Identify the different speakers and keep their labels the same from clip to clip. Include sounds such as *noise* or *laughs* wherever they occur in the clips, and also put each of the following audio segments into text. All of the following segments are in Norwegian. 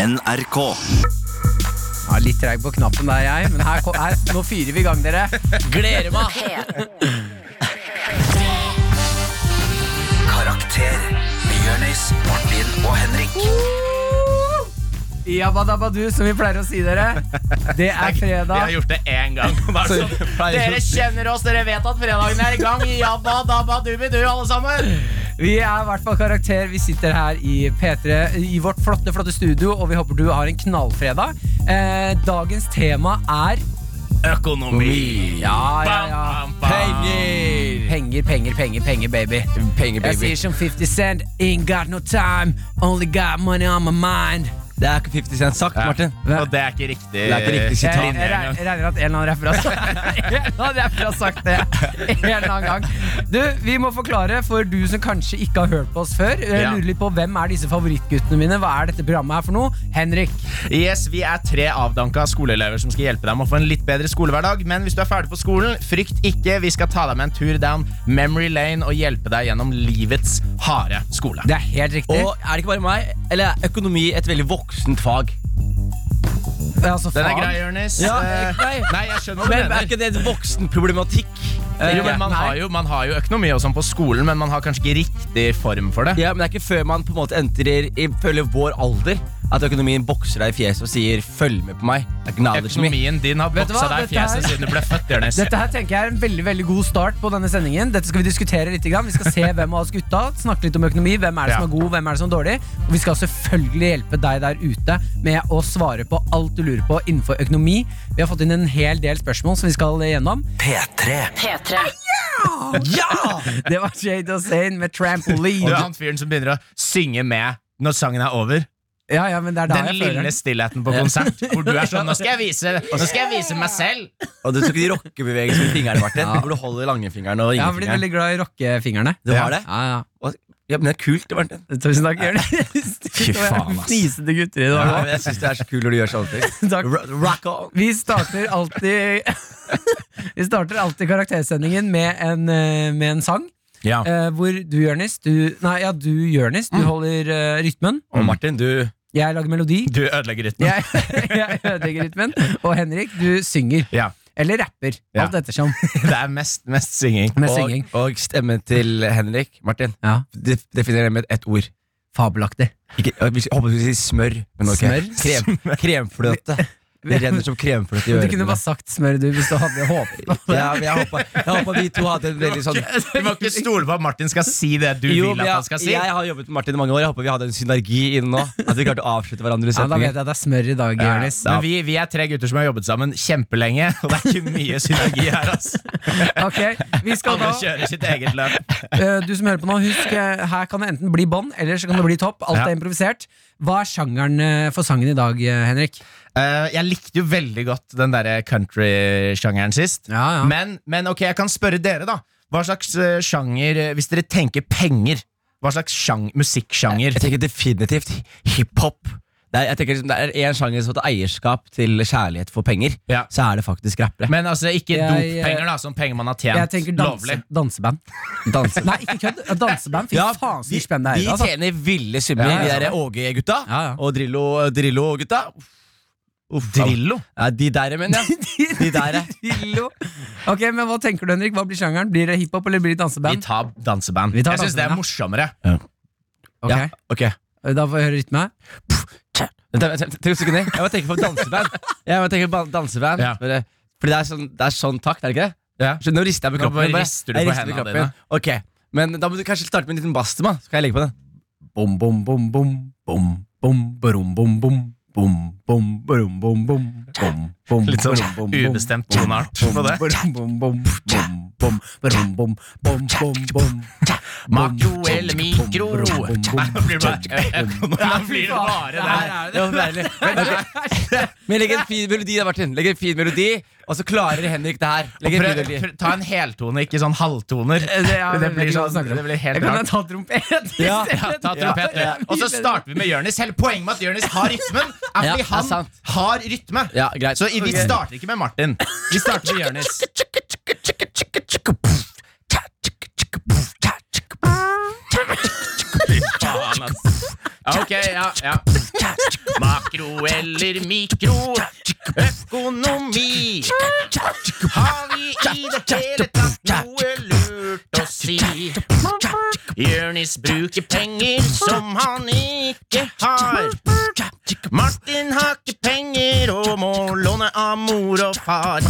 Speaker 1: NRK.
Speaker 2: Ja, litt treig på knappen der, jeg. Men her, kom- her, nå fyrer vi i gang, dere. Gleder meg!
Speaker 1: Karakter med Jonis, Martin og Henrik.
Speaker 2: Yabadabadu, som vi pleier å si, dere. Det er
Speaker 3: Vi har
Speaker 2: fredag.
Speaker 3: gjort det én gang. Bare
Speaker 4: Så
Speaker 3: sånn.
Speaker 4: vi pleier
Speaker 3: Dere
Speaker 4: ikke-
Speaker 3: kjenner oss, dere vet at fredagen er i gang. Jabba-dabba-dubidu, alle sammen.
Speaker 2: Vi er i hvert fall karakter. Vi sitter her i P3 i vårt flotte, flotte studio, og vi håper du har en knallfredag. Eh, dagens tema er
Speaker 3: Økonomi.
Speaker 2: Ja, ja, ja.
Speaker 3: Bam, bam, bam.
Speaker 4: Penger!
Speaker 2: Penger, penger, penger, penger, baby.
Speaker 4: Penger,
Speaker 2: Jeg
Speaker 4: baby.
Speaker 2: sier som 50 Cent, ain't got no time, only got money on my mind.
Speaker 4: Det er ikke 50 Cent sagt,
Speaker 3: Ja.
Speaker 4: Martin.
Speaker 3: Og det er ikke riktig.
Speaker 4: Det er ikke riktig
Speaker 2: Jeg, Eh,
Speaker 4: sitat.
Speaker 2: jeg, jeg, jeg regner at en eller annen rapper har sagt, *laughs* en eller annen rapper har sagt det en eller annen gang. Du, Vi må forklare for du som kanskje ikke har hørt på oss før. Jeg
Speaker 3: Ja.
Speaker 2: lurer litt på Hvem er disse favorittguttene mine? Hva er dette programmet her for noe? Henrik.
Speaker 3: Yes, Vi er tre avdanka skoleelever som skal hjelpe deg med å få en litt bedre skolehverdag. Men hvis du er ferdig på skolen, frykt ikke. Vi skal ta deg med en tur down memory lane og hjelpe deg gjennom livets harde skole.
Speaker 2: Det er helt riktig.
Speaker 4: Og er det ikke bare meg, eller er økonomi et veldig voksent fag?
Speaker 2: Det er altså
Speaker 3: Den er
Speaker 2: fag.
Speaker 3: grei, Jonis.
Speaker 4: Ja,
Speaker 3: Eh,
Speaker 4: nei.
Speaker 3: nei, jeg skjønner hva du
Speaker 4: Men
Speaker 3: mener.
Speaker 4: er ikke det et voksenproblematikk? Eh,
Speaker 3: Jo, men man, har jo, man har jo økonomi og sånn på skolen, men man har kanskje ikke riktig form for det.
Speaker 4: Ja, men det er ikke før man på en måte entrer i følger vår alder, at økonomien bokser deg i fjeset og sier 'følg med på meg'. Acknowledge me.
Speaker 3: Økonomien din har
Speaker 2: Vet du hva?
Speaker 3: boksa deg i
Speaker 2: Dette her-
Speaker 3: fjeset siden du ble født. Jonis.
Speaker 2: Dette her tenker jeg er en veldig veldig god start på denne sendingen. Dette skal Vi diskutere litt. grann. Vi skal se hvem av oss gutta, snakke litt om økonomi. Hvem er det som
Speaker 3: Ja.
Speaker 2: er god, hvem er det som er dårlig? Og vi skal selvfølgelig hjelpe deg der ute med å svare på alt du lurer på innenfor økonomi. Vi har fått inn en hel del spørsmål som vi skal gjennom.
Speaker 1: P3.
Speaker 5: P3.
Speaker 2: Ja! Det var Jade Hossein med
Speaker 3: Du er
Speaker 2: Trampoline.
Speaker 3: han fyren som begynner å synge med når sangen er over.
Speaker 2: Ja, ja, men det er da
Speaker 3: Den
Speaker 2: jeg føler
Speaker 3: lille
Speaker 2: den.
Speaker 3: stillheten på konsert hvor du er
Speaker 2: *laughs*
Speaker 3: sånn Nå skal jeg vise, nå skal jeg vise meg selv!
Speaker 4: Og du tok de rockebevegelsene med fingrene, Martin.
Speaker 2: Ja.
Speaker 4: Hvor du holder langfingeren og
Speaker 2: Jeg har blitt
Speaker 4: ringefingeren.
Speaker 2: veldig glad i rockefingrene.
Speaker 4: Du har det?
Speaker 2: Ja, ja.
Speaker 4: Ja, men det er kult, Martin.
Speaker 2: Tusen takk, *laughs* Jørnis.
Speaker 4: Fy faen, ass.
Speaker 2: Fnisete gutter i
Speaker 4: Ja,
Speaker 2: dag.
Speaker 4: men jeg syns det er så kult når du gjør sånne ting.
Speaker 2: Takk.
Speaker 4: Ro- Rock on!
Speaker 2: Vi starter alltid *laughs* Vi starter alltid karaktersendingen med en, eh, med en sang.
Speaker 3: Ja.
Speaker 2: eh, hvor du, Jørnis du, Nei, ja, du, Jørnis, du holder eh, rytmen.
Speaker 4: Og Martin, du
Speaker 2: Jeg lager melodi.
Speaker 3: Mm. Du ødelegger rytmen.
Speaker 2: Jeg, *laughs* jeg ødelegger rytmen. Og Henrik, du synger.
Speaker 3: Ja.
Speaker 2: Eller rapper.
Speaker 3: Ja.
Speaker 2: Alt ettersom.
Speaker 3: Det er mest, mest synging.
Speaker 2: Med
Speaker 4: og,
Speaker 2: synging.
Speaker 4: og stemmen til Henrik. Martin,
Speaker 2: Ja.
Speaker 4: def- definer det med ett ord.
Speaker 2: Fabelaktig.
Speaker 4: Ikke, jeg vil si- håper du skulle si smør, men ok.
Speaker 2: Smør?
Speaker 4: Krem, kremfløte. Det renner som kremfløte i
Speaker 2: Du
Speaker 4: ørene.
Speaker 2: kunne bare sagt smør, du, hvis du hadde håpet på det.
Speaker 4: ja, men jeg håpa, jeg håpa vi to hadde en veldig sånn
Speaker 3: Du må ikke stole på at Martin skal si det du
Speaker 4: Jo,
Speaker 3: vil
Speaker 4: men
Speaker 3: at han
Speaker 4: jeg,
Speaker 3: skal si.
Speaker 4: jeg har jobbet med Martin i mange år. Jeg håper vi hadde en synergi inne nå. At vi klarte å avslutte hverandres
Speaker 2: Ja, da vet
Speaker 4: setninger.
Speaker 2: jeg at det er smør i dag,
Speaker 3: Ja,
Speaker 2: Jørnis.
Speaker 3: Men vi, vi er tre gutter som har jobbet sammen kjempelenge, og det er ikke mye synergi her. ass
Speaker 2: Ok, vi skal
Speaker 3: Alle
Speaker 2: da
Speaker 3: kjører sitt eget løp.
Speaker 2: Eh, Du som hører på nå, husk eh, her kan det enten bli bånd, eller så kan det bli topp. Alt
Speaker 3: Ja.
Speaker 2: er improvisert. Hva er sjangeren eh, for sangen i dag, eh, Henrik?
Speaker 3: *laughs* Eh, jeg likte jo veldig godt den derre country-sjangeren sist.
Speaker 2: Ja, ja.
Speaker 3: Men, men ok, jeg kan spørre dere, da. Hva slags eh, sjanger, eh, hvis dere tenker penger, hva slags sjang, musikksjanger?
Speaker 4: Jeg tenker definitivt hiphop. Det er, jeg tenker liksom, det er en sjanger som har tatt eierskap til kjærlighet for penger,
Speaker 3: Ja.
Speaker 4: så er det faktisk rappere.
Speaker 3: Men altså, ikke
Speaker 2: Jeg,
Speaker 3: doppenger, da, som penger man har tjent.
Speaker 2: Jeg tenker danse,
Speaker 3: Lovlig.
Speaker 2: danseband.
Speaker 4: Danse.
Speaker 2: Nei, ikke kødd. Danseband. Fy faen, så
Speaker 4: de,
Speaker 2: mye spenn det er i
Speaker 4: de
Speaker 2: det. Altså.
Speaker 4: tjener ville summer,
Speaker 2: Ja, ja,
Speaker 4: de
Speaker 2: ja.
Speaker 4: der Åge-gutta.
Speaker 2: Ja, ja.
Speaker 4: Og Drillo- Drillo-gutta. Uff,
Speaker 3: Drillo?
Speaker 4: Ja, de der, mener
Speaker 2: *laughs*
Speaker 4: jeg. De der, ja.
Speaker 2: Drillo. Ok, men Hva tenker du, Henrik? Hva blir sjangeren? Blir det hiphop eller blir det
Speaker 3: Vi
Speaker 2: danseband?
Speaker 3: tar danseband.
Speaker 2: Vi tar
Speaker 3: jeg syns det er morsommere.
Speaker 2: Ok,
Speaker 4: Ja, ok.
Speaker 2: Da får vi høre rytme.
Speaker 4: Vent, vent, vent, tre sekunder. Jeg må tenke på danseband. Jeg må tenke på danseband
Speaker 3: Ja.
Speaker 4: Bare- Fordi det er sånn, det er sånn takt, er det ikke det?
Speaker 3: Ja.
Speaker 4: Så nå rister jeg med
Speaker 3: Nå
Speaker 4: kroppen.
Speaker 3: bare
Speaker 4: jeg
Speaker 3: rister du
Speaker 4: jeg
Speaker 3: på
Speaker 4: med
Speaker 3: hendene
Speaker 4: kroppen. Ok, Men da må du kanskje starte med en liten bassstemme. Så kan jeg legge på den.
Speaker 2: Bom, bom, bom, bom. Bom, bom, barom, bom, bom. Bom, bom, barom, bom, bom. Bom, bom,
Speaker 3: Litt sånn
Speaker 2: barom, bom, bom.
Speaker 3: ubestemt toneart på det.
Speaker 2: Bom, bom, bom, bom, bom, bom, bom, bom, bom, bom.
Speaker 3: Makro eller mikro? Nei, nå blir det bare- Nå blir det bare det her.
Speaker 4: er det. forferdelig. Men, ok. Men legg en fin melodi da, Martin. Legg en fin melodi, og så klarer Henrik det her. Legg en fin
Speaker 3: Prøv,
Speaker 4: melodi.
Speaker 3: prøv, ta en heltone, ikke sånn halvtoner.
Speaker 2: Det, ja, jeg
Speaker 3: Det
Speaker 2: vet
Speaker 3: blir,
Speaker 2: ikke hva
Speaker 3: sånn,
Speaker 2: du snakker om.
Speaker 3: det blir helt
Speaker 2: Jeg kan da
Speaker 3: rart.
Speaker 2: ta trompet.
Speaker 4: Ja,
Speaker 3: *laughs* Ja, ta trompet.
Speaker 2: *laughs* Ja.
Speaker 3: Og så starter vi med Jonis. Hele poenget med at Jonis har rytmen, er
Speaker 4: Ja,
Speaker 3: fordi
Speaker 4: det er
Speaker 3: han
Speaker 4: sant.
Speaker 3: har rytme.
Speaker 4: Ja, greit.
Speaker 3: Så i- vi starter ikke med Martin. Vi starter med Jonis. Ok, ja, ja. Makro makro eller mikro? Økonomi. Har vi i det hele tatt noe lurt å si? Jørnis bruker penger som han ikke har. Martin har ikke penger og må låne av mor og far.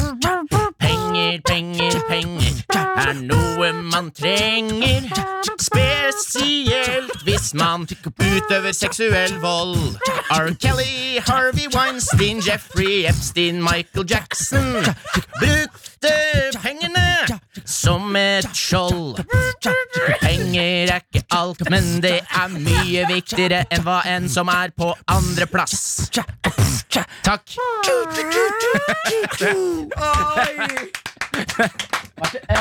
Speaker 3: Penger, penger, penger er noe man trenger. Spesielt hvis man utøver seksuell vold. R. Kelly, Harvey Weinstein, Jeffrey Epstein, Michael Jackson brukte pengene som et skjold. Penger er ikke alt, men det er mye viktigere enn hva enn som er på andreplass. Takk.
Speaker 4: Eh,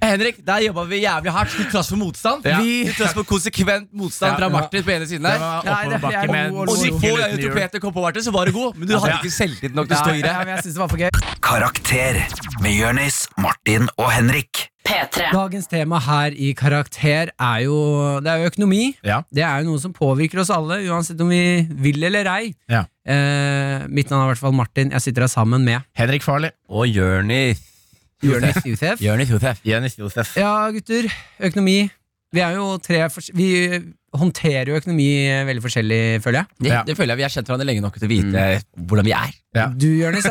Speaker 4: Henrik, der jobba vi jævlig hardt. Til tross for motstand.
Speaker 3: Ja.
Speaker 4: Vi, til tross for konsekvent motstand
Speaker 3: Ja,
Speaker 4: fra
Speaker 3: ja.
Speaker 4: Martin på ene siden
Speaker 3: Det
Speaker 4: der.
Speaker 3: var
Speaker 2: Nei, det-
Speaker 3: oppoverbakke
Speaker 2: jeg-
Speaker 3: med
Speaker 2: og-
Speaker 4: Og
Speaker 2: og-
Speaker 4: de
Speaker 3: sykkel
Speaker 4: få
Speaker 3: uten
Speaker 4: ganger
Speaker 3: hjul.
Speaker 4: Peter kom på hvert så var det god, men du hadde
Speaker 3: ja.
Speaker 4: ikke selvtillit nok til å stå i det.
Speaker 2: Ja, men jeg synes det var for gøy.
Speaker 1: Karakter med Jørnis, Martin og Henrik.
Speaker 5: P3.
Speaker 2: Dagens tema her i Karakter er jo, det er jo økonomi.
Speaker 3: Ja.
Speaker 2: Det er jo noe som påvirker oss alle, uansett om vi vil eller ei.
Speaker 3: Ja.
Speaker 2: Eh, mitt navn er i hvert fall Martin. Jeg sitter her sammen med
Speaker 3: Henrik Farley.
Speaker 4: Og Jonis.
Speaker 2: Jonis Yousef.
Speaker 4: Jonis Josef.
Speaker 3: Jenny Josef.
Speaker 2: Ja, gutter. Økonomi. Vi er jo tre fors- Vi håndterer jo økonomi veldig forskjellig, føler jeg.
Speaker 4: Det,
Speaker 3: Ja.
Speaker 4: det føler jeg Vi har kjent hverandre lenge nok til å
Speaker 3: Mm.
Speaker 4: vite eh, hvordan vi er.
Speaker 3: Ja.
Speaker 2: Du, Jonis, er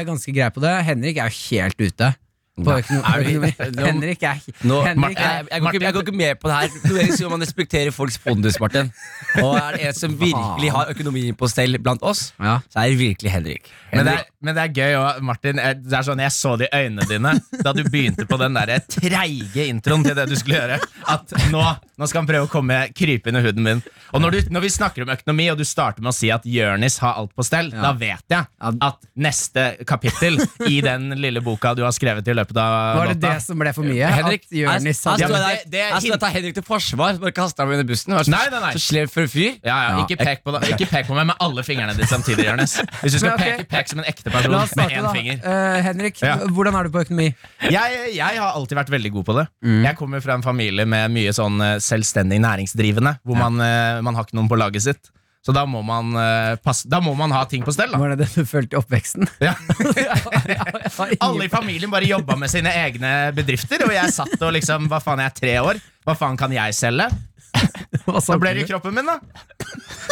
Speaker 2: eh, ganske grei på det. Henrik er jo helt ute. På økono-
Speaker 4: er vi-
Speaker 2: økonomi.
Speaker 4: Nå-
Speaker 2: Henrik er
Speaker 4: Nå,
Speaker 2: Henrik
Speaker 4: Martin, jeg,
Speaker 2: er
Speaker 4: jeg, går ikke, jeg går ikke med på det her. Det er som om man respekterer folks pondus, Martin. Og er det en som virkelig har økonomien på stell blant oss,
Speaker 2: ja.
Speaker 4: så er det virkelig Henrik.
Speaker 3: Men det,
Speaker 4: Henrik.
Speaker 3: er, men det er gøy òg, Martin. eh, Det er sånn, Jeg så det i øynene dine da du begynte på den der treige introen til det du skulle gjøre. At nå, nå skal han prøve å komme krype under huden min. Og når, du, når vi snakker om økonomi, og du starter med å si at Jørnis har alt på stell, da vet jeg at neste kapittel i den lille boka du har skrevet i løpet av
Speaker 2: Var det
Speaker 3: natta
Speaker 2: det som ble for mye?
Speaker 4: Henrik,
Speaker 2: At Jonis
Speaker 4: jeg,
Speaker 2: hadde-
Speaker 3: Ja,
Speaker 4: jeg, jeg,
Speaker 3: men
Speaker 4: jeg,
Speaker 3: det- det er
Speaker 4: skulle ta Henrik til forsvar. så Bare kaste ham under bussen. Vær så-
Speaker 3: Nei, nei, nei.
Speaker 4: Så slem for en fyr.
Speaker 3: ja, ja, ikke, pek på, det- ikke pek på meg med alle fingrene dine samtidig, Jørnis. Hvis du skal
Speaker 2: Men ok.
Speaker 3: peke, pek som en ekte person
Speaker 2: La oss
Speaker 3: med
Speaker 2: starte,
Speaker 3: én
Speaker 2: da.
Speaker 3: finger.
Speaker 2: Eh, Henrik,
Speaker 3: Ja.
Speaker 2: hvordan er du på økonomi?
Speaker 3: jeg, jeg har alltid vært veldig god på det. Jeg kommer fra en familie med mye sånn eh, selvstendig næringsdrivende, hvor man, eh, man har ikke noen på laget sitt. Så da må man, eh, passe, da må man ha ting på stell, da.
Speaker 2: Var det det du følte i *laughs* oppveksten?
Speaker 3: Ja.
Speaker 2: Jeg har ingen-
Speaker 3: *laughs* Alle i familien bare jobba med sine egne bedrifter, og jeg satt og liksom Hva faen, jeg er tre år. Hva faen kan jeg selge?
Speaker 2: Hva sa
Speaker 3: Da ble det i
Speaker 2: du?
Speaker 3: kroppen min, da.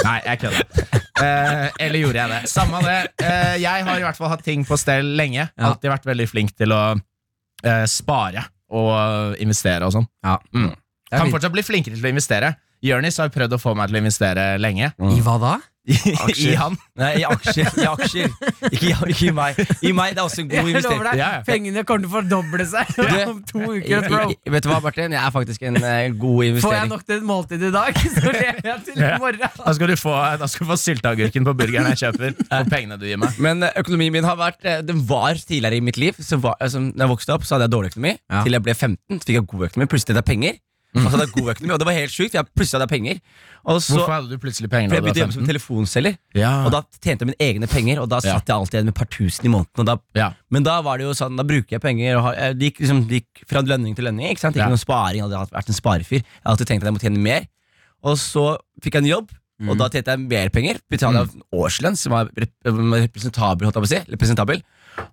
Speaker 3: Nei, jeg kødder. Eh, eller gjorde jeg det? Samme det. Eh, jeg har i hvert fall hatt ting på stell lenge.
Speaker 2: Ja.
Speaker 3: Alltid vært veldig flink til å eh, spare og investere og sånn.
Speaker 2: Ja.
Speaker 3: Mm.
Speaker 2: Det er
Speaker 3: Kan
Speaker 2: fint.
Speaker 3: fortsatt bli flinkere til å investere. Jonis har prøvd å få meg til å investere
Speaker 4: *laughs*
Speaker 3: lenge.
Speaker 2: I hva da?
Speaker 3: *laughs* I han.
Speaker 4: Nei, i aksjer. I aksjer. Ikke, i- ikke i meg. I meg det er også en god
Speaker 2: Jeg
Speaker 4: investering.
Speaker 2: lover deg,
Speaker 3: Ja, ja.
Speaker 2: pengene kommer til å fordoble seg *laughs*
Speaker 4: Du-
Speaker 2: om to uker.
Speaker 4: I-
Speaker 2: Bro.
Speaker 4: i- Vet du hva, Martin? Jeg er faktisk en eh, god
Speaker 2: Får jeg
Speaker 4: investering.
Speaker 2: nok til et måltid i dag, *laughs* så lever jeg til i
Speaker 3: Ja.
Speaker 2: morgen.
Speaker 3: Da skal du få, da skal du få sylteagurken på burgeren jeg
Speaker 4: *laughs*
Speaker 3: kjøper, og pengene du gir meg.
Speaker 4: Men eh, økonomien min har vært eh, Den var tidligere i mitt liv. Så var, altså, når jeg vokste opp, så hadde jeg dårlig økonomi.
Speaker 2: Ja.
Speaker 4: Til jeg ble 15, så fikk jeg god økonomi. Plutselig hadde jeg penger. Og så hadde jeg god økonomi, og det var helt sjukt. for jeg- Plutselig hadde jeg penger. Og så,
Speaker 3: Hvorfor hadde du plutselig penger
Speaker 4: for
Speaker 3: da
Speaker 4: jeg
Speaker 3: du var
Speaker 4: begynte å jobbe som
Speaker 3: 15?
Speaker 4: telefonselger.
Speaker 3: Ja.
Speaker 4: Og da tjente jeg mine egne penger, og da
Speaker 3: Ah. Ja.
Speaker 4: satt jeg alltid igjen med et par tusen i måneden. Og da,
Speaker 3: Ja.
Speaker 4: Men da var det jo sånn, da bruker jeg penger og har, eh, Det gikk liksom, det gikk fra lønning til lønning. Ikke sant? Ikke
Speaker 3: Ja.
Speaker 4: noen sparing. Jeg hadde alltid vært en sparefyr. Jeg hadde alltid tenkt at jeg må tjene mer. Og så fikk jeg en jobb,
Speaker 3: Mm.
Speaker 4: og da tjente jeg mer penger. Betalte jeg en årslønn som var rep var representabel, holdt jeg på å si. Representabel.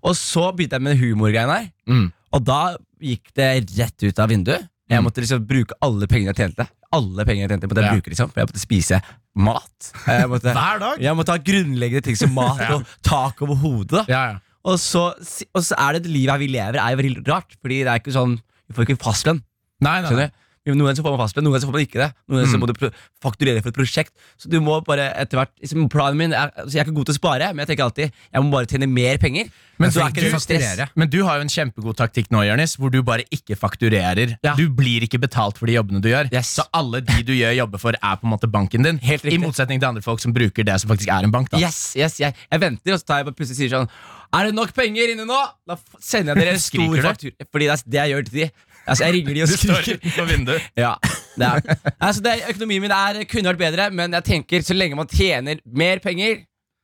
Speaker 4: Og så begynte jeg med den humorgreiene her,
Speaker 3: Mm.
Speaker 4: og da gikk det rett ut av vinduet. Jeg
Speaker 3: Mm.
Speaker 4: måtte liksom bruke alle pengene jeg tjente. Alle pengene jeg tjente måtte jeg
Speaker 3: Ja.
Speaker 4: bruke, liksom. For jeg måtte spise mat. Jeg
Speaker 3: *laughs*
Speaker 4: måtte,
Speaker 3: Hver dag?
Speaker 4: jeg må ta grunnleggende ting som mat og tak over hodet. da.
Speaker 3: Ja, ja.
Speaker 4: Og, så, si- og så er det det livet her vi lever, er jo veldig rart. Fordi det er ikke sånn Vi får ikke fastlønn.
Speaker 3: Nei, nei, nei.
Speaker 4: skjønner du? Men Noen ganger så får man fastlønn, noen ganger så får man ikke det. Noen ganger så
Speaker 3: Mm.
Speaker 4: må du pro- fakturere for et prosjekt. Så du må bare etter hvert liksom, Planen min er altså, Jeg er ikke god til å spare, men jeg tenker alltid jeg må bare tjene mer penger.
Speaker 3: Men
Speaker 4: så
Speaker 3: du-
Speaker 4: er ikke det
Speaker 3: du-
Speaker 4: noe stress.
Speaker 3: Men du har jo en kjempegod taktikk nå, Jørnis, hvor du bare ikke fakturerer.
Speaker 4: Ja.
Speaker 3: Du blir ikke betalt for de jobbene du gjør.
Speaker 4: Yes.
Speaker 3: Så alle de du gjør jobber for, er på en måte banken din.
Speaker 4: Helt riktig.
Speaker 3: I motsetning til andre folk som bruker det som faktisk er en bank. da
Speaker 4: Yes, yes, jeg, jeg venter, og så tar jeg bare plutselig sier sånn Er det nok penger inne nå? Da f- sender jeg dere en stor
Speaker 3: *laughs* Skriker du?
Speaker 4: faktur. Fordi det er det jeg gjør til de. Altså, jeg ringer de og
Speaker 3: Du står
Speaker 4: skriker.
Speaker 3: utenfor
Speaker 4: *laughs*
Speaker 3: vinduet.
Speaker 4: Ja, det er altså, det. er- Økonomien min er, kunne vært bedre, men jeg tenker så lenge man tjener mer penger,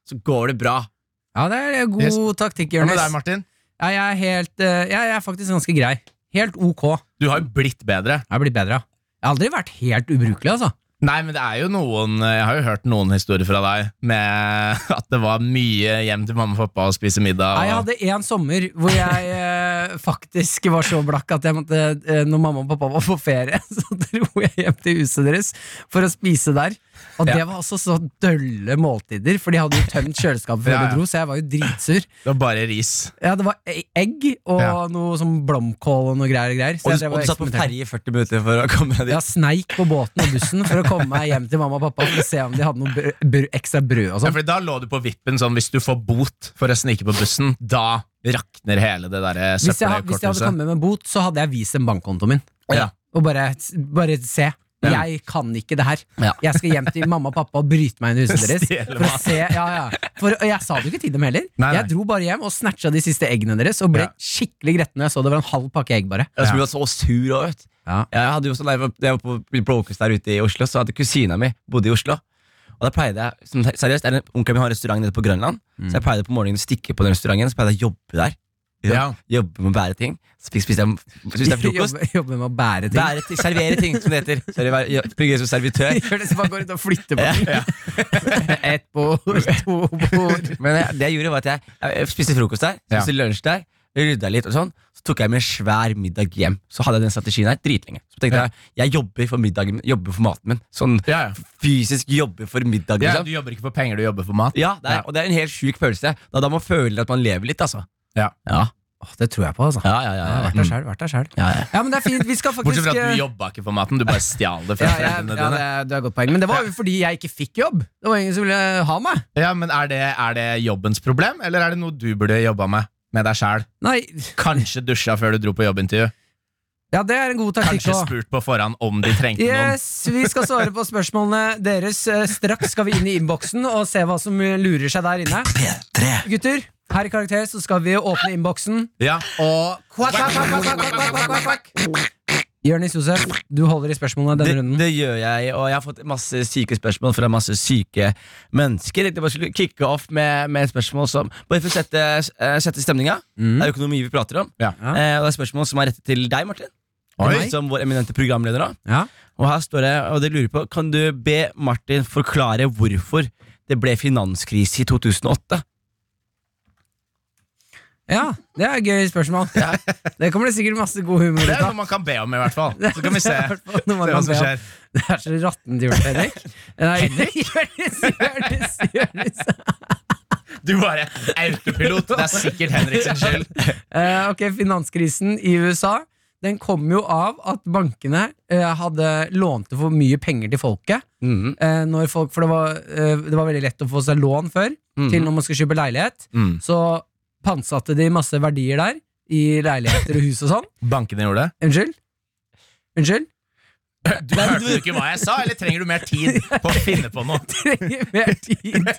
Speaker 4: så går det bra.
Speaker 2: Ja, det er god
Speaker 3: Yes.
Speaker 2: taktikk,
Speaker 3: Hva med
Speaker 2: Jonis.
Speaker 3: deg, Martin?
Speaker 2: Ja, jeg, er helt, eh, jeg er faktisk ganske grei. Helt ok.
Speaker 3: Du har jo blitt bedre.
Speaker 2: Jeg har blitt bedre. Jeg har aldri vært helt ubrukelig, altså.
Speaker 3: Nei, men det er jo noen eh, Jeg har jo hørt noen historier fra deg med *laughs* at det var mye hjem til mamma og pappa og spise middag.
Speaker 2: Nei, jeg
Speaker 3: Og,
Speaker 2: hadde en sommer hvor
Speaker 4: *laughs*
Speaker 2: jeg eh, faktisk var så blakk at jeg måtte, eh, når mamma og pappa var på ferie, *laughs* så dro jeg hjem til huset deres for å spise der. Og det var altså så dølle måltider, for de hadde jo tømt kjøleskapet før
Speaker 3: Ja, ja.
Speaker 2: de dro, så jeg var jo dritsur.
Speaker 3: det var bare ris.
Speaker 2: Ja, det var e- egg og
Speaker 3: Ja.
Speaker 2: noe sånn blomkål og noe greier. Og greier så
Speaker 4: Og
Speaker 2: jeg
Speaker 4: du,
Speaker 2: drev
Speaker 4: og du satt på
Speaker 2: eksperimenterte.
Speaker 4: ferje i 40 minutter for å komme deg dit.
Speaker 2: Jeg sneik på båten og bussen for å komme meg hjem til mamma og pappa for å se om de hadde noe brød, brød, ekstra brød og
Speaker 3: Ja,
Speaker 2: sånn.
Speaker 3: fordi da lå du på vippen sånn hvis du får bot for å snike på bussen, da rakner hele det derre
Speaker 2: Hvis jeg, ha- hvis jeg hadde
Speaker 3: søppelkortet.
Speaker 2: kommet med en bot, så hadde jeg vist dem bankkontoen min.
Speaker 3: Ja.
Speaker 2: Og bare, bare se.
Speaker 3: Ja.
Speaker 2: Jeg kan ikke det her.
Speaker 4: Ja.
Speaker 2: Jeg skal hjem til mamma og pappa og bryte meg inn i huset deres.
Speaker 3: Stjele
Speaker 2: For å
Speaker 3: mat.
Speaker 2: se, ja, ja. For, og jeg sa det jo ikke til dem heller.
Speaker 3: Nei, nei.
Speaker 2: Jeg dro bare hjem og snatcha de siste eggene deres og ble
Speaker 3: Ja.
Speaker 2: skikkelig gretten når jeg så det var en halv pakke egg. bare
Speaker 4: Jeg skulle vært så sur også, vet du.
Speaker 2: Ja.
Speaker 4: Jeg hadde jo også, da jeg var- da jeg var på Blåkås der ute i Oslo, så hadde kusina mi bodde i Oslo. Og da pleide jeg, som, seriøst, er det- Onkelen min har en restaurant nede på Grønland, så
Speaker 2: Mm.
Speaker 4: jeg pleide på morgenen å stikke på den restauranten, så pleide jeg å jobbe der.
Speaker 3: Ja.
Speaker 4: Jobbe med å bære ting. Så fikk- spiste jeg, spiste
Speaker 2: *laughs*
Speaker 4: jeg frokost.
Speaker 2: Jobbe, jobbe med å bære ting.
Speaker 4: Bære ting, servere ting, som det heter. Server- ja, Fungere som servitør.
Speaker 2: *laughs* Gjør det så bare går ut og flytter på ting. *laughs* Ett bord, to bord.
Speaker 4: Men jeg, det jeg gjorde, var at jeg, jeg spiste frokost der,
Speaker 3: Ja.
Speaker 4: spiste lunsj der, rydda litt og sånn. Så tok jeg med en svær middag hjem. Så hadde jeg den strategien her dritlenge. Så tenkte
Speaker 3: Ja.
Speaker 4: jeg jeg jobber for middagen, jobber for maten min. Sånn
Speaker 3: Ja, ja.
Speaker 4: fysisk jobber for middagen.
Speaker 3: ja,
Speaker 4: liksom.
Speaker 3: du jobber ikke for penger, du jobber for mat.
Speaker 4: Ja, det er,
Speaker 3: Ja.
Speaker 4: og det er en helt sjuk følelse. Da, da man føler at man lever litt, altså.
Speaker 3: Ja.
Speaker 4: Ja,
Speaker 2: Åh, Det tror jeg på, altså.
Speaker 4: ja, ja. ja,
Speaker 2: Jeg har
Speaker 4: ja,
Speaker 2: vært der selv, vært der selv.
Speaker 4: ja, ja.
Speaker 2: Ja, men det er fint. Vi skal faktisk
Speaker 3: Mm. Bortsett fra at
Speaker 2: eh,
Speaker 3: du jobba ikke for maten, du bare stjal
Speaker 2: ja,
Speaker 3: det fra
Speaker 2: ja,
Speaker 3: foreldrene
Speaker 2: ja,
Speaker 3: dine.
Speaker 2: det er, du har et godt poeng. Men det var jo fordi jeg ikke fikk jobb. Det var ingen som ville ha meg.
Speaker 3: Ja, men er det, er det jobbens problem, eller er det noe du burde jobba med? Med deg sjæl.
Speaker 2: Nei,
Speaker 3: Kanskje dusja før du dro på jobbintervju.
Speaker 2: ja, det er en god taktikk
Speaker 3: Kanskje
Speaker 2: òg.
Speaker 3: spurt på forhånd om de trengte noen.
Speaker 2: Yes, vi skal svare på spørsmålene deres. Eh, Straks skal vi inn i innboksen og se hva som eh, lurer seg der inne.
Speaker 1: P3
Speaker 2: Gutter, her i Karakter så skal vi åpne innboksen.
Speaker 3: Ja, og
Speaker 2: Kvakk, kvakk, kvakk, kvakk, kvakk, kvakk, kvakk, kvakk, kvakk. Jonis Josef, du holder i spørsmålene
Speaker 4: Det,
Speaker 2: denne runden.
Speaker 4: det gjør jeg, og jeg har fått masse syke spørsmål fra masse syke mennesker. Jeg tenkte jeg bare skulle kicke off med, med et spørsmål som Bare for å sette, eh, sette stemninga. Det er økonomi vi prater om.
Speaker 3: Mm. Ja.
Speaker 2: Ja.
Speaker 4: Eh, og det er spørsmål som er rettet til deg, Martin.
Speaker 3: Oi.
Speaker 4: Til meg, Som vår eminente programleder. da
Speaker 2: Ja.
Speaker 4: Og her står det, og det lurer jeg på Kan du be Martin forklare hvorfor det ble finanskrise i 2008?
Speaker 2: ja, det er et gøy spørsmål. Det kommer det sikkert masse god humor
Speaker 3: det
Speaker 2: ut
Speaker 3: er
Speaker 2: av.
Speaker 3: noe man kan be om, i hvert fall. Så kan vi se,
Speaker 2: *laughs* Det er i hvert fall
Speaker 3: se
Speaker 2: noe man
Speaker 3: hva
Speaker 2: kan
Speaker 3: som
Speaker 2: be om.
Speaker 3: skjer.
Speaker 2: Det er så rattent gjort, Henrik. Nei, *laughs* Jonis, Jonis, Jonis.
Speaker 3: Du bare autopilot. Det er sikkert Henrik sin skyld.
Speaker 2: Eh, ok, Finanskrisen i USA Den kom jo av at bankene eh, hadde lånte for mye penger til folket.
Speaker 3: Mm.
Speaker 4: Mhm.
Speaker 2: Eh, når folk, for det var, eh, det var veldig lett å få seg lån før,
Speaker 4: Mhm.
Speaker 2: til når man skulle kjøpe leilighet.
Speaker 4: Mhm.
Speaker 2: Så pantsatte de masse verdier der, i leiligheter og hus og sånn.
Speaker 3: Bankene gjorde det.
Speaker 2: Unnskyld? Unnskyld? *laughs*
Speaker 3: Du hørte du ikke hva jeg sa, eller trenger du mer tid på å finne på noe?
Speaker 2: Trenger mer tid.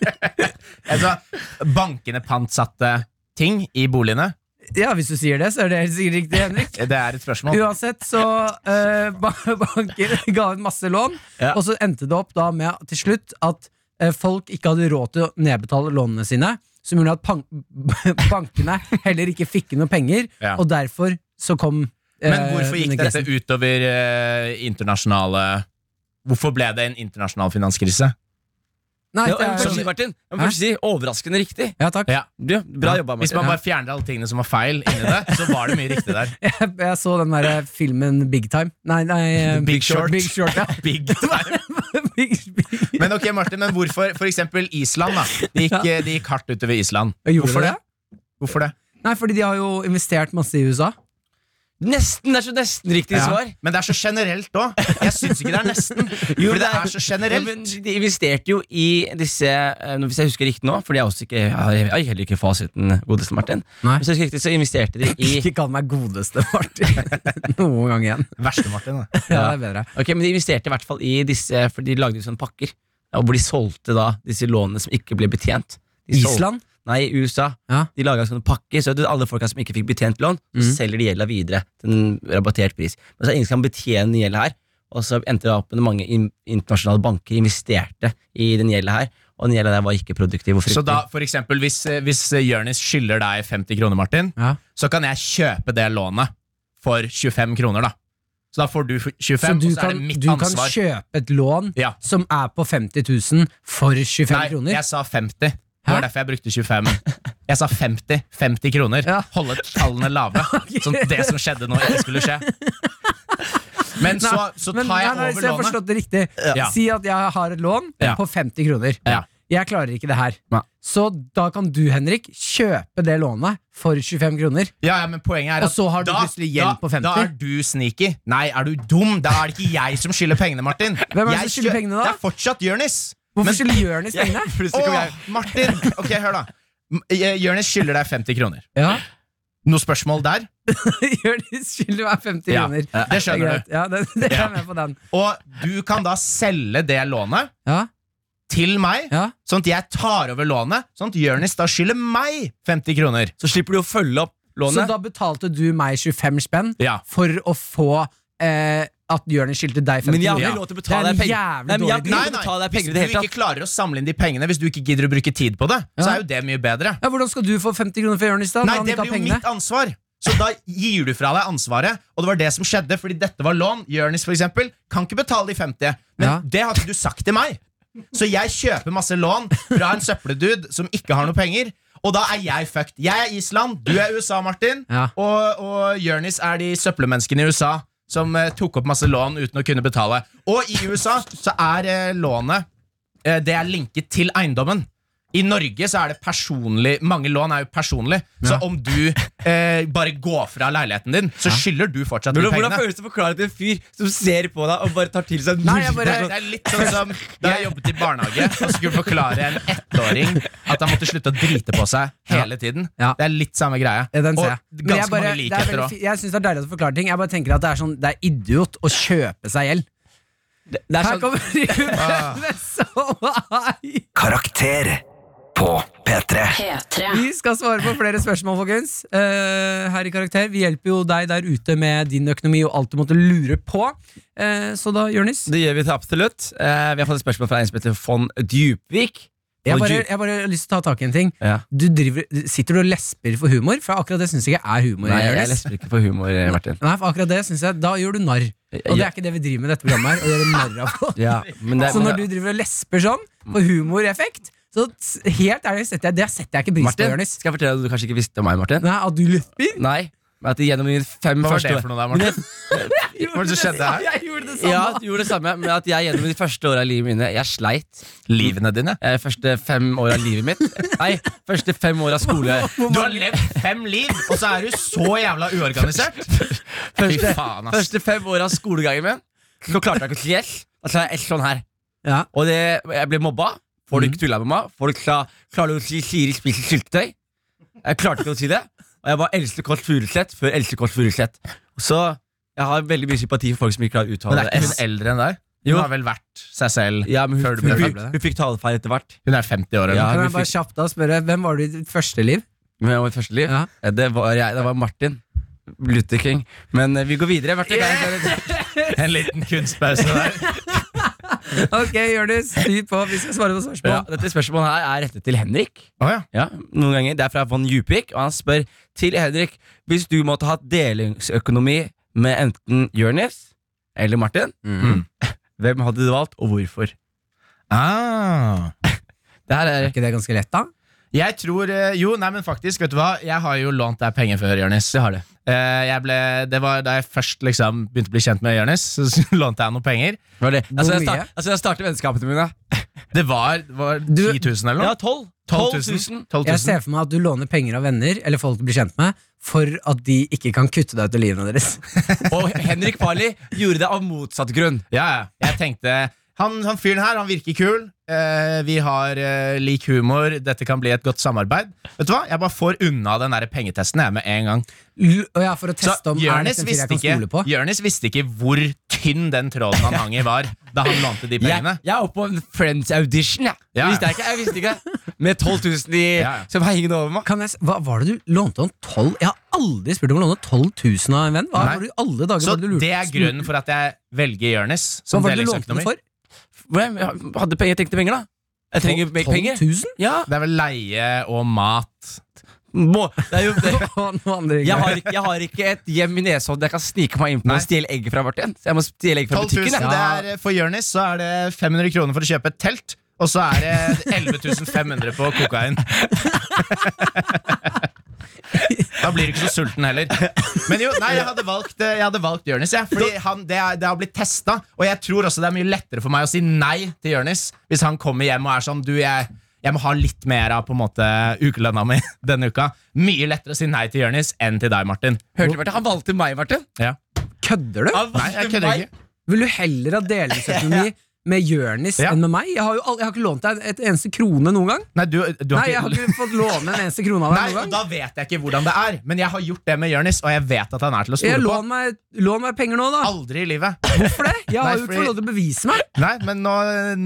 Speaker 4: *laughs*
Speaker 3: Altså, bankene pantsatte ting i boligene.
Speaker 2: Ja, hvis du sier det, så er det helt sikkert riktig, Henrik.
Speaker 3: Det er et spørsmål.
Speaker 2: Uansett så eh, ba- *laughs* banker ga ut masse lån,
Speaker 4: Ja.
Speaker 2: og så endte det opp da med til slutt at eh, folk ikke hadde råd til å nedbetale lånene sine, som gjorde at pan- *laughs* bankene heller ikke fikk inn noe penger,
Speaker 3: Ja.
Speaker 2: og derfor så kom eh,
Speaker 3: Men hvorfor gikk
Speaker 2: denne
Speaker 3: dette
Speaker 2: krisen.
Speaker 3: utover eh, internasjonale Hvorfor ble det en internasjonal finanskrise?
Speaker 2: Nei,
Speaker 4: Ja,
Speaker 2: det
Speaker 4: jeg må først si,
Speaker 2: er,
Speaker 4: Martin, jeg må først si Overraskende riktig.
Speaker 2: ja, takk.
Speaker 3: Ja.
Speaker 4: Du, bra jobba,
Speaker 3: Hvis
Speaker 4: Martin.
Speaker 3: man bare fjerner alle tingene som var feil, inni det, så var det mye riktig der.
Speaker 2: *laughs* Jeg, jeg så den der eh, filmen Big Time. Nei, nei eh,
Speaker 3: Big Short.
Speaker 2: Big Short, ja.
Speaker 3: *laughs*
Speaker 2: *laughs*
Speaker 3: Big time.
Speaker 2: Big, big.
Speaker 3: *laughs* Men ok, Martin, men hvorfor for eksempel Island? da Det gikk, eh, det gikk hardt utover Island.
Speaker 2: Gjorde
Speaker 3: Hvorfor
Speaker 2: det?
Speaker 3: det? Hvorfor det?
Speaker 2: Nei, fordi de har jo investert masse i USA.
Speaker 4: Nesten! Det er så nesten riktig
Speaker 3: Ja.
Speaker 4: svar.
Speaker 3: Men det er så generelt òg. Jeg syns ikke det
Speaker 2: *laughs*
Speaker 3: er nesten.
Speaker 4: Jo,
Speaker 3: For det er så
Speaker 4: Ja, men
Speaker 3: generelt.
Speaker 4: de investerte jo i disse eh, nå- Hvis jeg husker riktig nå, Fordi jeg, også ikke, jeg har jeg har heller ikke fasiten, godeste Martin.
Speaker 2: Nei.
Speaker 4: Hvis jeg husker riktig, så investerte de
Speaker 2: *laughs*
Speaker 4: i
Speaker 2: Ikke kall meg godeste, Martin. *laughs* Noen gang igjen.
Speaker 3: Verste, Martin.
Speaker 2: *laughs*
Speaker 3: Da.
Speaker 2: Ja, det er bedre.
Speaker 4: Ok, men de investerte i hvert fall i disse For de lagde jo sånne pakker og Hvor de solgte da disse lånene som ikke ble betjent de sol-
Speaker 2: Island?
Speaker 4: Nei, i USA
Speaker 2: Ja.
Speaker 4: De laget sånne pakker Så du, alle folka som ikke fikk betjent lån Så
Speaker 2: Mhm.
Speaker 4: selger de gjelda videre Til en rabattert pris Men så er det ingen som kan betjene gjelda her Og så endte det opp med at mange in internasjonale banker Investerte i den gjelda her Og den gjelda der var ikke produktiv og
Speaker 3: Så
Speaker 4: fryktelig
Speaker 3: da, for eksempel, hvis, eh, hvis eh, Jørnis skylder deg 50 kroner, Martin,
Speaker 2: Ja.
Speaker 3: så kan jeg kjøpe det lånet for 25 kroner, da. Så da får du 25,
Speaker 2: Så
Speaker 3: og
Speaker 2: du
Speaker 3: så er
Speaker 2: kan,
Speaker 3: det mitt
Speaker 2: du kan
Speaker 3: ansvar.
Speaker 2: kjøpe et lån
Speaker 3: Ja.
Speaker 2: som er på 50 000 for 25
Speaker 3: Nei,
Speaker 2: kroner?
Speaker 3: jeg sa 50. Det var
Speaker 2: Hæ?
Speaker 3: derfor jeg brukte 25. Jeg sa 50. 50 kroner.
Speaker 2: Ja.
Speaker 3: Holde tallene
Speaker 2: *laughs*
Speaker 3: lave. Sånn at det som skjedde nå, ikke skulle skje. Men så, så
Speaker 2: Men-
Speaker 3: tar jeg
Speaker 2: nei, nei, så
Speaker 3: over
Speaker 2: jeg har
Speaker 3: lånet.
Speaker 2: forstått det riktig.
Speaker 3: Ja.
Speaker 2: Si at jeg har et lån
Speaker 3: Ja.
Speaker 2: på 50 kroner.
Speaker 3: Ja.
Speaker 2: Jeg klarer ikke det her.
Speaker 3: Nei.
Speaker 2: Så da kan du, Henrik, kjøpe det lånet for 25 kroner.
Speaker 3: Ja, ja, men poenget
Speaker 2: Og
Speaker 3: er at
Speaker 2: så har du
Speaker 3: da,
Speaker 2: plutselig gjeld på 50.
Speaker 3: Da, da er du sneaky. Nei, er du dum? Da er det ikke jeg som skylder pengene, Martin.
Speaker 2: Hvem er det
Speaker 3: Jeg
Speaker 2: som skylder
Speaker 3: kjø-
Speaker 2: pengene da?
Speaker 3: Det er fortsatt Jonis.
Speaker 2: Hvorfor
Speaker 3: Men-
Speaker 2: skulle
Speaker 3: *laughs*
Speaker 2: Jonis pengene?
Speaker 4: Plutselig kom
Speaker 3: Åh,
Speaker 4: jeg
Speaker 3: Martin! Ok, hør da. M- eh, Jonis skylder deg 50 kroner.
Speaker 2: *laughs* Ja.
Speaker 3: Noe spørsmål der?
Speaker 2: Jonis skylder meg 50
Speaker 3: Ja,
Speaker 2: kroner.
Speaker 3: det skjønner
Speaker 2: er greit. Ja, det, det er
Speaker 3: Ja.
Speaker 2: jeg med på den.
Speaker 3: Og du kan da selge det lånet
Speaker 2: Ja,
Speaker 3: til meg.
Speaker 2: ja.
Speaker 3: Sånn at jeg tar over lånet, sånn at Jonis da skylder meg 50 kroner.
Speaker 4: Så slipper du å følge opp
Speaker 2: Så
Speaker 4: lånet.
Speaker 2: da betalte du meg 25 spenn
Speaker 3: Ja.
Speaker 2: for å få eh, at Jonis skyldte deg 50
Speaker 4: Men jeg har
Speaker 2: kroner.
Speaker 4: ikke lov til å betale
Speaker 2: Det er en jævlig
Speaker 4: deg penger. Nei, men jeg
Speaker 2: dårlig
Speaker 3: Nei,
Speaker 4: har ikke lov til å
Speaker 3: nei,
Speaker 4: betale deg
Speaker 3: Hvis
Speaker 4: penger i
Speaker 3: du
Speaker 4: det hele
Speaker 3: ikke
Speaker 4: tatt.
Speaker 3: klarer å samle inn de pengene, hvis du ikke gidder å bruke tid på det, så
Speaker 2: Ja.
Speaker 3: er jo det mye bedre.
Speaker 2: Ja, hvordan skal du få 50 kroner for Jonis da?
Speaker 3: Nei,
Speaker 2: når han
Speaker 3: det
Speaker 2: ikke har
Speaker 3: blir jo
Speaker 2: pengene?
Speaker 3: mitt ansvar. Så da gir du fra deg ansvaret, og det var det som skjedde, fordi dette var lån. Jonis, for eksempel, kan ikke betale de 50, men
Speaker 2: Ja.
Speaker 3: det har ikke du sagt til meg. Så jeg kjøper masse lån fra en søppeldude som ikke har noe penger, og da er jeg fucked. Jeg er Island, du er USA, Martin,
Speaker 2: Ja.
Speaker 3: og, og Jonis er de søppelmenneskene i USA som eh, tok opp masse lån uten å kunne betale. Og i USA så er eh, lånet eh, Det er linket til eiendommen. I Norge så er det personlig Mange lån er jo personlig. Så om du eh, bare går fra leiligheten din, så skylder du fortsatt de
Speaker 4: Hvordan, hvordan
Speaker 3: pengene.
Speaker 4: føles det å forklare til en fyr som ser på deg og bare tar til seg
Speaker 2: Nei, jeg bare-
Speaker 3: Det er, det er litt sånn som Da jeg jobbet i barnehage og skulle forklare en ettåring at han måtte slutte å drite på seg hele tiden.
Speaker 2: Ja.
Speaker 3: Det er litt samme greie.
Speaker 2: Ja, den
Speaker 3: og
Speaker 2: ser jeg. Men
Speaker 3: ganske
Speaker 2: jeg bare-
Speaker 3: mange
Speaker 2: det er
Speaker 3: likheter
Speaker 2: veldig
Speaker 3: òg.
Speaker 2: fi- Jeg syns det er deilig at du forklarer ting. Jeg bare tenker at det er sånn Det er idiot å kjøpe seg gjeld.
Speaker 4: det
Speaker 2: Her
Speaker 4: er sånn,
Speaker 2: kommer *laughs* Ruben *laughs* Sovai!
Speaker 1: Karakter på P3.
Speaker 5: P3.
Speaker 2: Vi skal svare på flere spørsmål, folkens. Eh, her i Karakter. Vi hjelper jo deg der ute med din økonomi og alt du måtte lure på. Eh, så da, Jonis
Speaker 4: det gjør vi til absolutt. Eh, vi har fått et spørsmål fra en som heter von Djupvik.
Speaker 2: jeg,
Speaker 4: Von
Speaker 2: bare-
Speaker 4: Djup-
Speaker 2: jeg bare har lyst til å ta tak i en ting.
Speaker 4: ja.
Speaker 2: Du driver, sitter du og lesper for humor? For akkurat det syns jeg ikke er humor.
Speaker 4: Nei, jeg
Speaker 2: Jonis.
Speaker 4: lesber ikke på humor, eh, Martin.
Speaker 2: *laughs* Nei, for akkurat det synes jeg Da gjør du narr. Og det er ikke det vi driver med i dette programmet. her Å gjøre narr av folk
Speaker 4: Ja, men *laughs* det,
Speaker 2: Så når du driver og lesper sånn, på humoreffekt, så t- helt ærlig setter jeg, det setter jeg ikke pris på,
Speaker 4: Martin,
Speaker 2: Jonis.
Speaker 4: skal jeg fortelle deg noe du kanskje ikke visste om meg, Martin?
Speaker 2: Nei, at du lesper?
Speaker 4: Nei, men at gjennom mine fem
Speaker 3: Hva var
Speaker 4: første
Speaker 3: det for noe
Speaker 4: *laughs*
Speaker 3: der, Martin? Hva var det som skjedde her?
Speaker 2: Jeg gjorde det samme.
Speaker 4: Ja, du gjorde det samme, men at jeg gjennom de første åra av livet mine Jeg sleit.
Speaker 3: Livene dine.
Speaker 4: Eh, første fem år av livet mitt. Nei, første fem år av skole.
Speaker 3: Du har levd fem liv, og så er du så jævla uorganisert! Fy
Speaker 4: Første,
Speaker 3: faen, ass.
Speaker 4: første fem år av skolegangen min. Så klarte jeg ikke å si S. Da sa jeg S sånn her.
Speaker 2: Ja.
Speaker 4: Og det, jeg ble mobba.
Speaker 3: Mhm.
Speaker 4: Folk tulla med meg. Folk sa 'Klarer du å si Siri spiser syltetøy?' Jeg klarte ikke å si det. Og jeg var Else Kåss Furuseth før Else Kåss Furuseth. Så jeg har veldig mye sympati for folk som ikke klarer å
Speaker 3: Men
Speaker 4: uttale
Speaker 3: er ikke hun
Speaker 4: S.
Speaker 3: eldre enn deg? Hun
Speaker 4: Jo.
Speaker 3: har vel vært seg selv
Speaker 4: Ja, men hun,
Speaker 3: før du
Speaker 4: hun,
Speaker 3: ble
Speaker 4: hun,
Speaker 3: fem.
Speaker 4: hun fikk talefeil etter hvert.
Speaker 3: Hun er 50 år eller
Speaker 4: Ja.
Speaker 3: noe.
Speaker 2: Kan
Speaker 4: vi
Speaker 2: jeg bare
Speaker 4: fikk-
Speaker 2: kjapt da spørre, Hvem var du i ditt første liv? *laughs*
Speaker 4: Men jeg var i første liv.
Speaker 2: Ja.
Speaker 4: Eh, Det, var jeg, det var Martin Luther King. Men eh, vi går videre. Martin,
Speaker 3: En liten kunstpause
Speaker 4: *laughs*
Speaker 3: der.
Speaker 2: Ok, Jonis, spy på. Vi skal svare på spørsmål.
Speaker 4: ja, dette spørsmålet her er rettet til Henrik.
Speaker 3: Å ja.
Speaker 4: Ja, noen ganger. Det er fra von Djupik, og han spør til Henrik Hvis du måtte hatt delingsøkonomi med enten Jonis eller Martin,
Speaker 2: Mm.
Speaker 4: *laughs* hvem hadde du valgt, og hvorfor?
Speaker 3: Ah.
Speaker 4: Det her er
Speaker 2: Er ikke det ganske lett, da?
Speaker 3: Jeg tror eh, Jo, nei, men faktisk, vet du hva? Jeg har jo lånt deg penger før, Jonis.
Speaker 4: Det har du.
Speaker 3: Eh, jeg ble, det var da jeg først liksom begynte å bli kjent med Jonis, *laughs* så lånte jeg noen penger.
Speaker 4: Var det? Altså, jeg,
Speaker 2: mye?
Speaker 4: start, altså, jeg starter vennskapene mine.
Speaker 3: Det var, det var 10
Speaker 2: Du-
Speaker 3: 000 eller
Speaker 4: Ja,
Speaker 3: noe.
Speaker 4: 12
Speaker 3: 12
Speaker 4: 000.
Speaker 3: 000. 12 000.
Speaker 2: Jeg ser for meg at du låner penger av venner eller folk du blir kjent med, for at de ikke kan kutte deg ut av livet deres.
Speaker 4: Og Henrik Farley gjorde det av motsatt grunn.
Speaker 3: Ja, ja. Jeg tenkte han, han fyren her, han virker kul. Eh, vi har eh, lik humor. Dette kan bli et godt samarbeid. Vet du hva? Jeg bare får unna den der pengetesten jeg med en gang.
Speaker 2: L- Og ja, for å teste om er
Speaker 3: Jonis
Speaker 2: dette en fyr jeg
Speaker 3: visste,
Speaker 2: kan
Speaker 3: ikke-
Speaker 2: stole på.
Speaker 3: Jonis visste ikke hvor tynn den tråden han hang i, var da han lånte
Speaker 2: *laughs*
Speaker 3: de
Speaker 4: Jeg,
Speaker 3: pengene.
Speaker 4: jeg er oppe på en Friends audition, jeg.
Speaker 3: Ja.
Speaker 4: Visste jeg, ikke, jeg visste ikke. Med 12 000 i,
Speaker 3: Ja, ja.
Speaker 4: som hengende over meg.
Speaker 2: Kan jeg, s- hva var det du lånte om 12 Jeg har aldri spurt om å låne 12 000 av en venn. Hva
Speaker 3: Nei.
Speaker 2: var det i alle dager
Speaker 3: Så
Speaker 2: var du lurte-
Speaker 3: det er grunnen for at jeg velger Jonis
Speaker 2: Hva
Speaker 3: som
Speaker 2: var det du lånte den
Speaker 3: delingsøkonomi.
Speaker 2: for?
Speaker 4: Hvem hadde
Speaker 2: *laughs*
Speaker 4: penger, jeg trengte penger, da. Jeg trenger mer penger.
Speaker 2: 12 000?
Speaker 4: Ja,
Speaker 3: Det er vel leie og mat
Speaker 4: Må, det er jo det.
Speaker 2: Og noen andre
Speaker 4: Jeg
Speaker 2: greier.
Speaker 4: har, ikke- jeg har ikke et hjem i Nesodden jeg kan snike meg inn på
Speaker 3: Nei.
Speaker 4: og stjele egg fra, Martin. Så jeg må stjele egg fra
Speaker 3: 12 000,
Speaker 4: butikken. jeg.
Speaker 3: det er, eh, for Jørnis så er det 500 kroner for å kjøpe et telt, og så er det 11 500 på
Speaker 4: *laughs*
Speaker 3: kokain. Da blir du ikke så sulten heller. Men jo, nei, jeg hadde valgt, eh, jeg hadde valgt Jørnis. Jeg, fordi han, det, er, det har blitt testa, og jeg tror også det er mye lettere for meg å si nei til Jørnis hvis han kommer hjem og er sånn Du, jeg, jeg må ha litt mer av på en måte ukelønna mi *laughs* denne uka. Mye lettere å si nei til Jørnis enn til deg, Martin.
Speaker 4: Hørte du, Martin? Han valgte meg, Martin.
Speaker 3: Ja.
Speaker 2: Kødder du?
Speaker 4: Han
Speaker 3: Nei,
Speaker 4: valgte
Speaker 3: jeg kødder
Speaker 4: meg.
Speaker 3: ikke.
Speaker 2: Vil du heller ha
Speaker 3: *laughs*
Speaker 2: delingsøkonomi med Jørnis
Speaker 3: Ja.
Speaker 2: enn med meg? Jeg har jo aldri, jeg har ikke lånt deg et eneste krone noen gang.
Speaker 3: Nei, du, du
Speaker 2: Nei,
Speaker 3: har
Speaker 2: jeg har ikke fått låne en eneste krone av deg
Speaker 3: Nei, og
Speaker 2: noen gang.
Speaker 3: Da vet jeg ikke hvordan det er, men jeg har gjort det med Jonis, og jeg vet at han er til å
Speaker 2: Jeg
Speaker 3: stole på.
Speaker 2: lån meg, lån meg penger nå, da.
Speaker 3: Aldri i livet.
Speaker 2: Hvorfor det? Jeg har
Speaker 3: Nei,
Speaker 2: jo ikke
Speaker 3: fordi-
Speaker 2: fått lov til å bevise meg.
Speaker 3: Nei, men nå,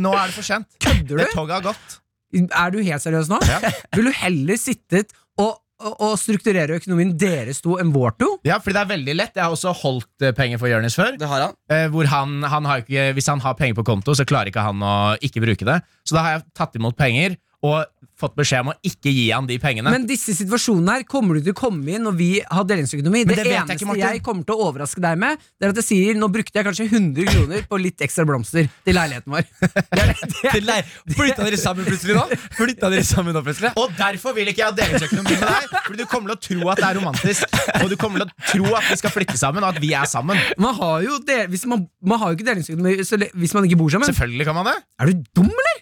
Speaker 3: nå er det for sent.
Speaker 2: Kødder
Speaker 3: Det
Speaker 2: du?
Speaker 3: toget har gått.
Speaker 2: Er du helt seriøs nå?
Speaker 3: Ja.
Speaker 2: Vil du heller sittet og, og, og strukturere økonomien deres to enn vår to?
Speaker 3: Ja, fordi det er veldig lett. Jeg har også holdt eh, penger for Jonis før.
Speaker 4: Det har han.
Speaker 3: Eh, hvor han, han har ikke, hvis han har penger på konto, så klarer ikke han å ikke bruke det. Så da har jeg tatt imot penger og fått beskjed om å ikke gi han de pengene.
Speaker 2: Men disse situasjonene her kommer du til å komme i når vi har delingsøkonomi. Det,
Speaker 3: det vet jeg
Speaker 2: eneste
Speaker 3: ikke,
Speaker 2: jeg,
Speaker 3: Martin.
Speaker 2: kommer til å overraske deg med, Det er at jeg sier nå brukte jeg kanskje 100 kroner på litt ekstra blomster til leiligheten vår. Det er, det er,
Speaker 4: Til leir. Flytta dere sammen plutselig nå? Flytta dere sammen nå plutselig?
Speaker 3: og derfor vil ikke jeg ha delingsøkonomi med deg! Fordi du kommer til å tro at det er romantisk, og du kommer til å tro at vi skal flytte sammen, og at vi er sammen.
Speaker 2: man, har jo del, hvis man, man har jo ikke delingsøkonomi så le- hvis man ikke bor sammen.
Speaker 3: Selvfølgelig kan man det.
Speaker 2: Er du dum, eller?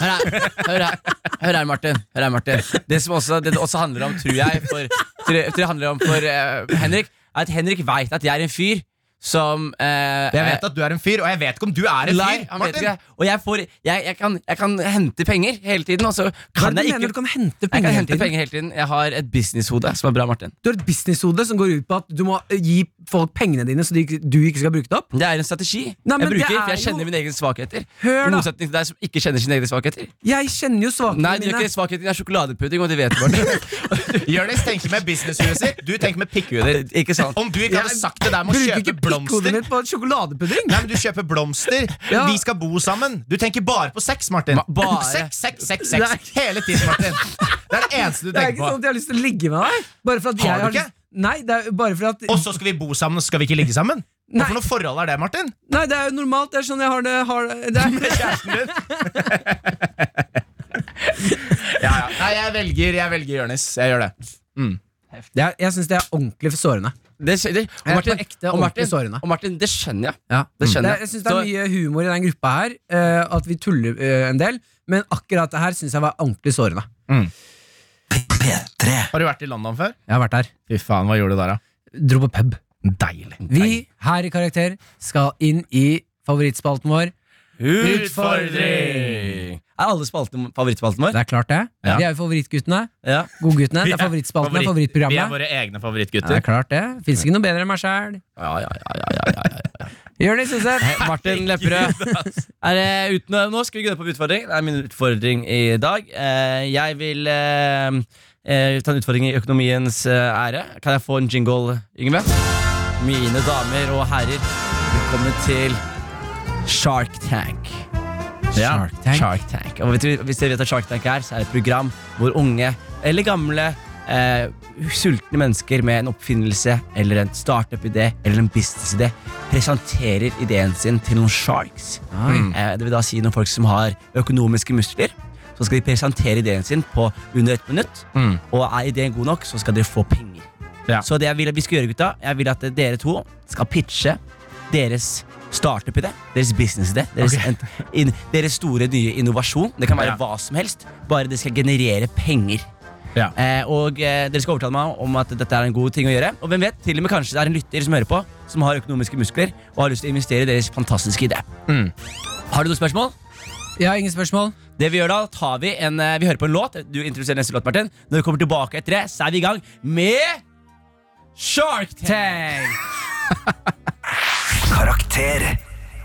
Speaker 4: Hør her, hør her, hør her, Martin. Hør her, Martin. Det som også, det det også handler om, tror jeg, for, tror jeg- tror jeg handler om for eh, Henrik, er at Henrik veit at jeg er en fyr som eh,
Speaker 3: Jeg vet at du er en fyr, og jeg vet ikke om du er en
Speaker 4: Nei,
Speaker 3: fyr.
Speaker 4: han vet
Speaker 3: Martin.
Speaker 4: ikke det. Og jeg, får, jeg, jeg, kan, jeg kan hente penger hele tiden, og så
Speaker 2: Hva er
Speaker 4: kan
Speaker 2: det
Speaker 4: jeg
Speaker 2: du
Speaker 4: ikke
Speaker 2: mener du kan hente
Speaker 4: Jeg
Speaker 2: penger?
Speaker 4: kan
Speaker 2: hele
Speaker 4: hente
Speaker 2: tiden?
Speaker 4: penger hele tiden. Jeg har et businesshode som er bra, Martin.
Speaker 2: Du har et businesshode som går ut på at du må eh, gi folk pengene dine så de, ikke- du ikke skal bruke det opp.
Speaker 4: Det er en strategi
Speaker 2: Nei, men
Speaker 4: jeg bruker,
Speaker 2: det er
Speaker 4: for jeg kjenner
Speaker 2: jo-
Speaker 4: mine egne svakheter.
Speaker 2: Hør
Speaker 4: I
Speaker 2: da.
Speaker 4: motsetning til deg som ikke kjenner sine egne svakheter.
Speaker 2: Jeg kjenner jo
Speaker 4: Nei,
Speaker 2: svakhetene
Speaker 4: du gjør
Speaker 2: mine.
Speaker 4: ikke svakheter, det er sjokoladepudding, og det vet
Speaker 2: *laughs*
Speaker 4: Martin.
Speaker 3: Jonis tenker med businesshuet sitt, du tenker med pikkhuet ditt.
Speaker 4: ikke sant?
Speaker 3: Om du ikke hadde sagt det der med å
Speaker 2: Bruker
Speaker 3: kjøpe
Speaker 2: ikke pikkhodet
Speaker 3: blomster
Speaker 2: mitt på sjokoladepudding.
Speaker 3: Nei, men Du kjøper blomster,
Speaker 2: Ja.
Speaker 3: vi skal bo sammen. Du tenker bare på sex, Martin.
Speaker 4: Ma- bare.
Speaker 3: Sex, sex, sex,
Speaker 2: Nei.
Speaker 3: sex. Hele tiden, Martin. Det er det eneste du
Speaker 2: Det er
Speaker 3: tenker
Speaker 2: ikke sånn
Speaker 3: på.
Speaker 2: at jeg har lyst til å ligge med deg. Bare for at
Speaker 3: Har
Speaker 2: jeg
Speaker 3: du
Speaker 2: har
Speaker 3: ikke?
Speaker 2: lyst Nei, det er bare for at
Speaker 3: Og så skal vi bo sammen, og så skal vi ikke ligge sammen? Hva
Speaker 2: Nei.
Speaker 3: for noe forhold er det, Martin?
Speaker 2: Nei, det er jo normalt. Det er sånn jeg har det, har det.
Speaker 3: Med *laughs*
Speaker 2: Er.
Speaker 3: kjæresten din? ja, ja. Nei, jeg velger, jeg velger Jonis. Jeg gjør det.
Speaker 2: Det er, jeg syns det er ordentlig sårende.
Speaker 4: Det skjønner jeg.
Speaker 2: Jeg er
Speaker 4: Og Martin,
Speaker 2: på ekte
Speaker 4: og,
Speaker 2: ordentlig
Speaker 4: Martin,
Speaker 2: sårende.
Speaker 4: og Martin, det skjønner jeg.
Speaker 2: Ja.
Speaker 4: Det
Speaker 2: Det,
Speaker 4: skjønner
Speaker 2: jeg
Speaker 4: jeg.
Speaker 2: syns det er
Speaker 4: Så-
Speaker 2: mye humor i den gruppa her, eh, at vi tuller eh, en del. Men akkurat det her syns jeg var ordentlig sårende.
Speaker 1: P3
Speaker 3: Har du vært i London før?
Speaker 2: Jeg har vært der.
Speaker 3: Fy faen, hva gjorde du der, da?
Speaker 2: Dro på pub.
Speaker 3: Deilig.
Speaker 2: Vi her i Karakter skal inn i favorittspalten vår.
Speaker 3: Utfordring!
Speaker 4: Er alle spaltene favorittspalten vår?
Speaker 2: Det er klart, det.
Speaker 3: Ja.
Speaker 2: Vi er jo favorittguttene.
Speaker 4: Ja.
Speaker 2: Godguttene.
Speaker 3: Vi
Speaker 2: Det er
Speaker 3: er
Speaker 2: favorittspalten det er
Speaker 3: favoritt- Vi er
Speaker 2: favorittprogrammet.
Speaker 3: våre egne
Speaker 2: Det er
Speaker 3: favorittgutter.
Speaker 2: klart, det. Fins ikke noe bedre enn meg sjæl.
Speaker 4: Ja, ja, ja, ja, ja, ja, ja.
Speaker 2: Jonis Sundset.
Speaker 4: Eh, Martin Lepperød.
Speaker 2: *laughs*
Speaker 4: Er det uten, nå skal vi gå ned på utfordring. Det er min utfordring i dag. Eh, Jeg vil eh, eh, ta en utfordring i økonomiens eh, ære. Kan jeg få en jingle, Yngve? Mine damer og herrer, velkommen til Shark Tank. Ja,
Speaker 2: Shark Tank.
Speaker 4: Shark Tank. Og vet du, hvis dere vet hva Shark Tank er, så er det et program hvor unge eller gamle eh, sultne mennesker med en oppfinnelse eller en startup-idé eller en business-idé presenterer ideen sin til noen sharks. Eh, det vil da si noen folk som har økonomiske muskler. Så skal de presentere ideen sin på under ett minutt. Og er ideen god nok, så skal dere få penger.
Speaker 3: Ja.
Speaker 4: Så det jeg vil at vi skal gjøre, gutta, jeg vil at dere to skal pitche deres startup-idé, deres business-idé, deres,
Speaker 3: Ok.
Speaker 4: ent- inn- deres store nye innovasjon. Det kan være
Speaker 3: Ja.
Speaker 4: hva som helst, bare det skal generere penger.
Speaker 3: Ja.
Speaker 4: Eh, og eh, dere skal overtale meg om at dette er en god ting å gjøre. Og hvem vet, til og med kanskje det er en lytter som hører på, som har økonomiske muskler og har lyst til å investere i deres fantastiske idé.
Speaker 3: Mm.
Speaker 4: Har du noen spørsmål?
Speaker 2: Jeg har ingen spørsmål.
Speaker 4: Det Vi gjør da, tar vi en, eh, vi hører på en låt. Du introduserer neste låt, Martin. Når vi kommer tilbake etter det, så er vi i gang med Shark Tank!
Speaker 1: Karakter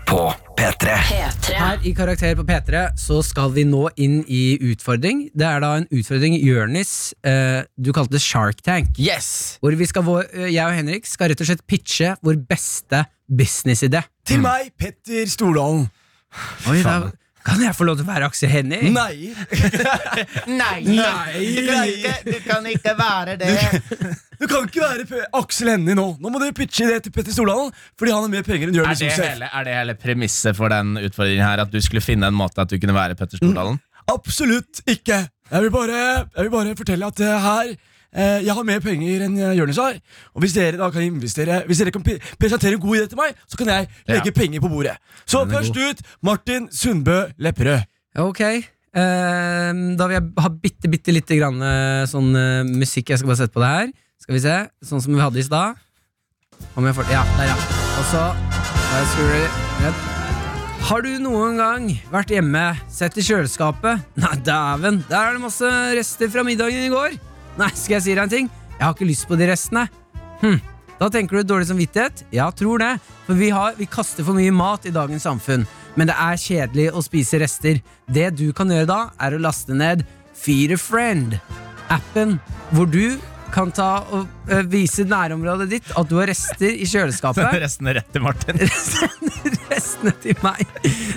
Speaker 1: På P3
Speaker 5: P3.
Speaker 2: Her i Karakter på P3 så skal vi nå inn i utfordring. Det er da en utfordring Jørnis, eh, du kalte det Shark Tank.
Speaker 4: Yes!
Speaker 2: Hvor vi skal, vår- eh, jeg og Henrik skal rett og slett pitche vår beste businessidé. Mm.
Speaker 4: Til meg, Petter Stordalen.
Speaker 2: Oi, det er- Kan jeg få lov til å være Aksel Hennie?
Speaker 4: Nei!
Speaker 3: Nei! Du, kan ikke, du kan ikke være det.
Speaker 4: Du kan ikke være P- Aksel Hennie nå! Nå må du pitche det til Petter Stordalen, fordi han har mer penger enn
Speaker 3: Er
Speaker 4: Jonis
Speaker 3: det,
Speaker 4: Josef.
Speaker 3: hele, er det hele premisset for den utfordringen her? At du skulle finne en måte at du kunne være Petter Stordalen?
Speaker 4: Absolutt ikke! Jeg vil bare, jeg vil bare fortelle at eh, her eh, jeg har mer penger enn eh, Jonis har. Og hvis dere da kan investere Hvis dere kan pre- presentere en god idé til meg, så kan jeg
Speaker 3: Ja.
Speaker 4: legge penger på bordet. Så først ut Martin Sundbø Lepperød.
Speaker 2: Ok. eh, da vil jeg ha bitte, bitte lite grann eh, sånn eh, musikk. Jeg skal bare sette på det her. Skal vi se. Sånn som vi hadde i stad. Om jeg får Ja, der, ja. Og så der skrur du ned. Har du noen gang vært hjemme, sett i kjøleskapet Nei, dæven, der er det masse rester fra middagen i går. Nei, skal jeg si deg en ting? Jeg har ikke lyst på de restene. Hm. Da tenker du dårlig samvittighet? Ja, tror det. For vi, har, vi kaster for mye mat i dagens samfunn. Men det er kjedelig å spise rester. Det du kan gjøre da, er å laste ned Feed a Friend. Appen hvor du kan ta og eh, vise nærområdet ditt at du har rester i kjøleskapet
Speaker 3: Resten er rett til Martin.
Speaker 2: sender restene til meg.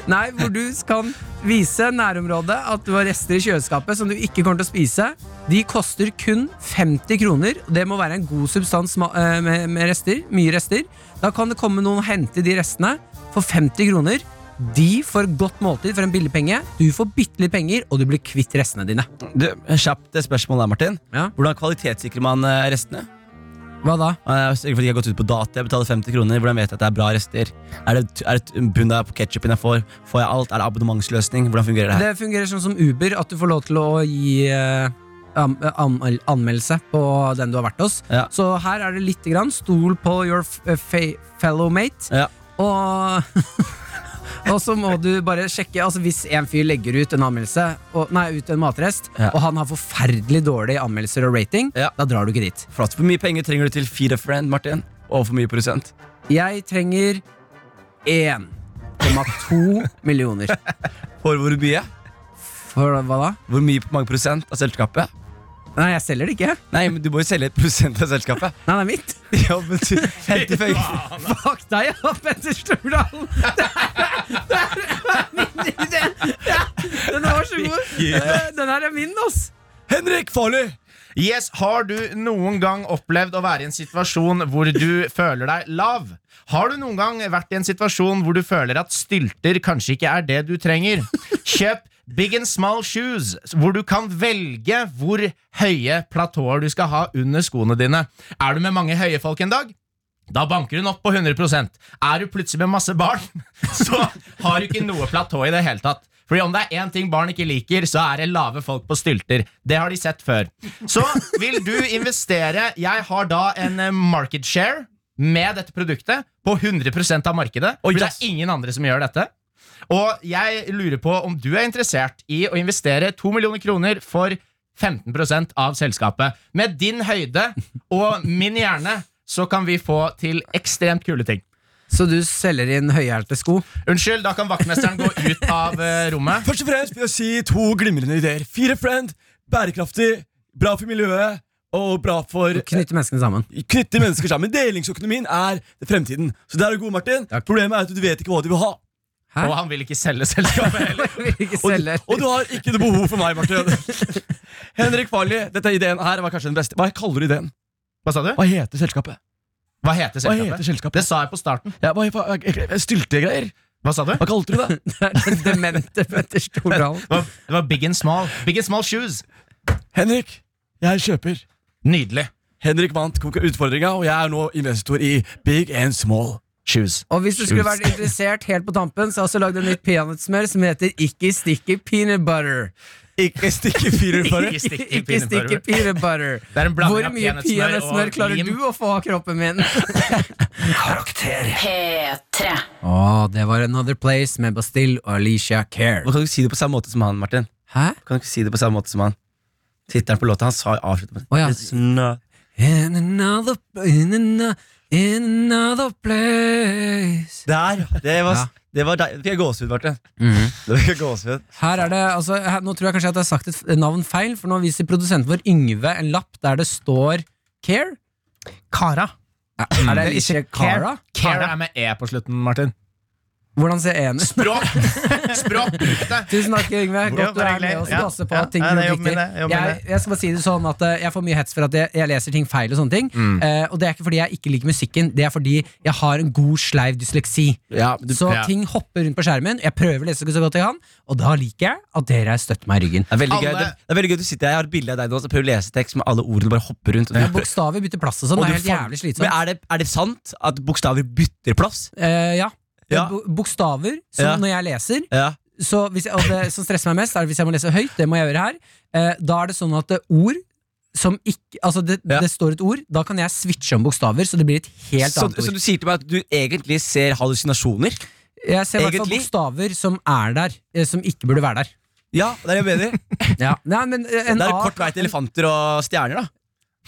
Speaker 2: Nei, hvor du kan vise nærområdet at du har rester i kjøleskapet som du ikke kommer til å spise. De koster kun 50 kroner. og Det må være en god substans ma- eh, med, med rester. Mye rester. Da kan det komme noen og hente de restene for 50 kroner. De får godt måltid for en billig penge. Du får bitte litt penger, og du blir kvitt restene dine.
Speaker 4: Du, Kjapt spørsmål der, Martin.
Speaker 2: Ja.
Speaker 4: Hvordan kvalitetssikrer man eh, restene?
Speaker 2: Hva da?
Speaker 4: Jeg er sikker på at de har gått ut på dato. Jeg betaler 50 kroner. Hvordan vet jeg at det er bra rester? Er det, er det bunn der på ketsjupen jeg får? Får jeg alt? Er det abonnementsløsning? Hvordan fungerer det her?
Speaker 2: Det fungerer sånn som Uber, at du får lov til å gi eh, an an- anmeldelse på den du har vært hos.
Speaker 4: Ja.
Speaker 2: Så her er det lite grann. Stol på your f eh, fa- fellow mate.
Speaker 4: Ja.
Speaker 2: Og, *laughs* og så må du bare sjekke Altså Hvis en fyr legger ut en anmeldelse og, Nei, ut en matrest,
Speaker 4: Ja.
Speaker 2: og han har forferdelig dårlige anmeldelser og rating,
Speaker 4: Ja.
Speaker 2: da drar du ikke dit.
Speaker 4: Flott. Hvor mye penger trenger du til Feed a Friend, Martin? Og for mye prosent?
Speaker 2: Jeg trenger 1,2 millioner.
Speaker 4: For hvor mye?
Speaker 2: For hva da?
Speaker 4: Hvor mye mange prosent av selskapet?
Speaker 2: Nei, jeg selger det ikke.
Speaker 4: Nei, men du må jo selge et prosent av selskapet. *laughs*
Speaker 2: Nei, det er mitt.
Speaker 4: ja, men du henter penger.
Speaker 2: Fuck deg, ja, Petter Stordalen! Det er- det er min idé! Ja, Den var så god. Eh, Den her er min, ass.
Speaker 4: Henrik Farley!
Speaker 3: Yes, Har du noen gang opplevd å være i en situasjon hvor du føler deg lav? Har du noen gang vært i en situasjon hvor du føler at stylter kanskje ikke er det du trenger? Kjøp Big and Small Shoes, hvor du kan velge hvor høye platåer du skal ha under skoene dine. Er du med mange høye folk en dag? Da banker hun opp på 100 Er du plutselig med masse barn, *laughs* så har du ikke noe platå i det hele tatt. Fordi om det er én ting barn ikke liker, så er det lave folk på stylter. Det har de sett før. Så vil du investere Jeg har da en eh, market share med dette produktet på 100 av markedet.
Speaker 4: Oi,
Speaker 3: For det
Speaker 4: yes.
Speaker 3: er ingen andre som gjør dette. Og jeg lurer på om du er interessert i å investere 2 millioner kroner for 15 av selskapet. Med din høyde og min hjerne så kan vi få til ekstremt kule ting.
Speaker 2: Så du selger inn høyhælte sko?
Speaker 3: Unnskyld, da kan vaktmesteren gå ut av eh, rommet.
Speaker 4: Først og fremst vil jeg si to glimrende ideer. Feed a Friend, bærekraftig, bra for miljøet og bra for
Speaker 2: Knytte menneskene *laughs* sammen.
Speaker 4: knytte mennesker sammen. Delingsøkonomien er fremtiden. Så der er du god, Martin. Problemet er at du vet ikke hva de vil ha.
Speaker 2: Hæ?
Speaker 3: Og han vil ikke selge selskapet heller.
Speaker 2: Jeg vil ikke
Speaker 4: Og du,
Speaker 2: selge.
Speaker 4: og du har ikke noe behov for meg, Martin. Henrik Farley, dette er ideen her var kanskje den beste. Hva kaller du ideen?
Speaker 3: Hva sa du?
Speaker 4: Hva heter selskapet?
Speaker 3: Hva heter
Speaker 4: Hva heter
Speaker 3: selskapet? Det
Speaker 4: selskapet?
Speaker 3: sa jeg på starten.
Speaker 4: Ja, hva, hva, Styltegreier?
Speaker 3: Hva sa du?
Speaker 4: Hva kalte
Speaker 2: *laughs*
Speaker 4: du det?
Speaker 2: *laughs* Det er den demente Petter Stordalen.
Speaker 3: Det var, det var Big and Small. Big and Small Shoes.
Speaker 4: Henrik, jeg kjøper.
Speaker 3: Nydelig.
Speaker 4: Henrik vant utfordringa, og jeg er nå investor i Big and Small.
Speaker 3: Shoes.
Speaker 2: Og hvis du skulle vært interessert helt på tampen, så har jeg også lagd et nytt peanøttsmør som heter Ikke stikke peanut butter.
Speaker 4: Ikke stikke fyrer for
Speaker 3: Ikke stikke
Speaker 2: Ikke
Speaker 3: peanut
Speaker 2: stikke
Speaker 3: butter.
Speaker 2: peanut butter.
Speaker 3: Det er en blanding
Speaker 2: Hvor
Speaker 3: av
Speaker 2: mye
Speaker 3: peanøttsmør og
Speaker 2: peanøttsmør klarer
Speaker 3: lim.
Speaker 2: du å få av kroppen min?
Speaker 1: Karakter.
Speaker 5: P3.
Speaker 2: Å, det var Another Place med Bastille og Alicia Care.
Speaker 4: Kan du ikke si det på samme måte som han, Martin?
Speaker 2: Hæ?
Speaker 4: Kan du ikke si det på samme måte som han? Tittelen på låta hans har avsluttet med
Speaker 2: Å ja.
Speaker 4: It's not-
Speaker 2: In another, in ano- in another place
Speaker 4: Der! Det var,
Speaker 2: Ja. Mhm.
Speaker 4: det var deg. Fikk jeg gåsehud, Martin. Det fikk jeg gåsehud.
Speaker 2: Her er det, altså, her, Nå tror jeg kanskje at jeg har sagt et f- navn feil, for nå viser produsenten vår Yngve en lapp der det står Care.
Speaker 3: Kara.
Speaker 2: Er det ikke Cara?
Speaker 3: Kara er med E på slutten, Martin.
Speaker 2: Hvordan ser en ut?
Speaker 3: Språk! Språk! Det.
Speaker 2: Tusen takk, Yngve.
Speaker 3: Ja,
Speaker 2: Godt du
Speaker 3: bare
Speaker 2: er
Speaker 3: hyggelig.
Speaker 2: med oss
Speaker 3: Ja,
Speaker 2: og passer på
Speaker 3: ja,
Speaker 2: at ting
Speaker 3: ja, det er
Speaker 2: blir
Speaker 3: jobben min,
Speaker 2: riktig.
Speaker 3: det er jobben min,
Speaker 2: Jeg, jeg skal bare si det sånn at eh, jeg får mye hets for at jeg, jeg leser ting feil, og sånne ting.
Speaker 4: Mm.
Speaker 2: Eh, og det er ikke fordi jeg ikke liker musikken, det er fordi jeg har en god sleiv dysleksi.
Speaker 4: Ja, du,
Speaker 2: så
Speaker 3: ja.
Speaker 2: ting hopper rundt på skjermen. Jeg prøver å lese så godt jeg kan, og da liker jeg at dere støtter meg i
Speaker 4: *laughs*
Speaker 2: ryggen.
Speaker 4: det, er veldig
Speaker 3: Alle-
Speaker 4: gøy, det, det er veldig gøy at du sitter her Jeg har et bilde av deg nå som prøver å lese tekst, men alle ordene bare hopper rundt. Og du,
Speaker 2: Men Bokstaver bytter plass og sånn.
Speaker 4: og
Speaker 2: Det
Speaker 4: du
Speaker 2: er helt
Speaker 4: faen-
Speaker 2: jævlig slitsomt.
Speaker 4: men er det, er det sant at bokstaver bytter plass?
Speaker 2: Eh, ja.
Speaker 4: Ja.
Speaker 2: Bo- Bokstaver som
Speaker 4: Ja.
Speaker 2: når jeg leser
Speaker 4: Ja.
Speaker 2: så hvis jeg, og det som stresser meg mest, er hvis jeg må lese høyt. Det må jeg gjøre her. Eh, da er det sånn at eh, ord som ikke Altså, det,
Speaker 4: Ja.
Speaker 2: det står et ord, da kan jeg switche om bokstaver, så det blir et helt
Speaker 4: Så,
Speaker 2: annet
Speaker 4: så
Speaker 2: ord.
Speaker 4: du sier til meg at du egentlig ser hallusinasjoner?
Speaker 2: jeg ser i hvert fall
Speaker 4: egentlig-
Speaker 2: bokstaver som er der, eh, som ikke burde være der.
Speaker 4: Ja, det er det jeg *laughs* mener.
Speaker 2: Ja. Nei, men eh, en
Speaker 4: det er
Speaker 2: A
Speaker 4: kort vei til elefanter og stjerner, da.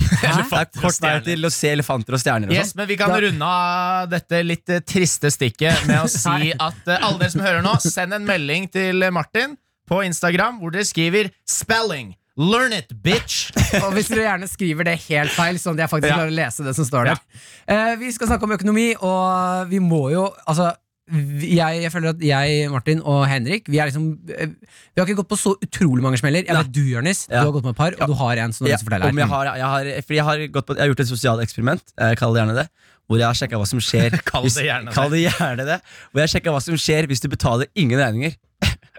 Speaker 2: Hæ?
Speaker 4: Det er kort vei
Speaker 3: stjerner.
Speaker 4: til å se elefanter og stjerner. Og
Speaker 3: Yes,
Speaker 4: sånn.
Speaker 3: men Vi kan
Speaker 2: Da-
Speaker 3: runde av dette litt eh, triste stikket *laughs* med å si at eh, alle dere som hører nå, send en melding til eh, Martin på Instagram hvor dere skriver 'spelling'. Learn it, *laughs* bitch!
Speaker 2: Og hvis dere gjerne skriver det helt feil, sånn at jeg faktisk
Speaker 3: Ja.
Speaker 2: klarer å lese det som står der. Eh, vi skal snakke om økonomi, og vi må jo Altså, vi- jeg, jeg føler at jeg, Martin og Henrik, vi er liksom eh, Vi har ikke gått på så utrolig mange smeller. Jeg vet du, Jørnis,
Speaker 4: Ja.
Speaker 2: du har gått med et par, og du har en som du har
Speaker 4: Ja,
Speaker 2: lyst til å fortelle
Speaker 4: om jeg,
Speaker 2: her.
Speaker 4: har, jeg, har, fordi jeg, har gått på, jeg har gjort et sosialt eksperiment, jeg kaller det gjerne det, hvor jeg har sjekka hva som skjer
Speaker 3: Kall det gjerne det.
Speaker 4: Kall det gjerne det. Hvor jeg har sjekket hva som skjer hvis du betaler ingen regninger.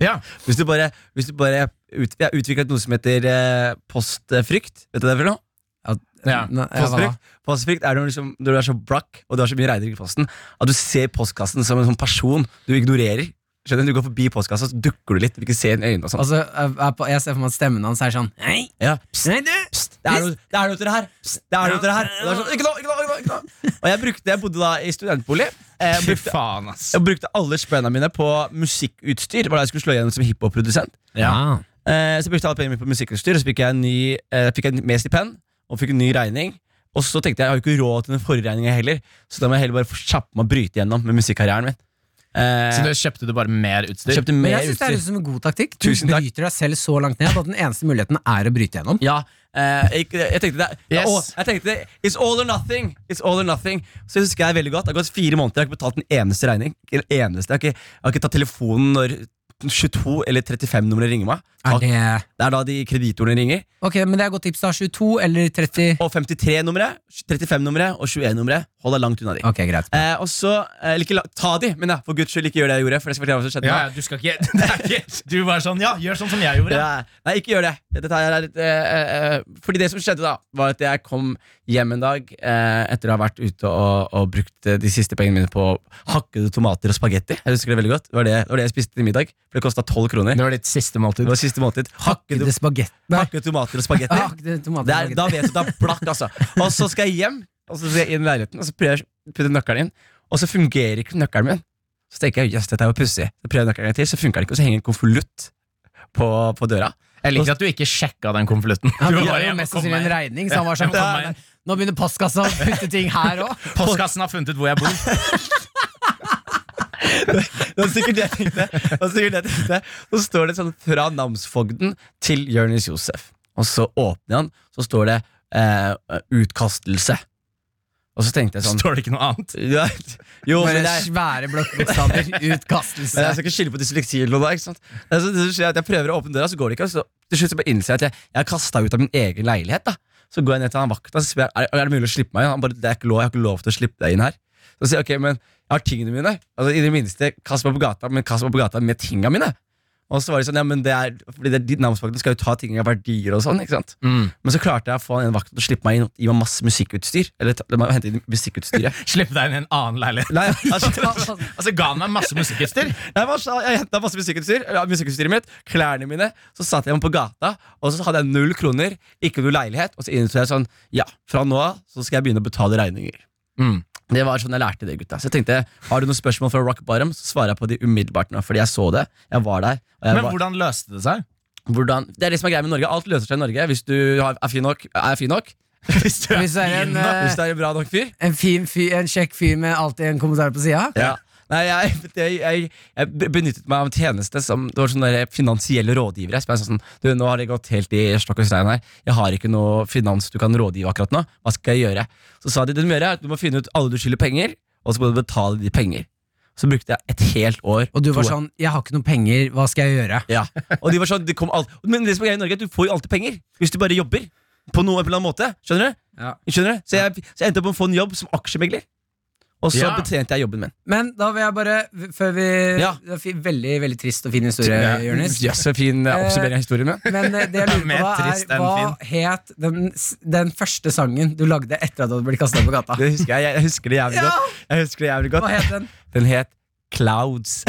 Speaker 3: Ja,
Speaker 4: Hvis du bare, hvis du bare ut, Jeg har utviklet noe som heter eh, postfrykt. Vet du det for noe?
Speaker 3: ja.
Speaker 2: Nei, ja, hva da?
Speaker 4: Postfrykt, postfrykt er når du, liksom, når du er så brack og du har så mye regninger i posten at du ser postkassen som en sånn person du ignorerer. Skjønner Du Du går forbi postkassa, så dukker du litt. Du vil ikke se inn i øynene og sånn.
Speaker 2: Altså, jeg, er på- jeg ser for meg at stemmen hans er sånn Hei,
Speaker 4: Ja, pst,
Speaker 2: nei, du!
Speaker 4: pst, det er noe det er noe til det her! Pst, det er noe til det her Og, det er sånn, ikke nå, ikke nå, ikke nå, ikke nå. og jeg, brukte, jeg bodde da i studentbolig. Eh,
Speaker 3: Fy faen, ass.
Speaker 4: Jeg brukte alle spenna mine på musikkutstyr. Var da jeg skulle slå igjennom som hiphop-produsent.
Speaker 2: Ja.
Speaker 4: Eh, så brukte jeg alle pengene mine på musikkutstyr, og så fikk jeg, en ny, eh, fikk jeg mer stipend og fikk en ny regning. Og så tenkte jeg jeg har jo ikke råd til den forrige regninga heller, så da må jeg heller bare få kjappe meg å bryte igjennom med musikkarrieren min. Eh,
Speaker 3: Så du kjøpte du bare mer utstyr?
Speaker 4: kjøpte
Speaker 2: Men
Speaker 4: mer
Speaker 2: jeg synes det
Speaker 4: utstyr.
Speaker 2: høres ut som en god taktikk. Du
Speaker 4: Tusen takk.
Speaker 2: bryter deg selv så langt ned at den eneste muligheten er å bryte gjennom.
Speaker 4: Ja, eh, jeg, jeg tenkte det
Speaker 3: Yes.
Speaker 4: å, Jeg tenkte det It's all or nothing It's all or nothing Så jeg husker jeg veldig godt Det har gått fire måneder Jeg har ikke betalt en eneste regning Ikke en eneste Jeg har ikke, jeg har ikke tatt telefonen når 22 eller 35 nummer ringer meg
Speaker 2: Er det...
Speaker 4: Det er da de kreditorene ringer
Speaker 2: Ok, men det er et godt tips. da 22 eller 30
Speaker 4: Og 53-nummeret 35-nummeret Og 21-nummeret Hold deg langt unna de
Speaker 2: Ok, greit.
Speaker 4: eh, Og så eh, eller ikke la- Ta de Men ja, for guds skyld Ikke gjør det jeg gjorde For jeg skal fortelle hva som skjedde
Speaker 3: Ja,
Speaker 4: med
Speaker 3: ja, du skal ikke, *laughs* det er ikke Du var sånn, ja, gjør sånn som jeg gjorde.
Speaker 4: Ja. Nei, ikke gjør det. Dette her er litt, eh, eh, eh, fordi det som skjedde, da var at jeg kom hjem en dag eh, etter å ha vært ute og, og brukt eh, de siste pengene mine på hakkede tomater og spagetti. Jeg husker det veldig godt. Det var det, det, var det jeg spiste til middag. For det kosta tolv kroner.
Speaker 3: var ditt siste måltid.
Speaker 4: Det var siste måltid. Hakkede,
Speaker 2: Hakkede spagetti. Nei,
Speaker 4: hakkede tomater og
Speaker 3: *laughs*
Speaker 4: spagetti.
Speaker 2: hakkede
Speaker 4: Det er,
Speaker 2: tomatspagetti.
Speaker 4: da vet du, da blakk, altså. Og så skal jeg hjem, og så skal jeg inn i leiligheten, og så prøver jeg å putte nøkkelen inn, og så fungerer ikke nøkkelen min. Så tenker jeg jøss, dette er jo pussig. Så prøver jeg nøkkelen en gang til, så funker det ikke, og så henger en konvolutt på, på døra.
Speaker 3: Jeg liker at du ikke sjekka den konvolutten.
Speaker 2: Han
Speaker 3: Du var
Speaker 2: var
Speaker 3: bare
Speaker 2: jo
Speaker 3: hjemme
Speaker 2: mest
Speaker 3: og kom
Speaker 2: sannsynlig en
Speaker 3: meg.
Speaker 2: regning, så han var sånn
Speaker 3: Ja,
Speaker 2: "Nei,
Speaker 3: men-
Speaker 2: nei, Nå begynner postkassa å putte ting her òg.
Speaker 3: Postkassen har funnet ut hvor *laughs* jeg bor.
Speaker 4: Det var sikkert det jeg tenkte. Det var sikkert det jeg tenkte. Så står det sånn fra namsfogden til Jonis Josef. Og så åpner han, så står det eh, 'utkastelse'. Og så tenkte jeg sånn
Speaker 3: Står det ikke noe annet?
Speaker 4: ja, Jo, men
Speaker 2: Bare
Speaker 4: det er
Speaker 2: svære blokkbokstaver.
Speaker 4: *laughs* men
Speaker 2: Utkastelse.
Speaker 4: jeg skal ikke skylde på dysleksi. eller noe, ikke sant? Altså, det som skjer er at Jeg prøver å åpne døra, så går det ikke. og Så til slutt så bare innser jeg at jeg, jeg er kasta ut av min egen leilighet. da. Så går jeg ned til han vakta og spør jeg, er, er det mulig å slippe meg inn. Han bare, det er ikke lov, jeg har ikke lov til å slippe deg inn her. Så sier jeg ok, men jeg har tingene mine. Altså, I det minste, kast meg på gata, men kast meg på gata med tinga mine. Og så var det sånn, ja, men det er, fordi det er, de namspaktene skal jo ta ting av verdier og sånn. ikke sant? Men så klarte jeg å få en vakt til å slippe meg inn og gi meg masse musikkutstyr. Eller ta, la meg hente inn musikkutstyret.
Speaker 3: Slippe deg inn i en annen leilighet.
Speaker 4: Nei, altså,
Speaker 3: *laughs* Altså Ga han meg masse musikkutstyr?
Speaker 4: Jeg, var, så- jeg hentet masse musikkutstyr, ja, musikkutstyret mitt, klærne mine. Så satt jeg meg på gata, og så hadde jeg null kroner, ikke noe leilighet. Og så innså jeg sånn Ja, fra nå av så skal jeg begynne å betale regninger.
Speaker 3: Mm.
Speaker 4: Det var sånn jeg lærte det, gutta. Så jeg tenkte, har du noen spørsmål fra Rock Bottom, så svarer jeg på de umiddelbart nå, fordi jeg så det. Jeg var der. Og jeg
Speaker 3: Men
Speaker 4: var,
Speaker 3: hvordan løste det seg?
Speaker 4: hvordan, det er det som er greia med Norge. Alt løser seg i Norge hvis du har- er fin nok. Er fin nok.
Speaker 3: *laughs* Hvis du
Speaker 2: Hvis det er en,
Speaker 3: fin, da.
Speaker 2: eh,
Speaker 4: Hvis du er en bra nok fyr.
Speaker 2: en fin fyr, en kjekk fyr med alltid en kommentar på sida.
Speaker 4: Ja. Nei, jeg, jeg, jeg, jeg be- benyttet meg av en tjeneste som det var sånne der finansielle rådgivere. Som er sånn, du, nå har det gått helt i stokk og stein her. Jeg har ikke noe finans du kan rådgive akkurat nå. Hva skal jeg gjøre? Så sa de det du må gjøre, er at du må finne ut alle du skylder penger, og så må du betale de penger. Så brukte jeg et helt år.
Speaker 2: Og du var
Speaker 4: to år.
Speaker 2: sånn 'jeg har ikke noen penger, hva skal jeg gjøre'?
Speaker 4: Ja. Og de var sånn, det kom alt. Men det som er greia i Norge, er at du får jo alltid penger hvis du bare jobber. På noen eller annen måte. Skjønner du?
Speaker 2: Ja.
Speaker 4: Skjønner du? Så, jeg, så jeg endte opp med å få en jobb som aksjemegler. Og så
Speaker 3: Ja.
Speaker 4: betjente jeg jobben min.
Speaker 2: Men da vil jeg bare, før vi
Speaker 4: Ja.
Speaker 2: det er fi- Veldig veldig trist og fin historie, Jonis.
Speaker 4: Ja, så fin eh, oppsummering av historien min.
Speaker 2: Men eh,
Speaker 4: *laughs*
Speaker 2: det jeg lurer
Speaker 3: Mer
Speaker 2: på, da,
Speaker 3: trist
Speaker 2: er
Speaker 3: enn
Speaker 2: hva het den, s- den første sangen du lagde etter at du hadde blitt kasta på gata?
Speaker 4: Det husker jeg, jeg husker det jævlig
Speaker 2: Ja!
Speaker 4: godt. Jeg husker det jævlig
Speaker 2: Hva
Speaker 4: godt
Speaker 2: het den?
Speaker 4: Den het Clouds.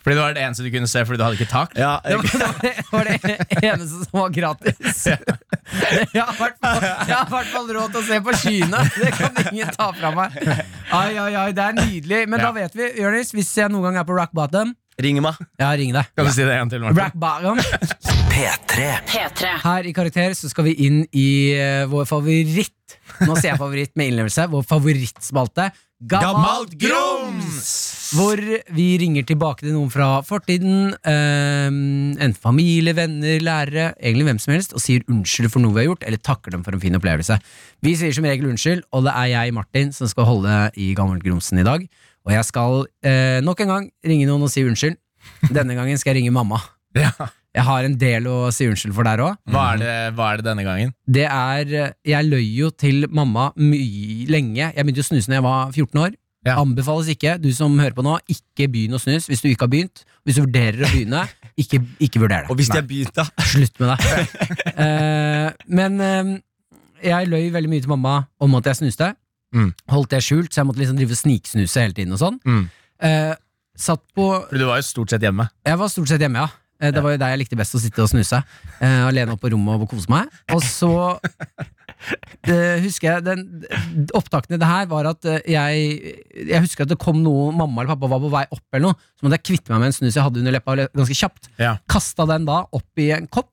Speaker 3: Fordi det var det eneste du kunne se fordi du hadde ikke tak.
Speaker 4: ja,
Speaker 2: Det var, det var det eneste som var gratis. Jeg har i hvert fall- jeg har i hvert fall råd til å se på skyene. Det kan ingen ta fra meg. Ai, ai, ai, Det er nydelig. Men da
Speaker 3: Ja.
Speaker 2: vet vi, Jonis, hvis jeg noen gang er på rock bottom
Speaker 4: Ring meg.
Speaker 2: Ja, ring deg.
Speaker 3: Kan du si det en gang til, Martin?
Speaker 2: Rock bottom.
Speaker 1: P3
Speaker 5: P3.
Speaker 2: Her i Karakter så skal vi inn i eh, vår favoritt Nå sier jeg favoritt med innlevelse Vår favorittspalte Gammalt grums Hvor vi ringer tilbake til noen fra fortiden eh, En familie, venner, lærere Egentlig hvem som helst Og sier unnskyld for noe vi har gjort Eller takker dem for en fin opplevelse Vi sier som regel unnskyld Og det er jeg, Martin, som skal holde i Gammalt grumsen i dag Og jeg skal eh, nok en gang ringe noen og si unnskyld Denne gangen skal jeg ringe mamma
Speaker 3: Ja.
Speaker 2: jeg har en del å si unnskyld for der òg.
Speaker 3: Hva, er det, hva er det denne gangen?
Speaker 2: Det er Jeg løy jo til mamma mye lenge. Jeg begynte å snuse når jeg var 14 år.
Speaker 3: Ja.
Speaker 2: Anbefales ikke. Du som hører på nå, ikke begynn å snus hvis du ikke har begynt. Hvis du vurderer å begynne, ikke, ikke vurder det.
Speaker 4: Og hvis jeg begynte, da.
Speaker 2: Slutt med det. Eh, men eh, jeg løy veldig mye til mamma om at jeg snuste.
Speaker 3: Mm.
Speaker 2: Holdt det skjult, så jeg måtte liksom drive og sniksnuse hele tiden og sånn.
Speaker 3: Mm.
Speaker 2: Eh, satt på
Speaker 3: Fordi du var jo stort sett hjemme.
Speaker 2: jeg var stort sett hjemme, ja. Eh, Det var jo der jeg likte best å sitte og snuse. Eh, alene oppe på rommet og kose meg. Og så
Speaker 3: *laughs*
Speaker 2: eh, husker jeg den, Opptakene det her var at eh, jeg Jeg husker at det kom noe mamma eller pappa var på vei opp, eller noe så måtte jeg kvitte meg med en snus jeg hadde under leppa le- ganske kjapt.
Speaker 3: Ja.
Speaker 2: Kasta den da opp i en kopp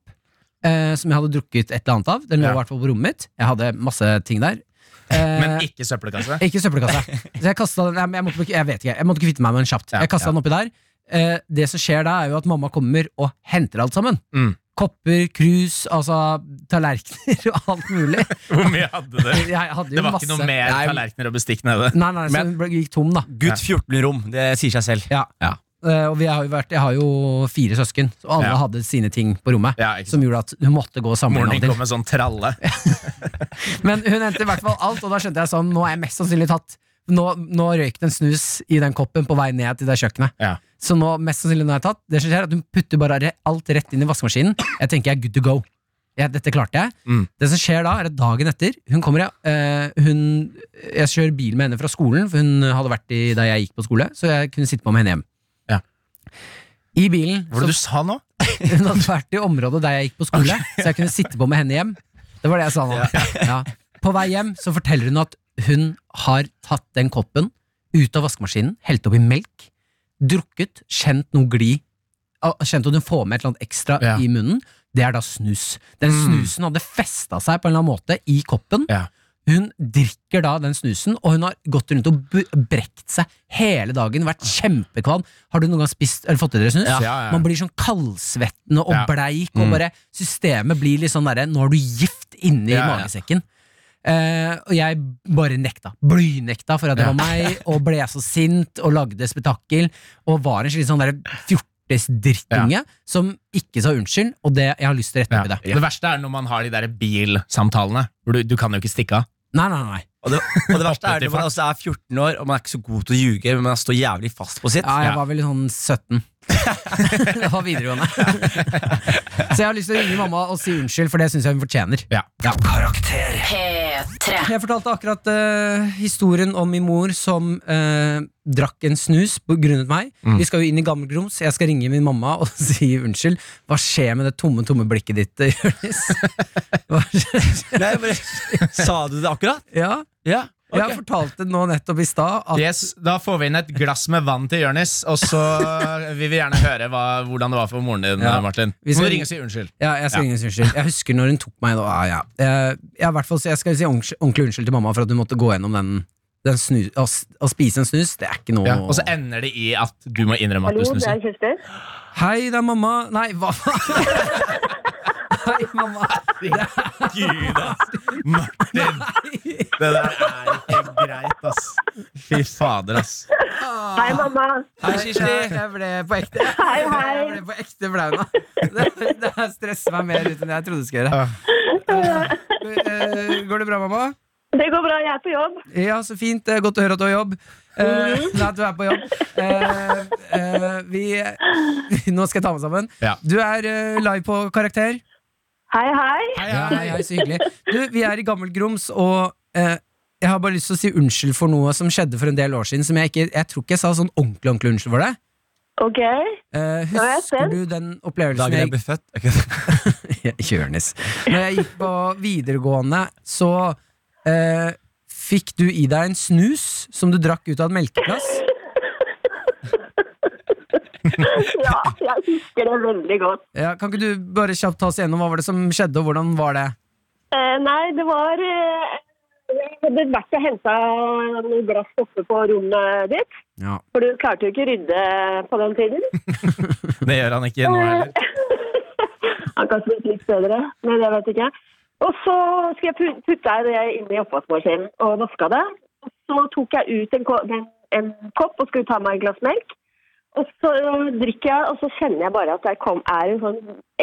Speaker 2: eh, som jeg hadde drukket et eller annet av. Den lå i
Speaker 3: Ja.
Speaker 2: hvert fall på rommet mitt. Jeg hadde masse ting der. Eh,
Speaker 3: Men ikke søppelkasse.
Speaker 2: ikke søppelkasse. Så jeg kastet den, jeg, jeg, måtte, jeg vet ikke, jeg måtte kvitte meg med den kjapt.
Speaker 3: Ja,
Speaker 2: jeg kastet
Speaker 3: ja.
Speaker 2: den oppi der. Eh, det som skjer da, er jo at mamma kommer og henter alt sammen.
Speaker 3: *laughs* Mm.
Speaker 2: Kopper, krus, altså tallerkener og alt mulig.
Speaker 3: Hvor mye hadde du?
Speaker 2: Jeg hadde jo
Speaker 3: Det var
Speaker 2: masse.
Speaker 3: ikke noe mer
Speaker 4: Nei.
Speaker 3: tallerkener og bestikk nede.
Speaker 2: Nei, nei, så hun ble- gikk tom, da.
Speaker 4: Gutt 14 rom. Det sier seg selv.
Speaker 2: Ja.
Speaker 4: Ja.
Speaker 2: Eh, og vi har jo vært, jeg har jo fire søsken, så alle
Speaker 3: Ja.
Speaker 2: hadde sine ting på rommet.
Speaker 3: Ja, ikke sant.
Speaker 2: Som gjorde at hun måtte gå og samle
Speaker 3: Moren
Speaker 2: inn
Speaker 3: din
Speaker 2: alt.
Speaker 3: kom med sånn tralle.
Speaker 2: Men hun hentet i hvert fall alt, og da skjønte jeg sånn, nå er jeg mest sannsynlig tatt. Nå, nå røyk det en snus i den koppen på vei ned til det kjøkkenet.
Speaker 3: Ja.
Speaker 2: Så nå, mest sannsynlig nå har jeg tatt Det som skjer er at hun putter bare re- alt rett inn i vaskemaskinen Jeg tenker jeg er good to go jeg, Dette klarte jeg
Speaker 3: Mm.
Speaker 2: Det som skjer da er at dagen etter Hun kommer jeg, eh, hun, jeg kjører bil med henne fra skolen For hun hadde vært i, da jeg gikk på skole Så jeg kunne sitte på med henne hjem
Speaker 3: Ja.
Speaker 2: I bilen
Speaker 3: Hva var
Speaker 2: så-
Speaker 3: det du sa nå?
Speaker 2: hun hadde vært i området der jeg gikk på skole, så jeg kunne sitte på med henne hjem. Det var det jeg sa nå. Ja. På vei hjem så forteller hun at hun har tatt den koppen ut av vaskemaskinen, helt oppi melk, drukket, kjent noe gli ah, Kjent at hun får med et eller annet ekstra
Speaker 3: Ja. Mm.
Speaker 2: i munnen. Det er da snus. Den snusen hadde festa seg på en eller annen måte i koppen.
Speaker 3: Ja.
Speaker 2: Hun drikker da den snusen, og hun har gått rundt og bu- brekt seg hele dagen. Vært kjempekvalm. Har du noen gang spist, eller fått i dere snus?
Speaker 3: Ja. Ja, ja.
Speaker 2: Man blir sånn kaldsvettende og
Speaker 3: Ja. Mm.
Speaker 2: bleik, og bare systemet blir litt sånn derre Nå er du gift inni
Speaker 3: Ja, ja.
Speaker 2: magesekken. Eh, og jeg bare nekta. Blynekta for at det
Speaker 3: Ja.
Speaker 2: var meg, og ble så sint og lagde spetakkel. Og var en skikkelig sånn derre fjortisdrittunge som ikke sa unnskyld, og det, jeg har lyst til å rette opp i det.
Speaker 3: Det verste er når man har de der bilsamtalene. Hvor du, du kan jo ikke stikke av.
Speaker 2: Nei, nei, nei.
Speaker 4: Og det, og det verste
Speaker 3: Hoppet
Speaker 4: er
Speaker 3: i
Speaker 4: når man
Speaker 3: fart.
Speaker 4: også er 14 år og man er ikke så god til å ljuge, men man står jævlig fast på sitt.
Speaker 2: Ja, jeg
Speaker 3: Ja.
Speaker 2: var vel sånn 17. *laughs* det var
Speaker 3: *laughs*
Speaker 2: videregående. så jeg har lyst til å ringe mamma og si unnskyld, for det syns jeg hun fortjener.
Speaker 3: Ja.
Speaker 1: Karakter
Speaker 5: P3.
Speaker 2: Jeg fortalte akkurat eh, historien om min mor som eh, drakk en snus på grunnet meg.
Speaker 3: Mm.
Speaker 2: Vi skal jo inn i gammel grums. Jeg skal ringe min mamma og *laughs* si unnskyld. Hva skjer med det tomme, tomme blikket ditt, eh,
Speaker 3: *laughs*
Speaker 2: Jonis? Hva skjer?
Speaker 4: Nei, bare, *laughs* sa du det akkurat?
Speaker 2: ja,
Speaker 4: Ja. ok.
Speaker 2: jeg fortalte nå nettopp i stad at
Speaker 3: Yes, da får vi inn et glass med vann til Jonis, og så *laughs* vil vi gjerne høre hva, hvordan det var for moren din.
Speaker 2: Ja.
Speaker 3: Martin
Speaker 2: Vi skal-
Speaker 3: Må du ringe og si unnskyld.
Speaker 2: Ja, jeg skal
Speaker 3: Ja.
Speaker 2: ingen unnskyld. Jeg husker når hun tok meg da. Ja, ja. Jeg, jeg, i hvert fall, så jeg skal si ordentlig ordentlig unnskyld til mamma for at hun måtte gå gjennom den, den snus, å, s- å spise en snus. Det er ikke noe
Speaker 3: Ja. Og så ender det i at du må innrømme at
Speaker 6: Hallo,
Speaker 3: du
Speaker 6: det
Speaker 3: snuser.
Speaker 6: er Kirsti.
Speaker 2: Hei, det er mamma. Nei, hva faen? *laughs* Hei, mamma.
Speaker 3: Gud, ass. Martin! Det der er ikke greit, ass. Fy fader, ass.
Speaker 5: Hei, mamma.
Speaker 4: Hei, Kirsti.
Speaker 2: Ja, Jeg ble på ekte
Speaker 5: Hei, hei.
Speaker 2: Jeg ble på ekte flau nå. Det, det her stresser meg mer ut enn jeg trodde det skulle gjøre. Eh, Går det bra, mamma?
Speaker 5: Det går bra, jeg er på jobb.
Speaker 2: Ja, så fint. Det er Godt å høre at du har jobb. Eh,
Speaker 5: Mhm.
Speaker 2: nei, at du er på jobb. Eh, eh, vi, *laughs* nå skal jeg ta meg sammen.
Speaker 3: Ja.
Speaker 2: Du er eh, live på Karakter.
Speaker 5: Hei, hei.
Speaker 2: Ja, hei, hei, så hyggelig. Du, vi er i Gammel Grums, og eh, jeg har bare lyst til å si unnskyld for noe som skjedde for en del år siden. Som jeg, ikke, jeg tror ikke jeg sa sånn ordentlig ordentlig unnskyld for det.
Speaker 5: Ok. *laughs*
Speaker 2: Eh,
Speaker 5: Nå er jeg
Speaker 2: husker
Speaker 5: spent.
Speaker 2: du den opplevelsen
Speaker 4: Dagen jeg *laughs*
Speaker 2: jeg
Speaker 4: ble født. Er ikke det?
Speaker 2: Jonis. *laughs* Når jeg gikk på videregående, så eh, fikk du i deg en snus som du drakk ut av et melkeglass.
Speaker 5: Ja, jeg husker det veldig godt.
Speaker 2: Ja, kan ikke du bare kjapt ta oss igjennom hva var det som skjedde, og hvordan var det?
Speaker 5: Eh, nei, det var eh, Jeg hadde vært og henta noen glass oppe på rommet ditt.
Speaker 2: Ja.
Speaker 5: For du klarte jo ikke å rydde på den tiden.
Speaker 3: Det gjør han ikke nå heller.
Speaker 5: *laughs* Han kanskje blitt litt bedre, men jeg vet ikke. Og så skal jeg pu- putta jeg det inn i oppvaskmaskinen og vaska det. Og så tok jeg ut en, ko en, en kopp og skulle ta meg et glass melk. Og så drikker jeg, og så kjenner jeg bare at det kom, er en sånn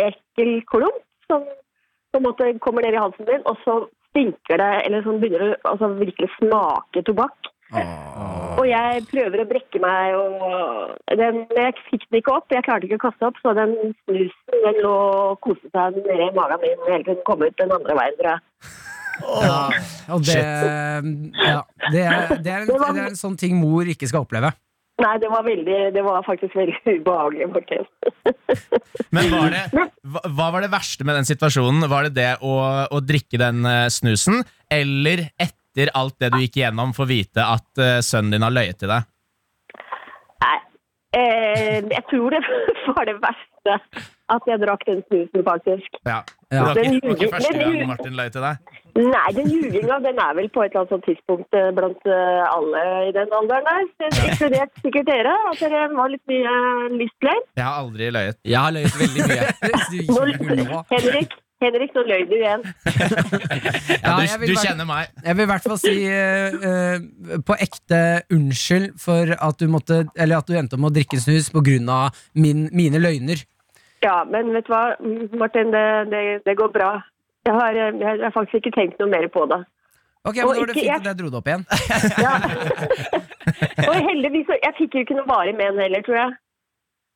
Speaker 5: ekkel klump som på en måte kommer ned i halsen min, og så stinker det, eller sånn begynner det å altså, virkelig smake tobakk. Og jeg prøver å brekke meg, og den, men jeg fikk den ikke opp. Jeg klarte ikke å kaste opp, så den snusen den lå og koste seg nede i magen min helt til den kom ut den andre veien, tror jeg.
Speaker 2: Og det, eh, ja, det, er, det, er en, det er en sånn ting mor ikke skal oppleve.
Speaker 5: Nei, det var, veldig, det var faktisk veldig *laughs* ubehagelig, faktisk.
Speaker 3: Men var det, hva, hva var det verste med den situasjonen? Var det det å, å drikke den eh, snusen, eller etter alt det du gikk igjennom, få vite at eh, sønnen din har løyet til deg?
Speaker 5: Nei. Eh, jeg tror det *laughs* var det verste. At jeg drakk den snusen, faktisk.
Speaker 3: Ja.
Speaker 2: Ja.
Speaker 3: Det var ikke,
Speaker 5: Den
Speaker 3: det var ikke
Speaker 5: ljuger-
Speaker 3: første
Speaker 5: den
Speaker 3: gang
Speaker 5: ljuger.
Speaker 3: Martin løy til deg.
Speaker 5: Nei, den ljuginga den er vel på et eller annet sånt tidspunkt eh, blant eh, alle i den alderen der. Så Inkludert sikkert dere. At dere var litt mye eh, lystløgn.
Speaker 3: Jeg har aldri løyet.
Speaker 4: Jeg har løyet veldig mye.
Speaker 2: Du
Speaker 5: Nå-
Speaker 2: ljuger nå.
Speaker 5: Henrik, Henrik, nå løy du igjen.
Speaker 3: Ja,
Speaker 2: Ja,
Speaker 3: du,
Speaker 2: jeg vil
Speaker 3: du
Speaker 2: bare-
Speaker 3: kjenner meg.
Speaker 2: Jeg vil i hvert fall si eh, eh, på ekte unnskyld for at du, måtte, eller at du endte om å drikke snus pga. Min, mine løgner.
Speaker 5: Ja, men vet du hva, Martin, det, det, det går bra. Jeg har, eh, jeg har faktisk ikke tenkt noe mer på det.
Speaker 2: Ok, men
Speaker 5: Og
Speaker 2: Da var det
Speaker 5: ikke
Speaker 2: fint
Speaker 5: jeg-
Speaker 2: at jeg dro det opp igjen.
Speaker 5: Ja. Og heldigvis så- Jeg fikk jo ikke noe varig men heller, tror jeg.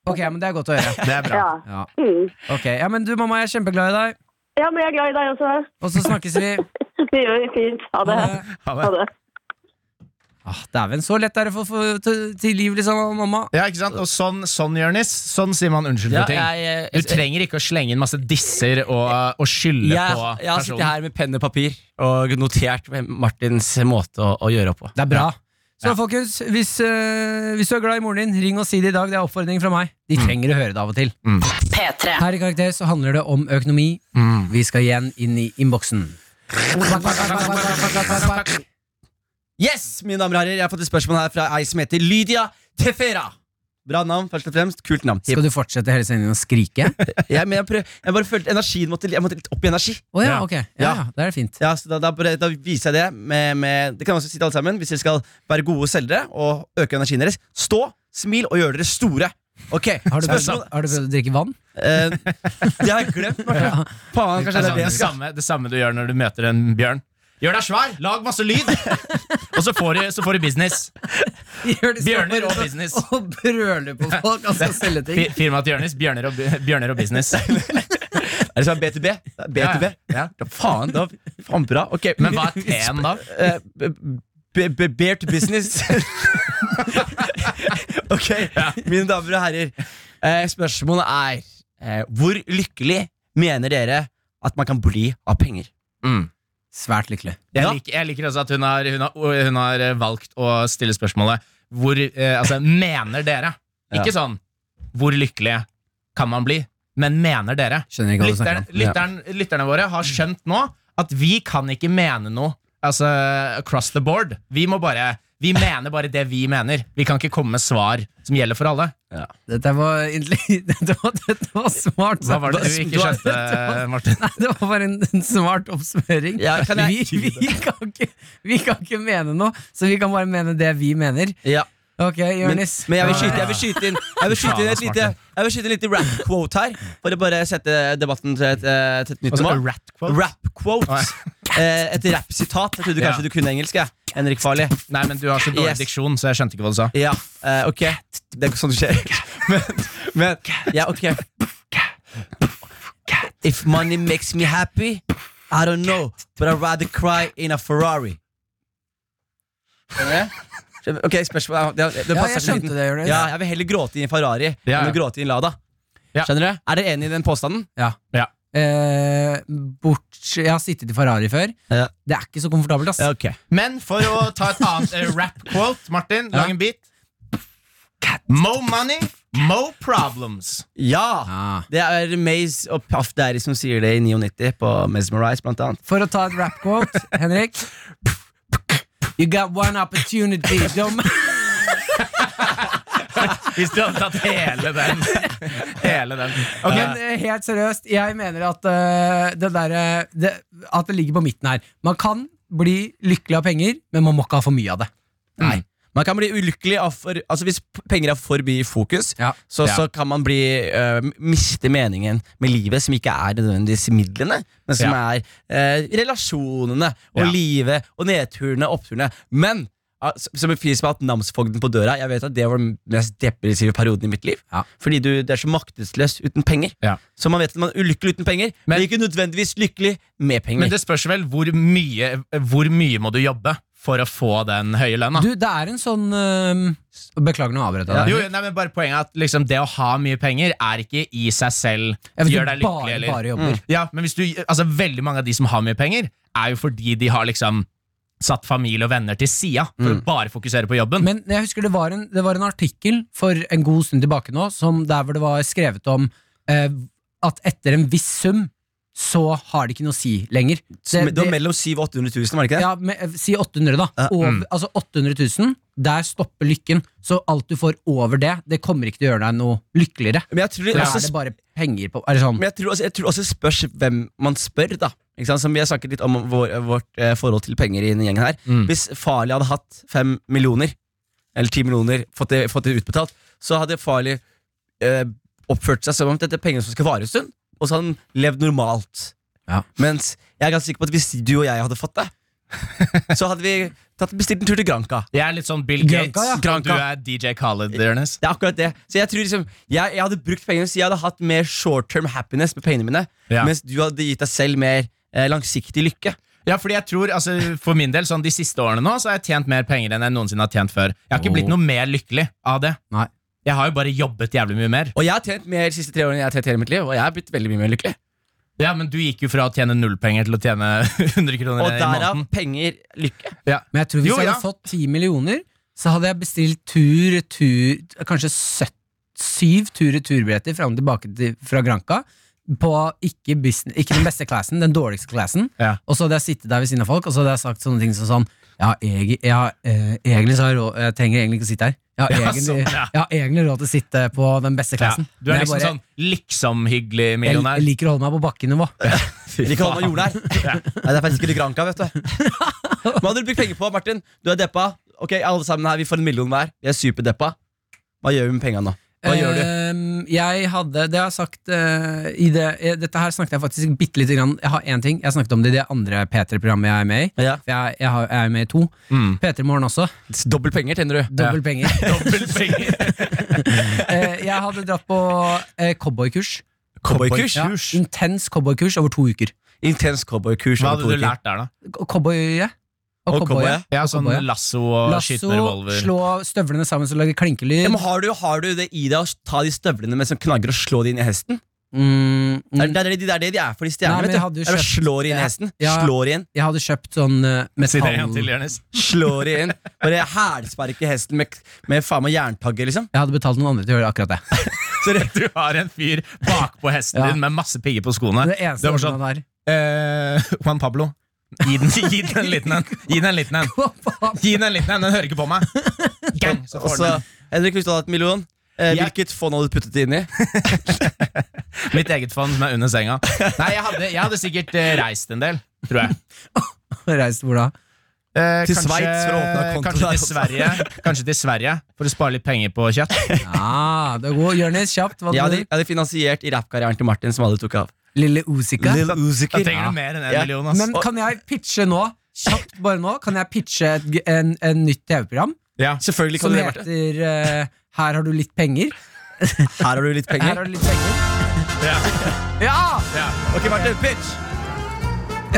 Speaker 2: Ok, men Det er godt å høre.
Speaker 3: Det er bra.
Speaker 5: Ja.
Speaker 2: Ja.
Speaker 5: Mm.
Speaker 2: Ok, ja, men du Mamma, jeg er kjempeglad i deg,
Speaker 5: ja, men jeg er glad i deg også.
Speaker 2: og så snakkes vi.
Speaker 5: Det gjør vi fint. Ha det.
Speaker 3: Ha
Speaker 5: Ha
Speaker 3: det.
Speaker 5: det.
Speaker 2: Ah, Dæven, så lett er det å få- få til- tilgivelig sammen med mamma.
Speaker 3: Ja, ikke sant? Og sånn, sånn Jørnis, sånn sier man unnskyld
Speaker 4: *laughs* Ja,
Speaker 3: for ting.
Speaker 4: jeg,
Speaker 3: Du trenger ikke å slenge inn masse disser og, og skylde
Speaker 4: jeg,
Speaker 3: på
Speaker 4: jeg har sittet
Speaker 3: personen.
Speaker 4: her med penn og papir og notert Martins måte å, å gjøre opp på.
Speaker 2: Det er bra. Så
Speaker 3: Ja.
Speaker 2: folkens, hvis, eh, hvis du er glad i moren din, ring og si det i dag. Det er oppfordringen fra meg. De
Speaker 3: Mm.
Speaker 2: trenger å høre det av og til.
Speaker 6: P3.
Speaker 2: Her i Karakter så handler det om økonomi.
Speaker 4: Mm.
Speaker 2: Vi skal igjen inn i innboksen.
Speaker 4: Yes, mine damer og herrer, jeg har fått et spørsmål her fra ei som heter Lydia Tefera. Bra navn, først og fremst. Kult navn.
Speaker 2: Skal du fortsette hele sendingen å
Speaker 4: *laughs*
Speaker 2: skrike?
Speaker 4: Jeg, men jeg, prøv, jeg bare følte energien måtte, jeg måtte litt opp i energi.
Speaker 2: Å ja,
Speaker 3: Ja.
Speaker 2: ok. Ja, ja, da er det fint.
Speaker 4: Ja, så da, da, bare- da viser jeg det med, med Det kan jeg også si til alle sammen. Hvis dere skal være gode selgere og øke energien deres, stå, smil og gjør dere store. Ok,
Speaker 2: Har du prøvd,
Speaker 4: spørsmål-
Speaker 2: har du prøvd å drikke
Speaker 4: *laughs*
Speaker 2: vann?
Speaker 4: Eh, Det har jeg glemt, Martin. Faen, kanskje det
Speaker 3: Altså,
Speaker 4: er det
Speaker 3: det,
Speaker 4: jeg skal.
Speaker 3: samme, det samme du gjør når du møter en bjørn. Gjør deg svær, lag masse lyd, *laughs* og så får du, så får du business. Bjørner og business.
Speaker 2: *laughs* Og brøler på folk og skal selge ting.
Speaker 3: Fi- Firmaet til Jørnis, Bjørner og, bu- bjørner og business.
Speaker 4: Er det sånn B2B? B2B?
Speaker 3: Ja, ja.
Speaker 4: Ja, faen, da, faen bra. Ok,
Speaker 3: Men hva er T-en *laughs* da?
Speaker 4: Eh, b- b- b- Bear
Speaker 3: *laughs*
Speaker 4: to business. ok, mine damer og herrer. Eh, spørsmålet er eh, hvor lykkelig mener dere at man kan bli av penger?
Speaker 3: Mm.
Speaker 2: Svært lykkelig.
Speaker 4: Ja.
Speaker 3: Jeg liker, jeg liker også at hun har, hun, har, hun har eh, valgt å stille spørsmålet hvor, eh, altså, Mener dere? Ikke sånn Hvor lykkelige kan man bli? Men mener dere?
Speaker 2: Skjønner ikke hva du snakker
Speaker 3: Lytteren,
Speaker 2: om.
Speaker 3: lytteren, lytterne våre har skjønt nå at vi kan ikke mene noe altså, across the board. Vi, må bare, vi mener bare det vi mener. Vi kan ikke komme med svar som gjelder for alle.
Speaker 2: Dette var, egentlig- *laughs* dette var, dette var smart.
Speaker 3: Hva var det du eh, ikke skjønte, Martin?
Speaker 2: Nei, *laughs* det var bare en, en smart oppsummering.
Speaker 4: Ja, kan jeg-
Speaker 2: vi, vi, kan ikke, vi kan ikke mene noe, så vi kan bare mene det vi mener.
Speaker 4: Ja.
Speaker 2: Ok,
Speaker 4: Men,
Speaker 2: Jonis.
Speaker 4: men jeg vil skyte, jeg vil skyte inn Jeg vil skyte inn et lite Jeg vil skyte inn et lite rap quote her, for å bare sette debatten til et, eh, til et nytt
Speaker 3: Altså,
Speaker 4: nivå.
Speaker 3: rat quote.
Speaker 4: Rap quote. Eh, Et rap-sitat. Jeg trodde
Speaker 3: Ja.
Speaker 4: kanskje du kunne engelsk. jeg. Henrik Farley.
Speaker 3: Nei, men du har så dårlig
Speaker 4: Yes.
Speaker 3: diksjon, så jeg skjønte ikke hva du sa.
Speaker 4: Ja, eh, ok. Det er ikke sånn det skjer. Men, men Ja, ok. If money makes me happy, I don't know, but I'd rather cry in a Ferrari. Skjønner du? Ok, spørsmål det,
Speaker 2: Ja, jeg
Speaker 4: det passer til liten-
Speaker 2: skjønte det, Jonis.
Speaker 4: Ja, jeg vil heller gråte i en Ferrari
Speaker 3: Ja,
Speaker 4: enn
Speaker 3: ja.
Speaker 4: å gråte i en Lada.
Speaker 3: Ja.
Speaker 4: Skjønner du? Er dere enig i den påstanden?
Speaker 2: Eh, bort, jeg har sittet i Ferrari før.
Speaker 4: Ja.
Speaker 2: Det er ikke så komfortabelt. ass
Speaker 4: ok
Speaker 3: Men for å ta et annet eh, rap quote, Martin, lag en bit. Mo money, mo problems.
Speaker 4: Ja!
Speaker 2: Ah.
Speaker 4: Det er Maze og Puff Daddy som sier det i 99 på Mesmerize, blant annet.
Speaker 2: For å ta et rap quote, Henrik. You got one opportunity. Don't...
Speaker 3: Hvis du hadde tatt hele den. Hele den.
Speaker 2: Ok,
Speaker 3: Eh,
Speaker 2: Men eh, helt seriøst, jeg mener at eh, det derre det, At det ligger på midten her. Man kan bli lykkelig av penger, men man må ikke ha for mye av det.
Speaker 4: Nei. Man kan bli ulykkelig av for, altså hvis p- penger er for mye i fokus.
Speaker 2: Ja.
Speaker 4: Så,
Speaker 3: Ja.
Speaker 4: så kan man bli, øh, miste meningen med livet, som ikke er nødvendigvis midlene, men som er øh, relasjonene og
Speaker 3: Ja.
Speaker 4: livet og nedturene og oppturene. Men ah, s- som en fyr som har hatt namsfogden på døra, jeg vet at det var den mest depressive perioden i mitt liv.
Speaker 2: Ja.
Speaker 4: Fordi du, det er så maktesløs uten penger.
Speaker 3: Ja.
Speaker 4: Så man vet at man er ulykkelig uten penger, men, ikke nødvendigvis lykkelig med
Speaker 3: Men
Speaker 4: penger.
Speaker 3: det spørs vel hvor mye, hvor mye må du jobbe for å få den høye lønna?
Speaker 2: Du, det er en sånn eh, Beklager nå avbrøt jeg deg.
Speaker 3: Ah. Jo, jo, nei, men bare Poenget er at liksom, det å ha mye penger er ikke i seg selv
Speaker 2: Jeg vet
Speaker 3: gjør
Speaker 2: du
Speaker 3: deg
Speaker 2: bare,
Speaker 3: lykkelig. eller-
Speaker 2: bare jobber.
Speaker 3: Ja, men hvis du, altså, veldig mange av de som har mye penger, er jo fordi de har liksom satt familie og venner til sida for
Speaker 2: Mm.
Speaker 3: å bare fokusere på jobben.
Speaker 2: Men jeg husker det var, en, det var en artikkel for en god stund tilbake nå, som der hvor det var skrevet om eh, at etter en viss sum, så har det ikke noe å si lenger.
Speaker 4: det,
Speaker 2: Det-
Speaker 4: var
Speaker 2: det-
Speaker 4: mellom 700 og 800 000, var det ikke det?
Speaker 2: Ja, men, eh, Si 800, da.
Speaker 4: Ja.
Speaker 2: Over, Altså 800 000. Der stopper lykken. Så alt du får over det, det kommer ikke til å gjøre deg noe lykkeligere.
Speaker 4: Men jeg tror
Speaker 2: Da
Speaker 4: også
Speaker 2: er det bare penger på Eller sånn.
Speaker 4: Men jeg tror, også, jeg tror også spørs hvem man spør, da. Ikke sant? Som Vi har snakket litt om vår, vårt eh, forhold til penger i denne gjengen her.
Speaker 3: Mm.
Speaker 4: Hvis Farley hadde hatt fem millioner, eller ti millioner, fått det, fått det utbetalt, så hadde Farley eh, oppført seg som om dette er penger som skal vare en stund, og så hadde han levd normalt.
Speaker 2: Ja.
Speaker 4: Mens jeg er ganske sikker på at hvis du og jeg hadde fått det, så hadde vi tatt bestilt en tur til Granca.
Speaker 3: Jeg er litt sånn Bill
Speaker 2: Granca,
Speaker 3: Gates,
Speaker 2: ja.
Speaker 3: og du er DJ Khaled. Ernest.
Speaker 4: Det er akkurat det. Så jeg tror liksom Jeg, jeg hadde brukt pengene Så jeg hadde hatt mer short term happiness med pengene mine,
Speaker 3: Ja.
Speaker 4: mens du hadde gitt deg selv mer eh, langsiktig lykke.
Speaker 3: Ja, fordi jeg tror, altså, For min del, sånn de siste årene nå, så har jeg tjent mer penger enn jeg noensinne har tjent før. Jeg har ikke
Speaker 2: Oh.
Speaker 3: blitt noe mer lykkelig av det.
Speaker 2: Nei.
Speaker 3: Jeg har jo bare jobbet jævlig mye mer.
Speaker 4: Og jeg har tjent mer de siste tre årene enn jeg har tjent hele mitt liv, og jeg har blitt veldig mye mer lykkelig.
Speaker 3: Ja, Men du gikk jo fra å tjene null penger til å tjene *laughs* 100 kroner
Speaker 4: Og
Speaker 3: i
Speaker 4: derav
Speaker 3: måneden.
Speaker 4: penger
Speaker 3: *laughs*
Speaker 4: lykke.
Speaker 2: Men jeg tror hvis
Speaker 3: Jo,
Speaker 2: jeg
Speaker 3: ja.
Speaker 2: hadde fått 10 millioner, så hadde jeg bestilt tur-retur Kanskje søtt- syv tur-retur-billetter fram og tilbake til, fra Granca. På ikke, business, ikke den beste classen, den dårligste classen.
Speaker 3: Ja.
Speaker 2: Og så hadde jeg sittet der ved siden av folk, og så hadde jeg sagt sånne ting som sånn Ja, jeg, jeg, har, eh, egentlig så har jeg råd Jeg trenger egentlig ikke å sitte her. Jeg har,
Speaker 3: Ja,
Speaker 2: egentlig,
Speaker 3: sånn, ja.
Speaker 2: jeg har egentlig råd til å sitte på den beste
Speaker 3: Ja.
Speaker 2: classen.
Speaker 3: Du
Speaker 2: Men
Speaker 3: er
Speaker 2: jeg
Speaker 3: liksom
Speaker 2: bare-
Speaker 3: sånn liksom-hyggelig
Speaker 2: jeg,
Speaker 3: millionær.
Speaker 2: jeg liker å holde meg på bakkenivå.
Speaker 4: Ikke hold meg jordnær. *laughs*
Speaker 3: Ja.
Speaker 4: Nei, det er faktisk ikke Granca, vet du. Hva hadde du brukt penger på, Martin? Du er deppa. Ok, alle sammen her, vi får en million hver. Vi er superdeppa. Hva gjør vi med pengene nå? Hva
Speaker 3: Eh,
Speaker 4: gjør du?
Speaker 2: Ehm, Jeg hadde, det har jeg sagt eh, i det, eh, Dette her snakket jeg faktisk bitte lite grann Jeg har én ting, jeg snakket om det i det andre P3-programmet jeg er med i.
Speaker 4: Ja.
Speaker 2: For Jeg, jeg, har, jeg er med i to.
Speaker 3: Mm.
Speaker 2: P3 Morgen også.
Speaker 4: Dobbelt penger, tjener du.
Speaker 2: Dobbel
Speaker 3: *laughs*
Speaker 2: penger.
Speaker 3: *laughs* Dobbelt penger.
Speaker 2: *laughs* Eh, Jeg hadde dratt på eh, cowboykurs.
Speaker 4: Cowboykurs?
Speaker 2: Ja, intens cowboykurs over to uker.
Speaker 4: Intens cowboykurs.
Speaker 3: Hva
Speaker 4: over to
Speaker 3: hadde du
Speaker 4: uker.
Speaker 3: lært der, da?
Speaker 2: K- Cowboye og
Speaker 4: Og cowboy,
Speaker 2: cowboye.
Speaker 4: ja.
Speaker 3: Ja, sånn
Speaker 2: Cowboy, ja.
Speaker 3: Lasso og skyte
Speaker 2: Lasso,
Speaker 3: med revolver.
Speaker 2: slå støvlene sammen så det lager
Speaker 4: Ja,
Speaker 2: klinkelyd.
Speaker 4: men har, du, har du det i deg å ta de støvlene med som knagger og slå de inn i hesten?
Speaker 2: Mm,
Speaker 4: Det
Speaker 2: mm,
Speaker 4: er det, det, er det de er for de
Speaker 2: Nei,
Speaker 4: stjernene.
Speaker 2: men jeg
Speaker 4: vet
Speaker 2: hadde
Speaker 4: du.
Speaker 2: jo
Speaker 4: Er å
Speaker 2: kjøpt-
Speaker 4: Slår inn
Speaker 2: Ja.
Speaker 4: hesten.
Speaker 2: Ja.
Speaker 4: Slår inn.
Speaker 2: Jeg hadde kjøpt sånn eh,
Speaker 3: Si det en gang
Speaker 2: metall...
Speaker 3: til, *laughs* Jonis.
Speaker 4: Slår inn. Bare hælsparker hesten med, med faen meg jerntagge, liksom.
Speaker 2: Jeg hadde betalt noen andre til å gjøre akkurat det. *laughs*
Speaker 3: Du har en fyr bakpå hesten
Speaker 2: Ja.
Speaker 3: din med masse pigger på skoene.
Speaker 2: Det eneste
Speaker 3: Det var
Speaker 2: ordene *laughs* der.
Speaker 3: Eh, Juan Pablo, gi den, *laughs* gi den en liten en. Gi den en liten en. Gi den en liten en, den hører ikke på meg. Gang, så
Speaker 4: Og
Speaker 3: får
Speaker 4: så
Speaker 3: den.
Speaker 4: Henrik, hvis du hadde hatt en million, eh,
Speaker 3: Ja.
Speaker 4: hvilket fond hadde du puttet det inn i?
Speaker 3: Mitt eget fond som er under senga. Nei, jeg hadde, jeg hadde sikkert eh, reist en del, tror jeg.
Speaker 2: Reist hvor da?
Speaker 3: Eh,
Speaker 4: Til
Speaker 3: kanskje-
Speaker 4: Sveits for å åpne konto
Speaker 3: Kanskje
Speaker 4: der
Speaker 3: til
Speaker 4: også.
Speaker 3: Sverige Kanskje til Sverige for å spare litt penger på
Speaker 4: *laughs*
Speaker 3: kjøtt.
Speaker 2: Ja, Ah, det er god. Jonis, kjapt. Hva
Speaker 4: Jeg
Speaker 2: ja,
Speaker 4: hadde, jeg hadde finansiert i rappkarrieren til Martin, som alle tok av.
Speaker 2: Lille Usika.
Speaker 3: Da
Speaker 4: Usikker.
Speaker 3: trenger du mer enn en
Speaker 4: Ja.
Speaker 3: million. Ass.
Speaker 2: Men kan jeg pitche nå, kjapt bare nå, kan jeg pitche et, g- en, en nytt TV-program
Speaker 3: ja.
Speaker 4: Selvfølgelig kan
Speaker 2: som
Speaker 4: du det, Martin.
Speaker 2: heter eh, Her har du litt penger?
Speaker 4: Her har du litt
Speaker 2: Her
Speaker 4: penger.
Speaker 2: har du litt penger.
Speaker 3: Ja.
Speaker 2: Ja!
Speaker 3: Ja.
Speaker 4: Ok, Martin, pitch!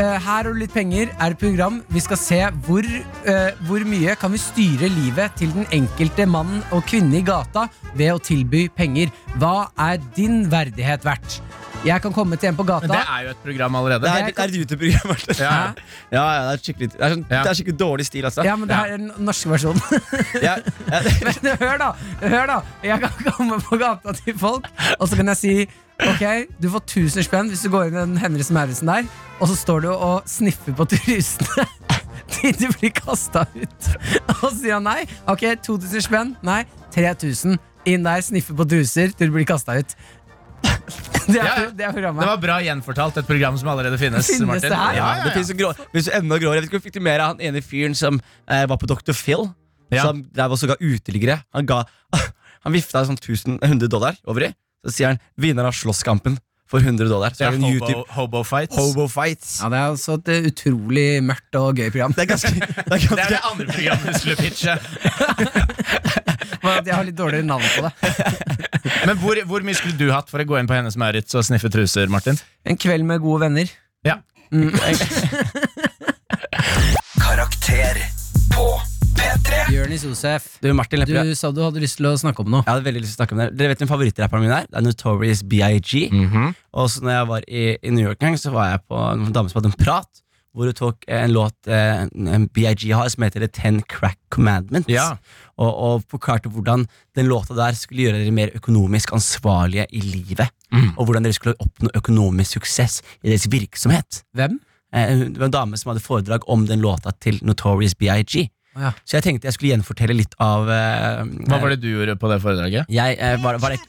Speaker 2: Eh, her har du litt penger er et program vi skal se hvor, eh, hvor mye kan vi styre livet til den enkelte mann og kvinne i gata ved å tilby penger. Hva er din verdighet verdt? Jeg kan komme til en på
Speaker 3: Men det
Speaker 2: gata.
Speaker 3: er jo et program allerede.
Speaker 4: Det
Speaker 2: Jeg
Speaker 4: er, det
Speaker 2: kan-
Speaker 4: er et YouTube-program, Martin.
Speaker 3: Ja.
Speaker 4: Ja, ja, det er skikkelig, det er sånn,
Speaker 3: Ja.
Speaker 4: det er skikkelig dårlig stil, altså.
Speaker 2: Ja, men det her er den norske versjonen. *laughs*
Speaker 4: Ja, ja, det-
Speaker 2: Men *laughs* hør da, hør da Jeg kan komme på gata til folk Og så kan jeg si Ok, du får 1000 spenn hvis du går inn i den Henriksen Maurisen der Og så står du og sniffer på turistene *laughs* Til du blir kastet ut *laughs* Og så sier han nei Ok, 2000 spenn Nei, 3000 Inn der, sniffer på truser til du blir kastet ut *laughs* Det
Speaker 3: Ja, ja.
Speaker 2: er, det er programmet
Speaker 3: Det var bra gjenfortalt, et program som allerede finnes.
Speaker 2: Finnes
Speaker 3: Martin.
Speaker 2: det her?
Speaker 3: Ja,
Speaker 4: Ja,
Speaker 3: ja,
Speaker 4: det
Speaker 3: ja.
Speaker 4: finnes jo grå, det finnes jo enda gråere. Jeg vet ikke om fikk du mer av han ene fyren som eh, var på Dr. Phil.
Speaker 3: Ja.
Speaker 4: Som drev også ga uteliggere. Han, ga, *laughs* han vifta sånn 1000 100 dollar over i. Så sier han 'vinner av slåsskampen' for 100 dollar. Så
Speaker 3: Det
Speaker 4: er
Speaker 3: er
Speaker 4: det en
Speaker 3: hobo,
Speaker 4: YouTube
Speaker 3: hobo fights.
Speaker 4: Hobo fights.
Speaker 2: ja, det er også et eh, utrolig mørkt og gøy program
Speaker 4: Det er ganske, det er
Speaker 3: Det er
Speaker 4: ganske
Speaker 3: det andre programmet du skulle pitche.
Speaker 2: Bare at *laughs* Jeg har litt dårligere navn på det
Speaker 3: Men hvor, hvor mye skulle du hatt for å gå inn på Hennes Maurits og sniffe truser, Martin?
Speaker 2: En kveld med gode venner
Speaker 3: Ja.
Speaker 1: Karakter på P3
Speaker 2: Jørnis Josef
Speaker 4: Du, Martin
Speaker 2: Du
Speaker 4: Lepperød.
Speaker 2: sa du hadde lyst til å snakke om noe.
Speaker 4: Jeg hadde veldig lyst til å snakke om det Dere vet hvem favorittrapperen min er? Det er Notorious B.I.G. Og så når jeg var i, i New York en gang, så var jeg på en dame som hadde en prat, hvor hun tok en låt eh, en B.I.G. har, som heter The Ten Crack Commandments.
Speaker 3: Ja.
Speaker 4: Og, og forklarte hvordan den låta der skulle gjøre dere mer økonomisk ansvarlige i livet. Og hvordan dere skulle oppnå økonomisk suksess i deres virksomhet.
Speaker 2: Hvem?
Speaker 4: Eh, hun- Det var en dame som hadde foredrag om den låta til Notorious B.I.G.
Speaker 2: Å ja.
Speaker 4: Så jeg tenkte jeg skulle gjenfortelle litt av eh,
Speaker 3: Hva var det du gjorde på det foredraget?
Speaker 4: jeg eh, var, var det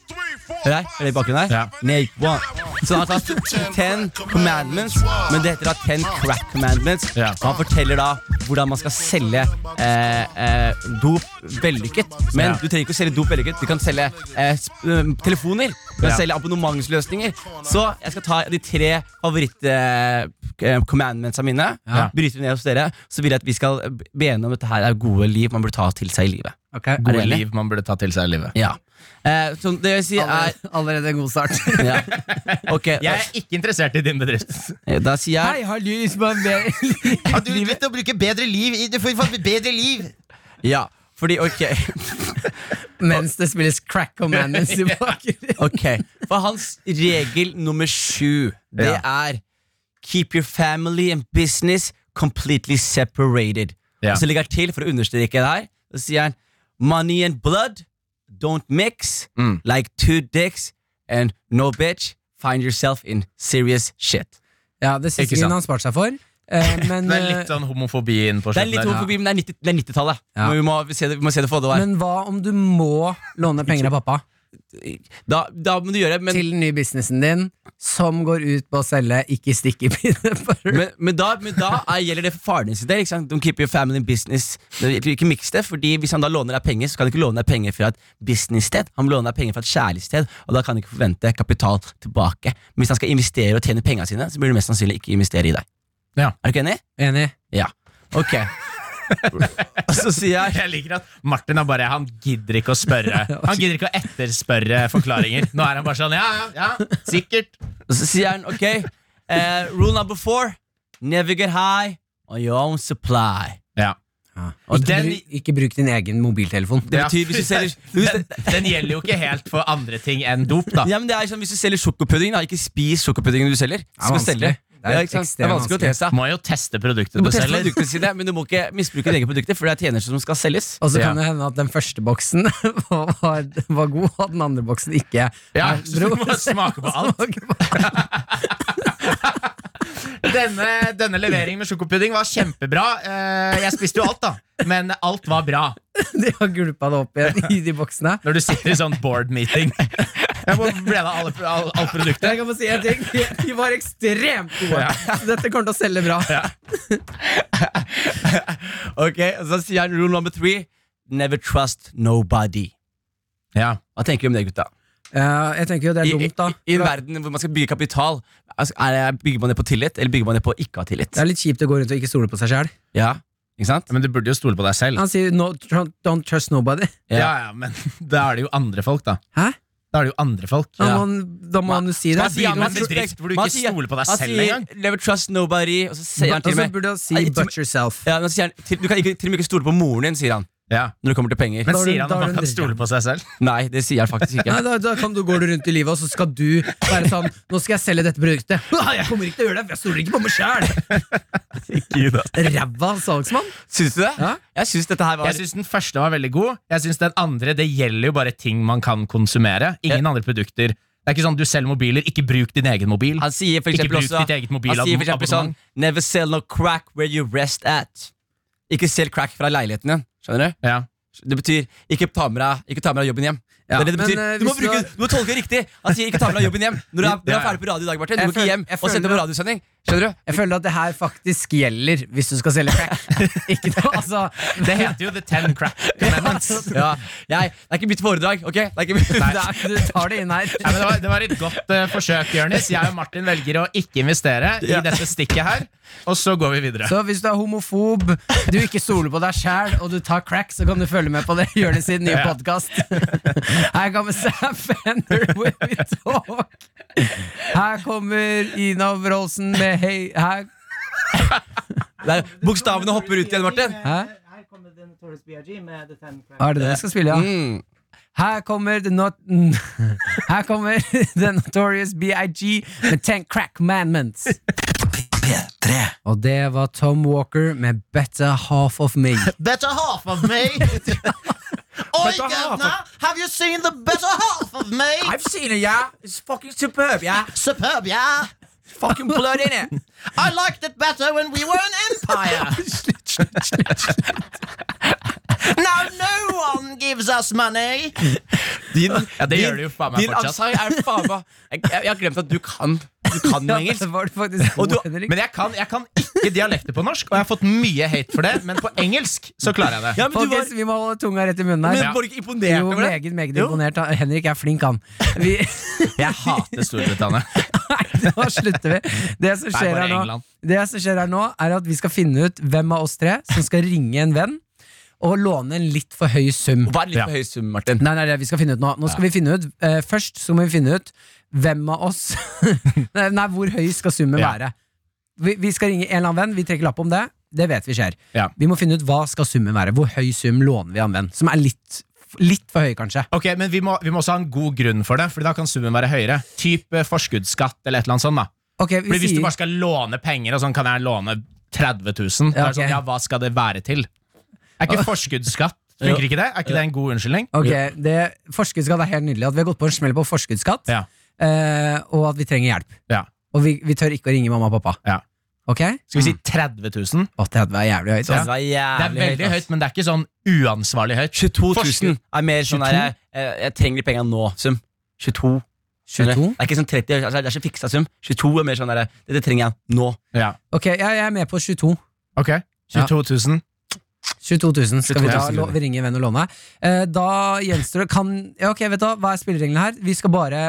Speaker 4: Hør her, er det i bakgrunnen her?
Speaker 3: Ja.
Speaker 4: Nate One. Så han har tatt Ten Commandments, men det heter da Ten Crack Commandments.
Speaker 3: Ja.
Speaker 4: Og han forteller da hvordan man skal selge eh, eh, dop vellykket. Men
Speaker 3: Ja.
Speaker 4: du trenger ikke å selge dop vellykket. Du kan selge eh, sp- eh, telefoner. Du kan
Speaker 3: Ja.
Speaker 4: selge abonnementsløsninger. Så jeg skal ta de tre favoritt-commandmentsa mine.
Speaker 2: Ja.
Speaker 4: Bryter de ned hos dere. Så vil jeg at vi skal be enige om at dette her er gode liv man bør ta til seg i livet.
Speaker 2: Okay.
Speaker 4: du
Speaker 3: Gode
Speaker 4: enig?
Speaker 3: liv man burde ta til seg i livet.
Speaker 4: Ja. Eh, så det vil si er
Speaker 2: Allerede, allerede en god
Speaker 3: *laughs*
Speaker 2: start.
Speaker 4: ja. Ok,
Speaker 3: Jeg er ikke interessert i din *laughs* bedrift.
Speaker 4: da, da sier jeg
Speaker 2: har du lyst på en mer?
Speaker 3: du å bruke bedre liv Du får bedre liv!
Speaker 4: Ja, fordi ok *laughs*
Speaker 2: Mens det spilles Crack Commandments
Speaker 3: *laughs*
Speaker 2: i bakgrunnen.
Speaker 4: Ok, for hans regel nummer sju Det
Speaker 3: Ja.
Speaker 4: er Keep your family and business Completely separated
Speaker 3: Ja.
Speaker 4: Og så legger han til for å understreke det her Så sier han Money and blood Don't mix
Speaker 3: Mm.
Speaker 4: Like two dicks And no bitch Find yourself in serious shit
Speaker 2: Ja, det siste
Speaker 3: Ikke sant.
Speaker 2: kunne han spart seg for.
Speaker 3: *laughs*
Speaker 2: Eh, men,
Speaker 3: Det er litt sånn homofobi inn på
Speaker 4: Det er
Speaker 3: slutten.
Speaker 4: litt
Speaker 3: der.
Speaker 4: homofobi, men det er 90 det er 90-tallet
Speaker 2: Ja.
Speaker 4: vi, må se det- vi må se det for det
Speaker 2: eh,
Speaker 4: var
Speaker 2: men hva om du må låne penger av pappa
Speaker 4: da, da må du gjøre det men,
Speaker 2: til den nye businessen din, som går ut på å selge ikke *laughs* stikkepinner?
Speaker 4: men, men da, men da er, gjelder det for faren din sin del. Ikke sant? Don't keep your family in business. Du- Ikke mix det, fordi Hvis han da låner deg penger, så kan han ikke låne deg penger fra et businesssted. Han må låne deg penger fra et kjærlighetssted, og da kan han ikke forvente kapital tilbake. Men hvis han skal investere og tjene pengene sine, så burde han mest sannsynlig ikke investere i deg.
Speaker 3: Ja.
Speaker 4: Er du ikke enig?
Speaker 2: Enig.
Speaker 4: Ja.
Speaker 3: *laughs*
Speaker 4: Ok. og så sier jeg
Speaker 3: Jeg liker at Martin er bare Han gidder ikke å *laughs* spørre Han gidder ikke å etterspørre forklaringer. Nå er han bare sånn Ja, ja, ja, sikkert.
Speaker 4: Og så sier han, ok eh, Rule number four Never get high on your own supply.
Speaker 3: Ja. Og
Speaker 2: Ikke,
Speaker 3: den-
Speaker 2: bru- ikke bruk din egen mobiltelefon.
Speaker 4: Det
Speaker 3: Ja.
Speaker 4: betyr hvis du selger
Speaker 3: den, den gjelder jo ikke helt for andre ting enn dop, da.
Speaker 4: Ja, men det er sånn, Hvis du selger sjokopudding, da, ikke spis sjokopuddingen du selger. Du skal
Speaker 2: vanskelig.
Speaker 4: selge.
Speaker 2: Det er
Speaker 4: Ja, ikke sant? det er
Speaker 2: ekstremt
Speaker 4: vanskelig å
Speaker 2: vanskelig.
Speaker 4: teste.
Speaker 3: Må jo teste produktet
Speaker 4: Du
Speaker 3: du
Speaker 4: må teste
Speaker 3: selger.
Speaker 4: produktene sine, men du må ikke misbruke dine egne produkter, for det er tjenester som skal selges.
Speaker 2: Og så
Speaker 3: Ja.
Speaker 2: kan det hende at den første boksen *laughs* var, var god, og den andre boksen ikke.
Speaker 3: Ja,
Speaker 2: er-
Speaker 3: så du
Speaker 2: *laughs*
Speaker 3: må smake på alt.
Speaker 2: Smak på
Speaker 3: Denne, denne leveringen med sjokopudding var kjempebra. Eh, Jeg spiste jo alt, da. Men alt var bra.
Speaker 2: De har gulpa det opp igjen i de boksene.
Speaker 3: Når du sitter i sånn board meeting. Jeg må- ble det alle, all, alt produktet?
Speaker 2: Jeg kan få si en
Speaker 4: *laughs*
Speaker 2: ting. De, de var ekstremt gode. Så dette kommer til å selge bra.
Speaker 4: Ok, og Så sier han rule number three. Never trust nobody.
Speaker 3: Ja.
Speaker 4: Hva tenker vi om det, gutta?
Speaker 2: Ja, Eh, jeg tenker jo det
Speaker 4: I,
Speaker 2: er dumt, da.
Speaker 4: i, I en verden hvor man skal bygge kapital, altså, er, det- bygger man det på tillit, eller bygger man det på ikke ha tillit?
Speaker 2: Det er litt kjipt å gå rundt og ikke stole på seg sjæl.
Speaker 4: Ja, ikke sant?
Speaker 3: Men du burde jo stole på deg selv.
Speaker 2: Han sier no, tr- 'don't trust nobody'.
Speaker 3: Ja, ja, men *laughs* da er det jo andre folk, da.
Speaker 2: Hæ?
Speaker 3: Da er det jo andre folk.
Speaker 2: Da må han, da må han jo si det.
Speaker 4: Man sier-
Speaker 3: begynner
Speaker 4: man
Speaker 3: med en
Speaker 4: sier-
Speaker 3: bedrift hvor du
Speaker 4: man
Speaker 3: ikke
Speaker 4: sier-
Speaker 3: stoler på deg
Speaker 4: man
Speaker 3: selv
Speaker 4: sier,
Speaker 3: engang.
Speaker 4: Never trust nobody. Og så sier han
Speaker 2: Og så
Speaker 4: til og med
Speaker 2: Altså, burde han si
Speaker 4: Nei, til og
Speaker 2: 'but yourself'.
Speaker 4: altså, ja, men så sier han, til, Du kan ikke, til og med ikke stole på moren din, sier han.
Speaker 3: Ja.
Speaker 4: Når det kommer til penger.
Speaker 3: Men
Speaker 2: Da er det-
Speaker 3: sier han
Speaker 2: da er
Speaker 3: at
Speaker 2: det
Speaker 3: man
Speaker 2: en
Speaker 3: kan stole på seg selv?
Speaker 4: Nei, det sier han faktisk ikke.
Speaker 2: Nei, da, da kan du gå rundt i livet, og så skal du være sånn 'Nå skal jeg selge dette produktet'. *laughs* «Nei, Jeg kommer ikke til å gjøre det, for jeg stoler ikke på meg sjæl! Ræva salgsmann.
Speaker 4: Syns du det?
Speaker 2: Ja.
Speaker 4: Jeg syns dette her var
Speaker 3: Jeg syns den første var veldig god. Jeg synes Den andre det gjelder jo bare ting man kan konsumere. Ingen andre produkter. Det er ikke sånn du selger mobiler, ikke bruk din egen mobil.
Speaker 4: Han sier for
Speaker 3: Ikke
Speaker 4: eksempel
Speaker 3: bruk
Speaker 4: også
Speaker 3: ditt eget
Speaker 4: Han sier for eksempel sånn
Speaker 3: mobilabonnement.
Speaker 4: Never sell no crack where you rest at. Ikke selg crack fra leiligheten din. Skjønner du?
Speaker 3: Ja.
Speaker 4: Det betyr ikke ta med deg, ikke ta med deg jobben hjem.
Speaker 2: Ja,
Speaker 4: det er det det
Speaker 2: men,
Speaker 4: betyr.
Speaker 2: eh,
Speaker 4: du, må
Speaker 2: hvis du
Speaker 4: bruke,
Speaker 2: har-
Speaker 4: du må tolke riktig! Han sier ikke ta med deg jobben hjem. Når du er, når du er ferdig på radio i dag, Martin, du
Speaker 2: Jeg
Speaker 4: må ikke
Speaker 2: føler-
Speaker 4: hjem
Speaker 2: jeg
Speaker 4: og sende
Speaker 2: føler-
Speaker 4: på radiosending. Skjønner du?
Speaker 2: Jeg føler at det her faktisk gjelder hvis du skal selge *laughs* crack. Ikke noe, altså
Speaker 3: Det heter jo The Ten Crack Commandments.
Speaker 4: *laughs* Ja, jeg, det er ikke mitt foredrag, ok? *laughs* Det er ikke mitt,
Speaker 2: det er, Du tar det inn her.
Speaker 3: Nei, men det, var, det var et godt eh, forsøk, Jonis. Jeg og Martin velger å ikke investere i
Speaker 4: Ja.
Speaker 3: dette stikket her. Og så går vi videre.
Speaker 2: Så hvis du er homofob, du ikke stoler på deg sjæl, og du tar crack, så kan du følge med på det Gjør det sin nye
Speaker 3: Ja.
Speaker 2: podkast. Her kommer Sam Fender with We Talk. Her kommer Ina Wroldsen med Hei Her
Speaker 4: det er, bokstavene hopper ut igjen, Martin.
Speaker 2: Hæ?
Speaker 6: Her kommer The Notorious B.I.G. med The Ten Crack.
Speaker 2: Er det det vi skal spille, ja?
Speaker 4: Mm.
Speaker 2: Her kommer The, not, her kommer the Notorious BIG med Ten Crack Manments.
Speaker 1: P3
Speaker 2: Og det var Tom Walker med Better Half of Me.
Speaker 7: better *laughs* half of
Speaker 4: *laughs*
Speaker 7: me. Oi, governor, have you seen the better half of me?
Speaker 4: I've seen it, yeah. It's fucking superb, yeah.
Speaker 7: Superb, yeah.
Speaker 4: Fucking blood in it.
Speaker 7: I liked it better when we were an
Speaker 4: *laughs*
Speaker 7: empire. now no one gives us money.
Speaker 4: Din,
Speaker 3: Ja, det gjør det jo faen meg
Speaker 4: din
Speaker 3: fortsatt.
Speaker 4: aksent er faen meg jeg, jeg, jeg har glemt at du kan, du kan engelsk.
Speaker 2: Det var det faktisk
Speaker 3: Og du,
Speaker 2: Henrik.
Speaker 3: men jeg kan, jeg kan ikke dialekter på norsk, og jeg har fått mye hate for det, men på engelsk så klarer jeg det.
Speaker 4: Ja, men du var,
Speaker 2: Folkens, vi må holde tunga rett i munnen her.
Speaker 4: men
Speaker 2: Ja.
Speaker 4: var du ikke imponert
Speaker 2: jo,
Speaker 4: over det?
Speaker 2: meget, meget
Speaker 4: Jo.
Speaker 2: imponert. Han- Henrik er flink, han. Vi,
Speaker 3: Jeg hater Storbritannia.
Speaker 2: nei, nå slutter vi. Det som, skjer
Speaker 3: bare
Speaker 2: her nå,
Speaker 3: England.
Speaker 2: det som skjer her nå, er at vi skal finne ut hvem av oss tre som skal ringe en venn og låne en litt for høy sum.
Speaker 4: Vær litt
Speaker 3: Ja.
Speaker 4: på høy sum, Martin.
Speaker 2: Nei, nei, det vi skal finne ut nå. Nå skal vi finne ut eh, Først så må vi finne ut hvem av oss *laughs* Nei, nei, hvor høy skal summen
Speaker 3: Ja.
Speaker 2: være? Vi, vi skal ringe en eller annen venn, vi trekker lapp om det. Det vet vi skjer.
Speaker 3: Ja.
Speaker 2: Vi må finne ut hva skal summen være. Hvor høy sum låner vi av en venn? Som er litt, litt for høy, kanskje.
Speaker 3: Ok, Men vi må, vi må også ha en god grunn for det, Fordi da kan summen være høyere. Typ eh, forskuddsskatt eller et eller annet sånt. da
Speaker 2: Ok, vi
Speaker 3: Fordi Hvis du
Speaker 2: sier
Speaker 3: bare skal låne penger, og sånn kan jeg låne 30 000, da
Speaker 2: Ja,
Speaker 3: er det sånn,
Speaker 2: ok.
Speaker 3: ja, hva skal det være til?
Speaker 2: *laughs*
Speaker 3: Er ikke forskuddsskatt Funker ikke det? Er ikke det en god unnskyldning?
Speaker 2: Ok, det, Forskuddsskatt er helt nydelig. At vi har gått på en smell på forskuddsskatt,
Speaker 3: Ja.
Speaker 2: eh, og at vi trenger hjelp.
Speaker 3: Ja.
Speaker 2: Og vi, vi tør ikke å ringe mamma og pappa.
Speaker 3: Ja.
Speaker 2: Ok?
Speaker 3: Skal vi si 30 000?
Speaker 2: Å, 30 er jævlig høyt. altså.
Speaker 4: Ja.
Speaker 2: ass.
Speaker 3: Det
Speaker 4: Det er
Speaker 3: er
Speaker 4: jævlig
Speaker 3: veldig høyt, men det er ikke sånn uansvarlig høyt.
Speaker 4: 22 000
Speaker 3: Forskning.
Speaker 4: er mer sånn der jeg, jeg trenger de penga nå, sum. 22.
Speaker 2: 22?
Speaker 4: Eller, Det er ikke sånn 30, altså, det er så fiksa sum. 22 er mer sånn der Dette trenger jeg nå.
Speaker 3: Ja.
Speaker 2: Ok, ja, jeg er med på 22.
Speaker 3: Ok, 22 000.
Speaker 2: 22 000 skal
Speaker 3: 22 000
Speaker 2: vi da
Speaker 3: kroner.
Speaker 2: lo- vi ringer en venn og låne. Eh, da gjenstår det kan, ja, Ok, vet du hva, hva er spillereglene her? Vi skal bare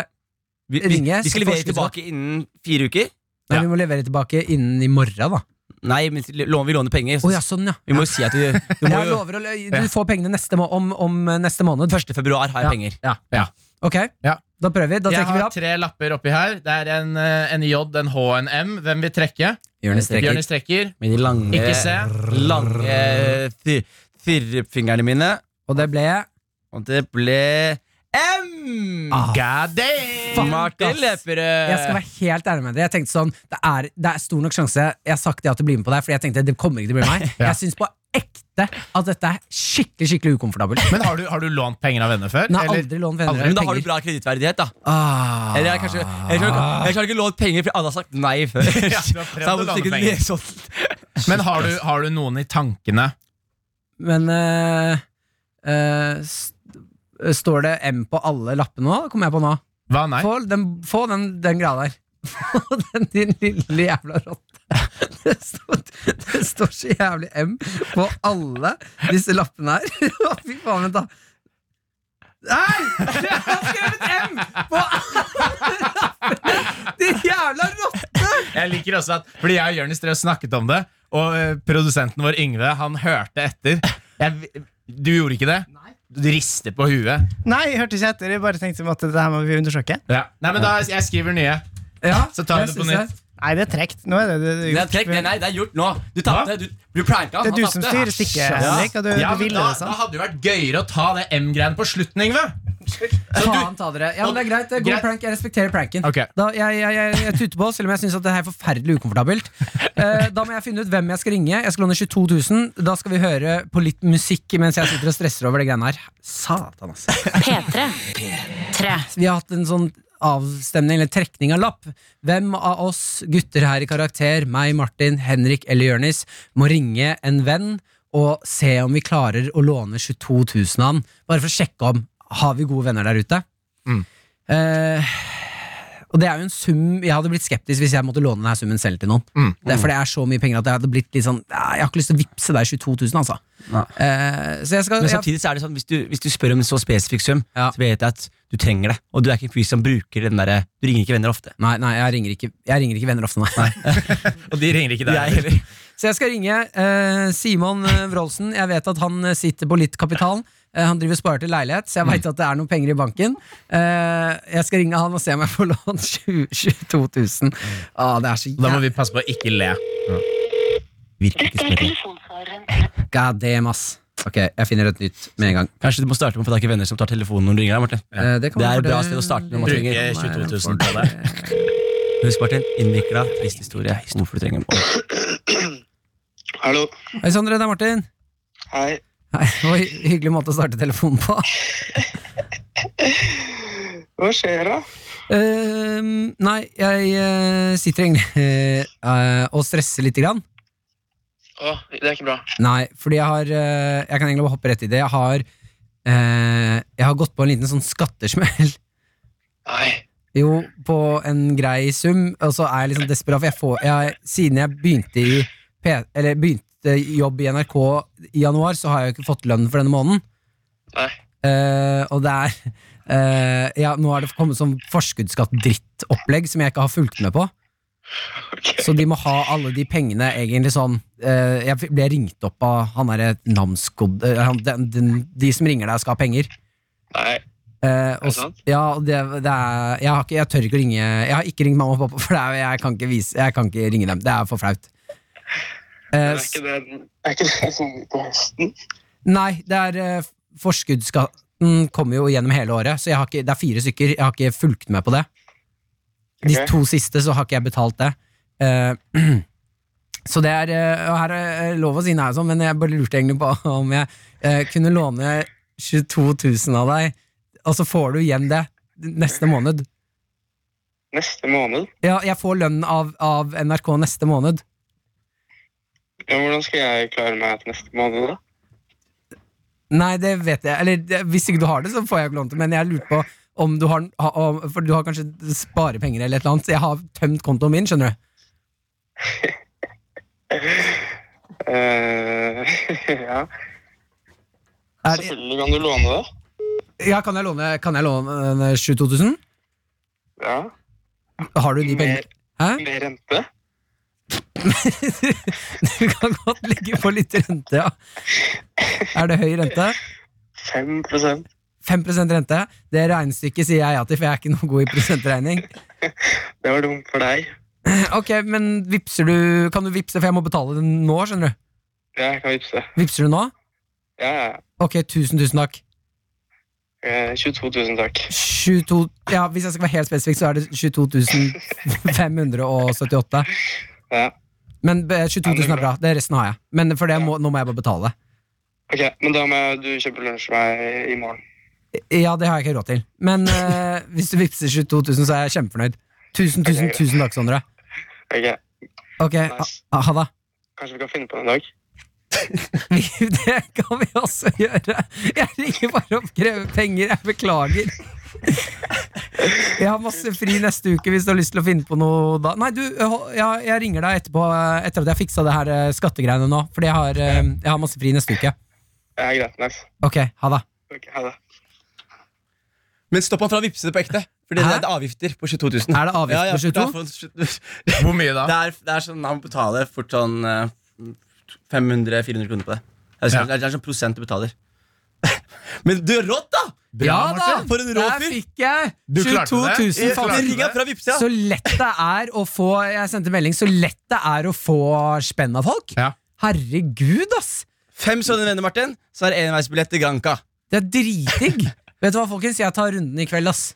Speaker 4: Vi, vi,
Speaker 2: Ringe, så
Speaker 4: vi skal levere
Speaker 2: forskuddsskatt.
Speaker 4: tilbake innen fire uker.
Speaker 2: Nei,
Speaker 3: Ja.
Speaker 2: vi må levere tilbake innen i morgen, da.
Speaker 4: Nei, men vi låner- vi låner penger.
Speaker 2: Å
Speaker 4: Så
Speaker 2: ja, sånn, ja.
Speaker 4: Vi må jo si at du, du må
Speaker 2: Jeg
Speaker 4: jo
Speaker 2: lover å lø- Du får pengene neste må om, om eh, neste måned.
Speaker 4: 1. februar har jeg penger.
Speaker 2: Ja.
Speaker 3: Ja.
Speaker 2: Ok,
Speaker 3: Ja.
Speaker 2: da prøver vi. Da
Speaker 3: Jeg
Speaker 2: trekker vi
Speaker 3: har
Speaker 2: opp.
Speaker 3: tre lapper oppi her. Det er en, eh, en J, en H og en M. Hvem vil trekke?
Speaker 2: Jonis
Speaker 3: Jonis trekker.
Speaker 4: Med de lange,
Speaker 3: Ikke se.
Speaker 4: Eh, lange fir- firfingrene mine.
Speaker 2: Og det ble
Speaker 4: Og det ble M!
Speaker 2: Ah,
Speaker 3: God damn!
Speaker 4: Martin
Speaker 2: ass.
Speaker 4: Lepperød.
Speaker 2: Jeg skal være helt ærlig med dere. Jeg tenkte sånn, det er, det er stor nok sjanse jeg har sagt ja til å bli med på det, her, fordi jeg tenkte det kommer ikke til å bli
Speaker 4: *laughs*
Speaker 2: meg.
Speaker 3: Ja.
Speaker 2: Jeg syns på ekte at dette er skikkelig skikkelig ukomfortabelt.
Speaker 3: Men har du, har du lånt penger av venner før?
Speaker 2: Nei,
Speaker 3: eller?
Speaker 2: aldri lån venner.
Speaker 4: Men da
Speaker 2: penger.
Speaker 4: har du bra kredittverdighet, da.
Speaker 2: Ah.
Speaker 4: Eller jeg kanskje, jeg har ikke, jeg har ikke lånt penger fordi alle har sagt nei før.
Speaker 3: Ja, du
Speaker 4: *laughs*
Speaker 3: har prøvd
Speaker 4: Så jeg
Speaker 3: å
Speaker 4: må
Speaker 3: låne
Speaker 4: sikkert sånn-
Speaker 3: penger.
Speaker 4: lese opp.
Speaker 3: Men har du, har du noen i tankene?
Speaker 2: Men eh, eh, st står det M på alle lappene nå? Det kommer jeg på nå.
Speaker 3: Hva, nei?
Speaker 2: Få den, få den, den greia der. *laughs* Få den, din lille jævla rotte. *laughs* Det står, det står så jævlig M på alle disse lappene her. *laughs* Å, Fy faen, vent, da. Nei! Jeg har skrevet M på alle lappene! Din jævla rotte!
Speaker 3: Jeg liker også at Fordi jeg og Jonis drev og snakket om det, og eh, produsenten vår Yngve, han hørte etter. Jeg, du gjorde ikke det? Du rister på huet.
Speaker 6: Nei, jeg hørte ikke etter. Jeg bare tenkte at det her må vi undersøke.
Speaker 3: Nei, men da jeg skriver nye.
Speaker 2: Ja,
Speaker 3: Så tar vi
Speaker 2: jeg
Speaker 3: det på
Speaker 2: synes jeg-
Speaker 3: nytt.
Speaker 6: Nei, det er trekt. Nå er det, det, det,
Speaker 4: Nei, trekk, nei, nei, det er gjort nå. Du tapte. Du, du pranka.
Speaker 6: det
Speaker 4: han
Speaker 6: er du som
Speaker 4: tapte.
Speaker 6: styrer stikket, Henrik. Og du,
Speaker 3: Ja,
Speaker 6: du
Speaker 3: men
Speaker 6: ville
Speaker 3: da,
Speaker 6: det
Speaker 3: da
Speaker 6: sånn.
Speaker 3: hadde det vært gøyere å ta det M-greiene på slutten, Yngve.
Speaker 2: Faen ta dere. Ja, men det er greit. Det er god
Speaker 3: Greit.
Speaker 2: prank. Jeg respekterer pranken.
Speaker 3: Ok.
Speaker 2: Da, jeg, jeg, jeg, jeg tuter på, selv om jeg syns det her er forferdelig ukomfortabelt. Eh, da må jeg finne ut hvem jeg skal ringe. Jeg skal låne 22 000. Da skal vi høre på litt musikk mens jeg sitter og stresser over det greiene her. Satan, altså.
Speaker 8: P3. P3.
Speaker 2: Vi har hatt en sånn avstemning eller trekning av lapp. Hvem av oss gutter her i karakter, meg, Martin, Henrik eller Jørnis, må ringe en venn og se om vi klarer å låne 22 000 av han, bare for å sjekke om har vi gode venner der ute? Mm. Eh, og det er jo en sum Jeg hadde blitt skeptisk hvis jeg måtte låne denne summen selv til noen. Det er fordi det er så mye penger at jeg hadde blitt litt sånn "Ah, Jeg har ikke lyst til å vippse deg 22 000, altså.
Speaker 4: Nei.
Speaker 2: Eh, så jeg skal
Speaker 4: Men
Speaker 2: jeg-
Speaker 4: samtidig så er det sånn hvis du, hvis du spør om en så spesifikk sum,
Speaker 2: Ja.
Speaker 4: så vet jeg at du trenger det. Og du er ikke en fyr som bruker den derre Du ringer ikke venner ofte.
Speaker 2: Nei, nei jeg, ringer ikke, jeg ringer ikke venner ofte, nei.
Speaker 3: Og de ringer ikke
Speaker 4: Jeg
Speaker 3: deg.
Speaker 4: heller.
Speaker 2: Så jeg skal ringe eh, Simon eh, Wroldsen. Jeg vet at han eh, sitter på litt kapital. Eh, han driver og sparer til leilighet, så jeg veit at det er noen penger i banken. Eh, jeg skal ringe han og se om jeg får *laughs* lånt 20 22 000. Ah, det er så
Speaker 3: Da må
Speaker 2: jævla
Speaker 3: vi passe på å ikke le.
Speaker 4: Virker ikke spørre.
Speaker 2: God damn, ass. Ok, jeg finner et nytt med en gang.
Speaker 4: Kanskje du må starte med å få tak i venner som tar telefonen når du ringer deg, Martin.
Speaker 2: Eh, det, kan
Speaker 4: Det
Speaker 2: man
Speaker 4: er et bra
Speaker 2: fordele-
Speaker 4: sted å starte når man
Speaker 3: Bruke
Speaker 4: trenger
Speaker 3: 22 000 på det.
Speaker 4: Husk, Martin, innvikla, trist historie. Hvorfor du trenger den.
Speaker 9: Hallo.
Speaker 2: Hei, Sondre. Det er Martin.
Speaker 9: Hei.
Speaker 2: Hei, det var hy- Hyggelig måte å starte telefonen på.
Speaker 9: Hva skjer da?
Speaker 2: Eh, nei, jeg eh, sitter egentlig eh, og stresser lite grann.
Speaker 9: Å, det er ikke bra.
Speaker 2: Nei, fordi jeg har eh, Jeg kan egentlig bare hoppe rett i det. Jeg har, eh, jeg har gått på en liten sånn skattesmell.
Speaker 9: Nei.
Speaker 2: Jo, på en grei sum, og så er jeg liksom desperat, for jeg får jeg, Siden jeg begynte i P, Eller begynte i jobb i NRK i januar, så har jeg jo ikke fått lønn for denne måneden.
Speaker 9: Nei.
Speaker 2: Eh, og det er eh, ja, Nå har det kommet sånn forskuddsskatt-drittopplegg som jeg ikke har fulgt med på.
Speaker 9: Ok.
Speaker 2: Så de må ha alle de pengene egentlig sånn eh, Jeg ble ringt opp av han derre namskod... eh, han- den- den- De som ringer deg, skal ha penger.
Speaker 9: Nei.
Speaker 2: Eh, og,
Speaker 9: det
Speaker 2: s-
Speaker 9: sant?
Speaker 2: ja, og det, det er, jeg, har ikke, jeg tør ikke å ringe Jeg har ikke ringt mamma og pappa, for det er, jeg, kan ikke vise, jeg kan ikke ringe dem. Det er for flaut.
Speaker 9: Det
Speaker 2: Eh,
Speaker 9: er ikke det, det, er ikke det som på høsten?
Speaker 2: s- nei, det er eh, Forskuddsskatten kommer jo gjennom hele året, så jeg har ikke, det er fire stykker. Jeg har ikke fulgt med på det. De
Speaker 9: Ok.
Speaker 2: to siste så har ikke jeg betalt det. Eh, *clears throat* så det er eh, og Her er lov å si nei, og sånn, men jeg bare lurte egentlig på *laughs* om jeg eh, kunne låne 22 000 av deg, og så får du igjen det neste måned.
Speaker 9: Neste måned?
Speaker 2: Ja, jeg får lønn av, av NRK neste måned.
Speaker 9: Ja, hvordan skal jeg klare meg til neste måned da?
Speaker 2: Nei, det vet jeg. Eller det- hvis ikke du har det, så får jeg ikke lånt det. Men jeg lurte på om du har ha- om- For du har kanskje sparepenger eller et eller annet. Så jeg har tømt kontoen min, skjønner du.
Speaker 9: Eh, *laughs* ja,
Speaker 2: Er, det-
Speaker 9: selvfølgelig kan du låne det.
Speaker 2: ja, kan jeg låne, kan jeg låne eh, 22 000?
Speaker 9: Ja,
Speaker 2: Har du de pengene?
Speaker 9: Mer.
Speaker 2: Hæ? *laughs*
Speaker 9: med rente.
Speaker 2: Du kan godt legge på litt rente, ja. Er det høy rente?
Speaker 9: 5 prosent.
Speaker 2: 5 rente? Det regnestykket sier jeg ja til, for jeg er ikke noe god i prosentregning.
Speaker 9: Det var dumt for deg.
Speaker 2: Ok, men vipser du Kan du vipse, for jeg må betale det nå, skjønner du?
Speaker 9: Ja, jeg kan vipse.
Speaker 2: Vipser du nå?
Speaker 9: Ja, ja.
Speaker 2: Ok, tusen, tusen takk.
Speaker 9: Eh, 22 000 takk.
Speaker 2: 22, ja, hvis jeg skal være helt spesifikk, så er det 22 578.
Speaker 9: Ja.
Speaker 2: Men eh, 22 000 er bra. Det resten har jeg. Men for det må, nå må jeg bare betale.
Speaker 9: Ok, men da må jeg, du kjøpe lunsj til meg i morgen.
Speaker 2: Ja, det har jeg ikke råd til. Men eh, hvis du vippser 22 000, så er jeg kjempefornøyd. Tusen, tusen, tusen takk, Sondre.
Speaker 9: Ok,
Speaker 2: Ok, ha, ha det.
Speaker 9: kanskje vi kan finne på det en dag?
Speaker 2: *laughs* Vi- Det kan vi også gjøre. Jeg ringer bare og krever penger. Jeg beklager. Jeg har masse fri neste uke hvis du har lyst til å finne på noe da. Nei, du, jeg, jeg ringer deg etterpå eh, etter at jeg har fiksa det her eh, skattegreiene nå. Fordi jeg har, eh, jeg har masse fri neste uke.
Speaker 9: Ja, greit, nice.
Speaker 2: Ok, ha det.
Speaker 9: Ok, ha det.
Speaker 4: Men stopp han fra å vippse det på ekte. Fordi det
Speaker 2: Hæ?
Speaker 4: er det avgifter på 22 000.
Speaker 2: Er det avgift på
Speaker 4: 22 000?
Speaker 3: Hvor mye da?
Speaker 4: Det er, det er sånn, Han betaler fort sånn eh, 500-400 kroner på det. Det er, sånn, det er sånn prosent du betaler. *laughs* Men du er rått, da!
Speaker 2: ja da!
Speaker 4: Martin. For en rå
Speaker 2: Der
Speaker 4: fyr!
Speaker 2: fikk jeg
Speaker 3: Du klarte
Speaker 2: 22
Speaker 3: det.
Speaker 2: 000
Speaker 3: Jeg klarte
Speaker 2: fader.
Speaker 3: det.
Speaker 4: Ringa fra Vipps, ja!
Speaker 2: Så lett det er å få Jeg sendte melding. Så lett det er å få spenn av folk.
Speaker 3: Ja.
Speaker 2: Herregud, ass!
Speaker 4: Fem sånne venner, Martin, så er det enveisbillett til Granca.
Speaker 2: Det er
Speaker 3: *laughs*
Speaker 2: dritdigg. Vet du hva, folkens? Jeg tar runden i kveld, ass.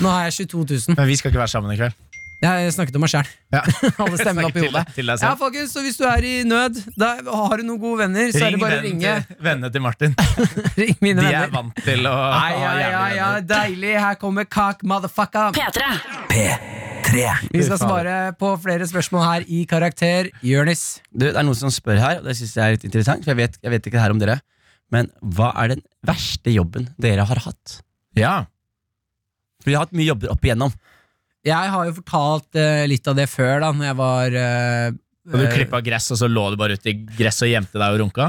Speaker 2: Nå har jeg 22 000.
Speaker 3: Men vi skal ikke være sammen i kveld.
Speaker 2: Jeg snakket om meg *laughs* sjæl.
Speaker 3: *laughs* Ja.
Speaker 2: Alle stemmer opp i
Speaker 3: Til-
Speaker 2: hodet.
Speaker 3: til deg
Speaker 2: Ja,
Speaker 3: selv.
Speaker 2: folkens, så hvis du er i nød, da har du noen gode venner, så er det bare å
Speaker 3: vennen
Speaker 2: ringe.
Speaker 3: til- vennene til
Speaker 2: *laughs*
Speaker 3: Martin.
Speaker 2: Ring mine
Speaker 3: De er
Speaker 2: venner.
Speaker 3: vant til å
Speaker 2: Ai,
Speaker 3: ha
Speaker 2: ai, ai,
Speaker 3: jævlig venner.
Speaker 2: ai, deilig. Her kommer kak, motherfucker.
Speaker 8: P3.
Speaker 2: Vi skal svare på flere spørsmål her i Karakter. Jonis.
Speaker 4: Du, det er noen som spør her, og det synes jeg er litt interessant. For jeg vet, jeg vet ikke det her om dere Men hva er den verste jobben dere har hatt?
Speaker 3: Ja.
Speaker 4: For Vi har hatt mye jobber opp igjennom.
Speaker 2: Jeg har jo fortalt eh, litt av det før, da når jeg var eh,
Speaker 3: Og du
Speaker 2: eh,
Speaker 3: klippa gress, og så lå du bare ute i gresset og gjemte deg og runka?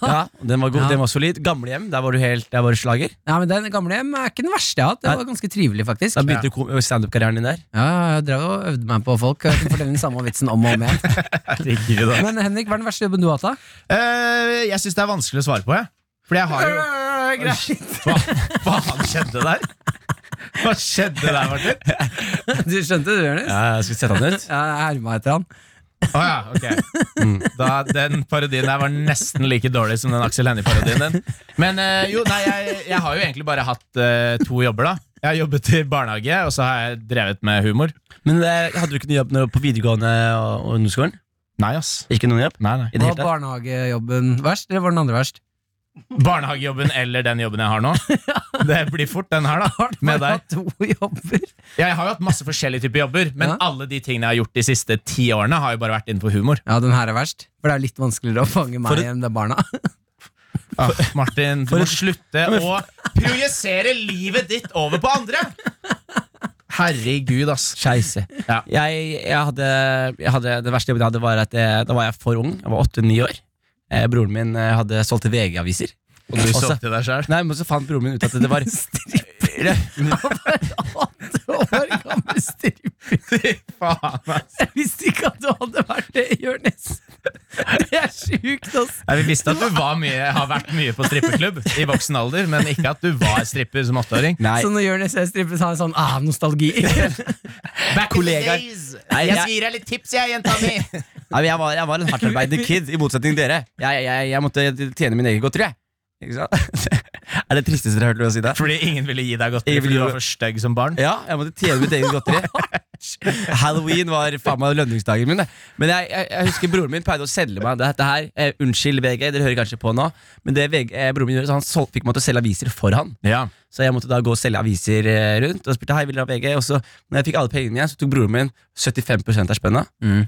Speaker 4: Ja, Den var god,
Speaker 2: Ja.
Speaker 4: den var solid. Gamlehjem, der var du helt der var du slager.
Speaker 2: Ja, men Den gamle hjem er ikke den verste jeg har hatt. Det
Speaker 4: Nei.
Speaker 2: var ganske trivelig, faktisk.
Speaker 4: Da begynte ko- standup-karrieren din der.
Speaker 2: Ja, Jeg drev og øvde meg på folk. Jeg kunne fortelle den samme vitsen om og om igjen. *laughs* Men Henrik, hva er den verste jobben du har hatt?
Speaker 3: Eh, jeg syns det er vanskelig å svare på, jeg. Fordi jeg har jo
Speaker 2: da?
Speaker 3: Hva faen skjedde der? Hva skjedde der, Martin?
Speaker 2: Du skjønte det, Jonis? Ja.
Speaker 4: Ja, skal vi sette han ut?
Speaker 2: Jeg herma etter han.
Speaker 3: Å ja, ok. Da, den parodien der var nesten like dårlig som den Aksel Hennie-parodien din. Men eh, jo, nei, jeg, jeg har jo egentlig bare hatt eh, to jobber, da. Jeg har jobbet i barnehage, og så har jeg drevet med humor.
Speaker 4: Men eh, hadde du ikke noe jobb når du var på videregående og og ungdomsskolen?
Speaker 3: Nei, ass.
Speaker 4: Ikke noen jobb?
Speaker 3: Nei, nei.
Speaker 4: I det
Speaker 2: Var
Speaker 4: hele tatt?
Speaker 2: barnehagejobben verst, eller var den andre verst?
Speaker 3: Barnehagejobben eller den jobben jeg har nå.
Speaker 2: *laughs*
Speaker 3: Det blir fort den her, da. Med
Speaker 2: Bare
Speaker 3: deg.
Speaker 2: hatt to jobber.
Speaker 3: Jeg har jo hatt masse forskjellige typer jobber, men
Speaker 2: Ja.
Speaker 3: alle de tingene jeg har gjort de siste ti årene, har jo bare vært innenfor humor.
Speaker 2: Ja, den her er verst. For det er litt vanskeligere å fange meg enn det er *laughs* barna.
Speaker 3: Ah, Martin, du må slutte å projisere livet ditt over på andre! Herregud, ass.
Speaker 4: Scheisse.
Speaker 3: Ja.
Speaker 4: Jeg, jeg, hadde, jeg hadde Det verste jobben jeg hadde, var at jeg, da var jeg for ung. Jeg var åtte-ni år. Eh, broren min eh, hadde solgte VG-aviser.
Speaker 3: Og du
Speaker 4: Også-
Speaker 3: solgte deg sjæl.
Speaker 4: Nei, men så fant broren min ut at det
Speaker 3: *laughs*
Speaker 4: var *laughs*
Speaker 2: Åtte år gammel stripper.
Speaker 3: Faen, ass.
Speaker 2: Jeg visste ikke at du hadde vært det, Jonis. Det er sjukt, ass.
Speaker 3: Nei, Vi visste at du var mye, har vært mye på strippeklubb i voksen alder, men ikke at du var stripper som åtteåring.
Speaker 4: Nei,
Speaker 2: Så når Jonis er stripper, så har han sånn ah, *laughs* nostalgi.
Speaker 3: Back in the
Speaker 4: Kollegaer.
Speaker 3: days.
Speaker 4: Nei,
Speaker 3: Jeg
Speaker 4: jeg-
Speaker 3: skal gi deg litt tips, jeg, jenta mi.
Speaker 4: nei men jeg, var, jeg var en hardtarbeidende
Speaker 3: *laughs*
Speaker 4: kid, i motsetning til dere. Jeg, jeg, jeg måtte tjene min egen godteri. jeg. Ikke sant? *laughs* er det tristeste dere har hørt meg si det?
Speaker 3: Fordi ingen ville gi deg godteri
Speaker 4: Ingen
Speaker 3: fordi
Speaker 4: ville
Speaker 3: du
Speaker 4: gi-
Speaker 3: var for stygg som barn?
Speaker 4: Ja, jeg måtte tjene mitt eget godteri. Halloween var faen meg lønningsdagen min. det. Men jeg, jeg, jeg husker broren min pleide å selge meg dette her. Eh, unnskyld, VG, dere hører kanskje på nå, men det VG, eh, broren min gjorde, så han sol, fikk meg til å selge aviser for han.
Speaker 3: Ja.
Speaker 4: Så jeg måtte da gå og selge aviser eh, rundt, og spurte hei, vil dere ha VG? Og så, når jeg fikk alle pengene igjen, så tok broren min 75 av spenna,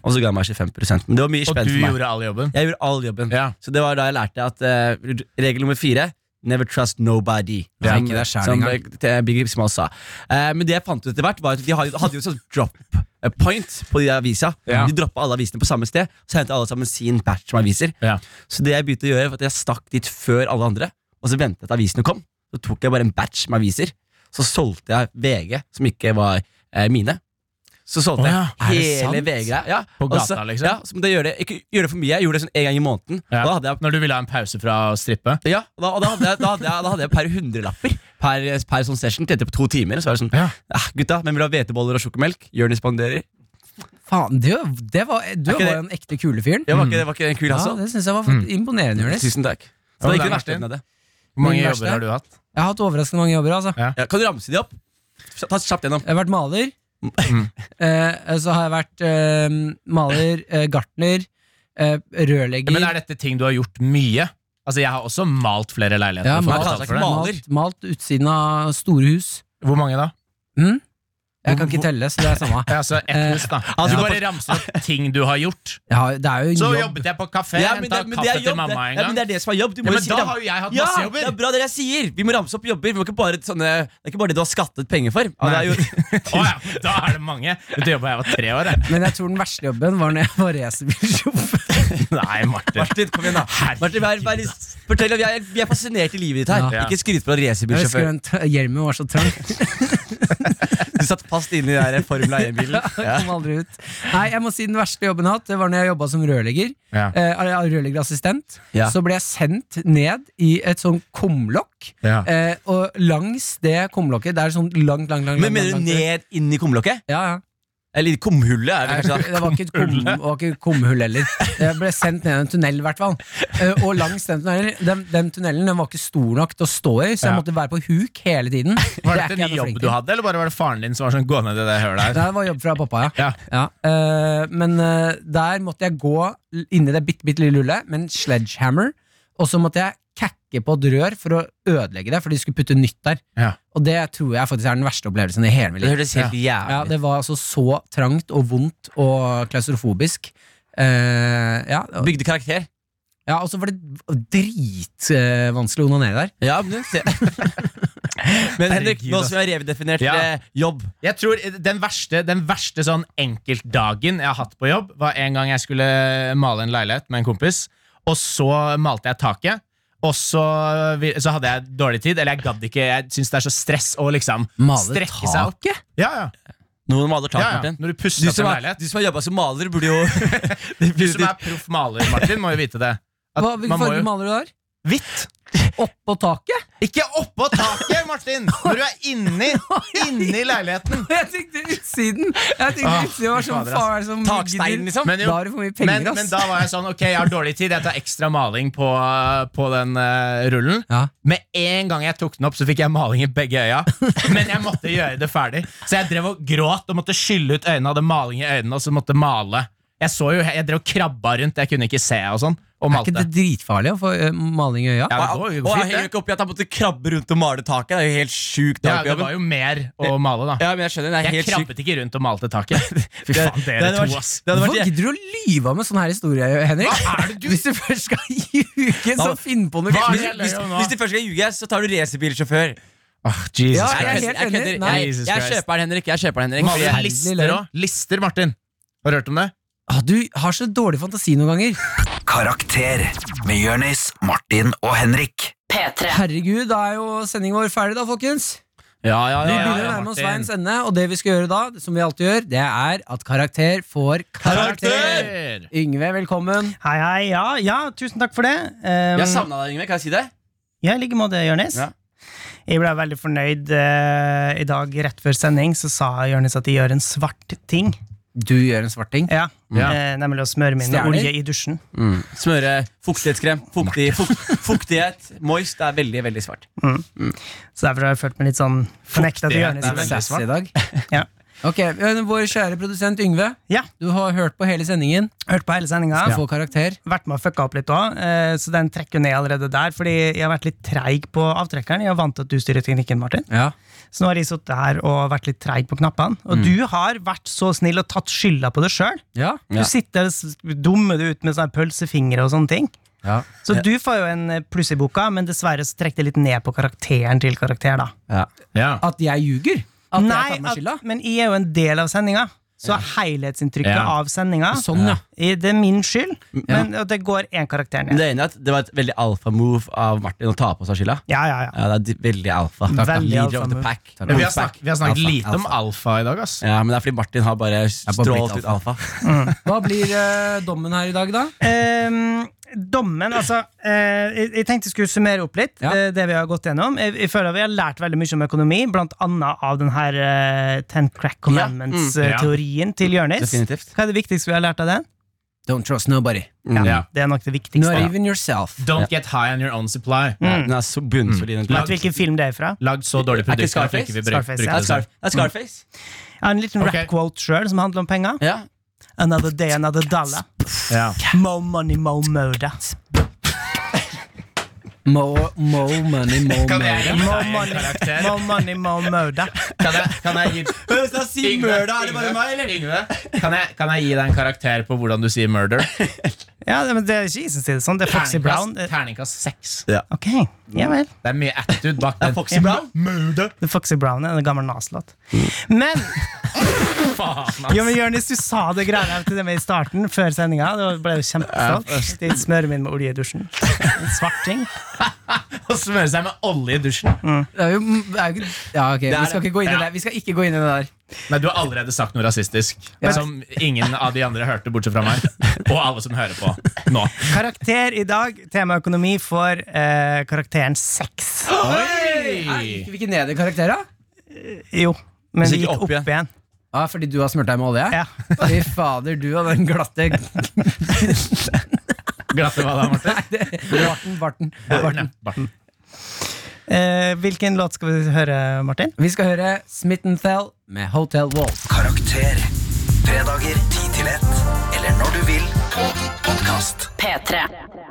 Speaker 4: og så ga han meg 25 Men det var mye
Speaker 3: Mm. Og
Speaker 4: spenn
Speaker 3: du
Speaker 4: for meg.
Speaker 3: gjorde all jobben?
Speaker 4: Jeg gjorde all jobben.
Speaker 3: Ja.
Speaker 4: Så det var da jeg lærte at eh, regel nummer fire Never trust nobody.
Speaker 2: Ja, ikke det er skjæring
Speaker 4: som
Speaker 2: engang.
Speaker 4: eh, Big Rip Small sa. Eh, men det jeg fant ut etter hvert, var at de hadde, hadde jo et sånt drop eh, point på de avisa.
Speaker 3: Ja.
Speaker 4: De droppa alle avisene på samme sted, så hentet alle sammen sin batch med aviser.
Speaker 3: Ja.
Speaker 4: Så det jeg begynte å gjøre, var at jeg stakk dit før alle andre, og så ventet jeg til avisene kom. Så tok jeg bare en batch med aviser. Så solgte jeg VG, som ikke var eh, mine. Så solgte
Speaker 3: Å ja, er det
Speaker 4: jeg hele
Speaker 3: sant?
Speaker 4: VG-greia. Ja.
Speaker 3: På gata,
Speaker 4: Og så-
Speaker 3: liksom?
Speaker 4: Ja, så måtte jeg gjøre det, ikke gjøre det for mye. Jeg gjorde det sånn en gang i måneden.
Speaker 3: Ja.
Speaker 4: Og da hadde jeg
Speaker 3: Når du ville ha en pause fra å strippe?
Speaker 4: ja, og da, og da, hadde jeg, da, hadde jeg, da hadde jeg per hundrelapper per, per sånn session. Tjente på to timer. og Så var det sånn
Speaker 3: Ja.
Speaker 4: ah, Gutta, hvem vil ha hveteboller og sjokomelk? Jonis spanderer.
Speaker 2: Faen, du, det var, du
Speaker 4: Er ikke
Speaker 2: var
Speaker 4: det-
Speaker 2: jo den ekte kule fyren.
Speaker 4: Det var ikke, det var ikke en kul,
Speaker 2: Ja,
Speaker 4: altså.
Speaker 2: det syns jeg var for- imponerende, Jonis.
Speaker 4: Tusen takk.
Speaker 3: Ja,
Speaker 4: Så det er
Speaker 3: det er
Speaker 4: ikke den verste
Speaker 3: verste.
Speaker 4: enden av det.
Speaker 3: Hvor mange
Speaker 2: Min verste?
Speaker 3: jobber har du hatt?
Speaker 2: Jeg har hatt overraskende mange jobber. altså
Speaker 3: Ja.
Speaker 4: Ja, kan du ramse de opp? Ta kjapt gjennom.
Speaker 2: Jeg har vært maler.
Speaker 3: Mm.
Speaker 2: *laughs* eh, så har jeg vært eh, maler, eh, gartner, eh,
Speaker 3: Ja,
Speaker 2: rørlegger
Speaker 3: men Er dette ting du har gjort mye? Altså Jeg har også malt flere leiligheter.
Speaker 2: Ja,
Speaker 3: for
Speaker 2: malt,
Speaker 3: å betale
Speaker 4: altså,
Speaker 3: for det.
Speaker 4: maler.
Speaker 2: malt, malt utsiden av store hus.
Speaker 3: Hvor mange da?
Speaker 2: Mm? Jeg kan ikke telle, så det er samme.
Speaker 3: Ja, så ett pluss, da.
Speaker 4: altså,
Speaker 3: du
Speaker 4: ja.
Speaker 3: bare ramser opp ting du har
Speaker 4: *laughs*
Speaker 3: gjort.
Speaker 2: Jeg har, det er jo
Speaker 3: Så
Speaker 2: jobb.
Speaker 3: jobbet jeg på kafé,
Speaker 4: Ja, men
Speaker 3: henta
Speaker 4: det, men det
Speaker 3: kaffe
Speaker 4: er
Speaker 3: til
Speaker 4: jobb, det.
Speaker 3: mamma en
Speaker 4: Ja, men
Speaker 3: gang.
Speaker 4: det er det som er jobb. Du må
Speaker 3: Ja,
Speaker 4: jo
Speaker 3: men
Speaker 4: si
Speaker 3: da
Speaker 4: det.
Speaker 3: har jo jeg hatt
Speaker 4: ja,
Speaker 3: masse
Speaker 4: det
Speaker 3: jobber.
Speaker 4: er bra det jeg sier! Vi må ramse opp jobber. Vi må ikke bare sånne, det er ikke bare det du har skattet penger for. Ja, det er jo,
Speaker 3: Å ja, da er det mange. Du jobba jeg var tre år,
Speaker 4: *laughs*
Speaker 3: jeg.
Speaker 2: Men jeg tror den verste jobben var når jeg var racerbilsjåfør.
Speaker 3: Nei, Martin.
Speaker 4: Martin, kom igjen, da. Martin, vær, vær, fortell, om- vi, er, vi er fascinert i livet ditt her.
Speaker 3: Ja.
Speaker 4: Ikke skryt på deg
Speaker 2: Jeg husker
Speaker 4: racerbilsjåfør.
Speaker 2: den tra- hjelmen var så
Speaker 3: *laughs*
Speaker 2: trang.
Speaker 4: Du satt fast inne i den der eh, Formel
Speaker 2: *laughs*
Speaker 4: 1-bilen. Ja.
Speaker 2: Jeg kom aldri ut. Nei, jeg må si den verste jobben jeg har hatt, det var når jeg jobba som rørlegger.
Speaker 3: Ja.
Speaker 2: Eh, rørleggerassistent.
Speaker 4: Ja.
Speaker 2: Så ble jeg sendt ned i et sånn kumlokk.
Speaker 3: Ja.
Speaker 2: Eh, og langs det kumlokket Det er sånn langt, langt, langt
Speaker 4: Men
Speaker 2: langt,
Speaker 4: mener du
Speaker 2: langt, langt.
Speaker 4: ned inn i kumlokket?
Speaker 2: Ja, ja.
Speaker 4: Eller i kumhullet? Er det sånn kanskje, da?
Speaker 2: Det var ikke et kum, det var ikke et kumhull heller. Jeg ble sendt ned i en tunnel, i hvert fall. Eh, Og langs den tunnelen den, den tunnelen den var ikke stor nok til å stå i, så jeg
Speaker 3: Ja.
Speaker 2: måtte være på huk hele tiden.
Speaker 3: Var
Speaker 2: er
Speaker 3: det
Speaker 2: ikke
Speaker 3: en
Speaker 2: jeg noe
Speaker 3: jobb
Speaker 2: flink
Speaker 3: du
Speaker 2: til.
Speaker 3: hadde, eller bare var det faren din som var sånn gå ned i det hølet her?
Speaker 2: Nei, Det var jobb fra pappa, ja.
Speaker 3: Ja.
Speaker 2: eh, men eh, der måtte jeg gå l- inni det bitte, bitte lille hullet med en sledgehammer, og så måtte jeg kakke på et rør for å ødelegge det, for de skulle putte nytt der.
Speaker 3: Ja.
Speaker 2: Og det tror jeg faktisk er den verste opplevelsen i hele mitt
Speaker 4: Det
Speaker 2: liv.
Speaker 4: høres helt
Speaker 2: Ja,
Speaker 4: jævlig ut.
Speaker 2: det var altså så trangt og vondt og klaustrofobisk. Eh, ja, og-
Speaker 4: Bygde karakter.
Speaker 2: ja, og så var det dritvanskelig å onanere der.
Speaker 4: Ja, men, se. *laughs* men Henrik,
Speaker 3: Herregud,
Speaker 4: nå
Speaker 3: ass.
Speaker 4: som vi har redefinert
Speaker 3: Ja.
Speaker 4: eh, jobb
Speaker 3: Jeg tror den verste, den verste sånn enkeltdagen jeg har hatt på jobb, var en gang jeg skulle male en leilighet med en kompis, og så malte jeg taket. Og så, vi- så hadde jeg dårlig tid, eller jeg gadd ikke. Jeg syns det er så stress å liksom
Speaker 2: Male
Speaker 3: strekke seg opp.
Speaker 2: taket?
Speaker 3: Ja, ja,
Speaker 4: Noen maler tak,
Speaker 3: ja, ja.
Speaker 4: Martin.
Speaker 3: Når du
Speaker 4: Du
Speaker 3: pusser opp
Speaker 4: som,
Speaker 3: en
Speaker 4: har,
Speaker 3: leilighet.
Speaker 4: du som har jobba som maler, burde
Speaker 3: *laughs*
Speaker 4: jo *laughs* det
Speaker 3: Du
Speaker 4: blir-
Speaker 3: som er proff maler, Martin, må jo vite det. At
Speaker 2: Hva, hvilken
Speaker 3: man må
Speaker 2: farge
Speaker 3: jo-
Speaker 2: maler du der?
Speaker 3: Hvitt!
Speaker 2: Oppå taket? *laughs*
Speaker 3: Ikke oppå taket, Martin! Når du er inni, inni leiligheten.
Speaker 2: Jeg tenkte utsiden! Jeg tenkte
Speaker 3: Ah,
Speaker 2: utsiden var
Speaker 3: fy
Speaker 2: sånn
Speaker 3: fader, ass.
Speaker 2: far som
Speaker 4: Taksteinen,
Speaker 2: gidder.
Speaker 4: liksom.
Speaker 3: Men jo,
Speaker 2: Da har du for mye
Speaker 3: men,
Speaker 2: penger,
Speaker 3: men
Speaker 2: ass.
Speaker 3: da var jeg sånn, ok, jeg har dårlig tid, jeg tar ekstra maling på, på den eh, rullen.
Speaker 2: Ja.
Speaker 3: Med en gang jeg tok den opp, så fikk jeg maling i begge
Speaker 4: *laughs*
Speaker 3: øya. Men jeg måtte gjøre det ferdig. Så jeg drev og gråt og måtte skylle ut øynene, hadde maling i øynene, og så måtte male. Jeg så jo, jeg drev og krabba rundt, jeg kunne ikke se og sånn, og
Speaker 2: Er ikke
Speaker 3: malte.
Speaker 2: det dritfarlig å få eh, maling i øya?
Speaker 3: Ja,
Speaker 4: Og
Speaker 3: det går jo
Speaker 4: jeg
Speaker 3: fint,
Speaker 4: henger
Speaker 3: det.
Speaker 4: ikke opp i at han måtte krabbe rundt og male taket. Det er jo helt sjukt.
Speaker 3: Ja,
Speaker 4: takjobben.
Speaker 3: det var jo mer å male, da.
Speaker 4: Ja, men jeg skjønner, det er
Speaker 3: Jeg
Speaker 4: helt sykt.
Speaker 3: krabbet ikke rundt og malte taket. Fy
Speaker 4: *laughs* Det-
Speaker 3: faen,
Speaker 4: det
Speaker 3: dere
Speaker 4: hadde vært-
Speaker 3: to, ass.
Speaker 4: Det hadde
Speaker 2: Hvorfor
Speaker 4: vært
Speaker 2: gidder du å lyve om en sånn her historie, Henrik?
Speaker 3: Hva er det du-
Speaker 2: Hvis du først skal *laughs* ljuge, så
Speaker 4: Hva-
Speaker 2: finn på noe.
Speaker 3: Hva er
Speaker 4: hvis,
Speaker 3: det jeg
Speaker 4: hvis,
Speaker 3: løy om nå?
Speaker 4: hvis de først skal ljuge, så tar du racerbilsjåfør.
Speaker 3: Åh, Jesus
Speaker 2: Ja, jeg er helt
Speaker 3: Christ.
Speaker 4: Jeg, kødder.
Speaker 2: enig. Nei.
Speaker 4: jeg,
Speaker 3: Jesus
Speaker 4: jeg
Speaker 3: Christ.
Speaker 4: kjøper den, Henrik. Jeg kjøper den, Henrik.
Speaker 3: Maler
Speaker 2: Herlig
Speaker 3: lister
Speaker 2: løgn.
Speaker 3: òg. Lister, Martin. Har du hørt om det?
Speaker 2: Ah, du har så dårlig fantasi noen ganger.
Speaker 1: Karakter med Jørnis, Martin og Henrik.
Speaker 8: P3.
Speaker 2: Herregud, da er jo sendingen vår ferdig, da, folkens.
Speaker 4: Ja, ja,
Speaker 2: Vi
Speaker 4: ja.
Speaker 3: ja,
Speaker 2: begynner å nærme oss
Speaker 3: Martin.
Speaker 2: veiens ende, og det vi skal gjøre da, som vi alltid gjør, det er at karakter får karakter. Yngve, velkommen.
Speaker 6: Hei, hei. Ja, ja, tusen takk for det. Um,
Speaker 4: Jeg savna deg, Yngve. Kan jeg si det?
Speaker 6: Ja, i like måte, Jonis.
Speaker 4: Ja.
Speaker 6: Jeg ble veldig fornøyd eh, i dag. Rett før sending så sa Jonis at de gjør en svart ting.
Speaker 2: Du gjør en svarting.
Speaker 6: Ja,
Speaker 3: Ja.
Speaker 6: eh, Nemlig å smøre meg med
Speaker 2: Stjerner?
Speaker 6: olje i dusjen.
Speaker 4: Smøre fuktighetskrem. Fuktig, fukt, fuktighet. Moist. Det er veldig, veldig svart.
Speaker 6: Så derfor har jeg følt meg litt sånn fornekta til
Speaker 3: Fuktighet,
Speaker 6: Jonis.
Speaker 3: det
Speaker 6: i
Speaker 3: er
Speaker 6: dag.
Speaker 3: veldig
Speaker 2: Sassy i dag.
Speaker 6: Ja.
Speaker 2: Ok, eh, Vår kjære produsent Yngve,
Speaker 6: Ja.
Speaker 2: du har hørt på hele sendingen.
Speaker 6: Hørt på hele sendinga.
Speaker 2: Du får karakter.
Speaker 6: Vært med og fucka opp litt òg, så den trekker jo ned allerede der. Fordi jeg har vært litt treig på avtrekkeren. Jeg er vant til at du styrer teknikken, Martin.
Speaker 2: Ja. Mm.
Speaker 6: Så nå har jeg sittet her og vært litt treig på knappene. Og du har vært så snill og tatt skylda på det sjøl.
Speaker 2: Ja.
Speaker 6: Du sitter og s- dummer deg ut med sånne pølsefingre og sånne ting.
Speaker 2: Ja.
Speaker 6: Så du får jo en eh, pluss i boka, men dessverre så trekker det litt ned på karakteren til karakter, da.
Speaker 3: Ja.
Speaker 2: At jeg ljuger? At jeg
Speaker 6: Nei,
Speaker 2: tar meg skylda?
Speaker 6: at, men jeg er jo en del av sendinga. Så helhetsinntrykket
Speaker 3: Ja.
Speaker 6: av sendinga
Speaker 2: Sånn, ja.
Speaker 6: i- Det er min skyld, men og det går én karakter
Speaker 4: Men
Speaker 6: ned.
Speaker 4: det er enig i at det var et veldig alfa-move av Martin å ta på seg skylda.
Speaker 6: Ja, ja, ja.
Speaker 4: Ja, det er d- veldig alfa.
Speaker 6: Takk, takk. Veldig
Speaker 4: Leader of the
Speaker 6: alfa-move.
Speaker 4: pack.
Speaker 3: Men vi har, snak vi har snakket
Speaker 2: Alfa,
Speaker 3: lite om alfa i dag, ass.
Speaker 4: Ja, men det er fordi Martin har bare
Speaker 2: bare blitt
Speaker 4: strålt ut alfa.
Speaker 2: Hva blir eh, dommen her i dag, da?
Speaker 6: Ehm, dommen, altså eh, jeg, jeg tenkte jeg skulle summere opp litt
Speaker 2: Ja.
Speaker 6: eh, det vi har gått gjennom. Jeg, jeg føler at Vi har lært veldig mye om økonomi, blant annet av den her eh, Ten Crack
Speaker 3: Ja.
Speaker 6: Commandments-teorien til Jonis.
Speaker 4: Definitivt.
Speaker 6: Hva er det viktigste vi har lært av den?
Speaker 2: Don't trust nobody.
Speaker 4: Mm.
Speaker 3: Ja.
Speaker 6: Det er nok det viktigste.
Speaker 2: Not even yourself.
Speaker 3: Don't get high on your own supply.
Speaker 4: Ja, Den er så bunnsolid. den.
Speaker 6: Vet du hvilken film det er fra?
Speaker 3: Lagd så dårlig
Speaker 4: Mm. Er ikke
Speaker 3: produkt at vi
Speaker 4: Scarface?
Speaker 3: ikke vil bruke
Speaker 6: Scarface,
Speaker 3: bruke
Speaker 4: Det
Speaker 6: ja.
Speaker 4: er,
Speaker 3: Mm. det. selv.
Speaker 4: Scar det er Scarface.
Speaker 6: Jeg har en liten
Speaker 3: Ok.
Speaker 6: rap quote sjøl som handler om penger.
Speaker 4: Ja.
Speaker 6: Another day, another dollar.
Speaker 3: Ja.
Speaker 6: Mo money, mo murder.
Speaker 2: Mo, mo money, mo
Speaker 3: Kan jeg
Speaker 2: money.
Speaker 3: gi
Speaker 6: More
Speaker 3: deg en
Speaker 6: money,
Speaker 3: karakter?
Speaker 6: more money, more murder.
Speaker 3: Kan jeg, kan jeg gi
Speaker 4: Hvem skal si murda? Er det bare meg, eller?
Speaker 3: Yngve? Kan jeg, kan jeg gi deg en karakter på hvordan du sier murder?
Speaker 6: Ja, det- men det er ikke jeg som sier det sånn. Det er Foxy Brown.
Speaker 3: Terningkast- Terningkast seks.
Speaker 6: Ok, ja vel.
Speaker 3: Det er mye attitude bak den.
Speaker 4: Foxy Brown?
Speaker 3: Murder!
Speaker 6: The Foxy Brown er en gammel Nas-låt. Men
Speaker 3: Faen,
Speaker 6: jo, men Jonis, du sa det greia der til det med i starten, før sendinga. Det var- ble jo kjempestolt. De smører min med olje i dusjen. En svart ting.
Speaker 3: Å smøre seg med olje i dusjen.
Speaker 2: Det er jo det er jo ikke, Ja, ok, vi skal ikke gå inn i
Speaker 3: Ja.
Speaker 2: det. Vi skal ikke gå inn i det der.
Speaker 3: Nei, Du har allerede sagt noe rasistisk
Speaker 2: Ja.
Speaker 3: som ingen av de andre hørte, bortsett fra meg. Og alle som hører på nå.
Speaker 6: Karakter i dag, tema økonomi, får eh, karakteren seks.
Speaker 2: Nei,
Speaker 3: Oi!
Speaker 2: Gikk vi ikke ned i karakter, da?
Speaker 6: Jo, men
Speaker 4: Så
Speaker 6: det
Speaker 4: ikke
Speaker 6: gikk
Speaker 4: opp
Speaker 6: opp
Speaker 4: igjen.
Speaker 6: igjen.
Speaker 2: Ja, fordi du har smurt deg med olje?
Speaker 6: Ja.
Speaker 2: *laughs* Fy fader, du og den glatte *laughs*
Speaker 3: Glatte hva da, Marte?
Speaker 2: barten, barten, barten.
Speaker 3: Barten.
Speaker 6: Eh, hvilken låt skal vi høre, Martin?
Speaker 2: Vi skal høre Smith Thell med Hotel Walls.
Speaker 1: Karakter. Fredager 10 til 1. Eller når du vil på podkast.
Speaker 8: P3.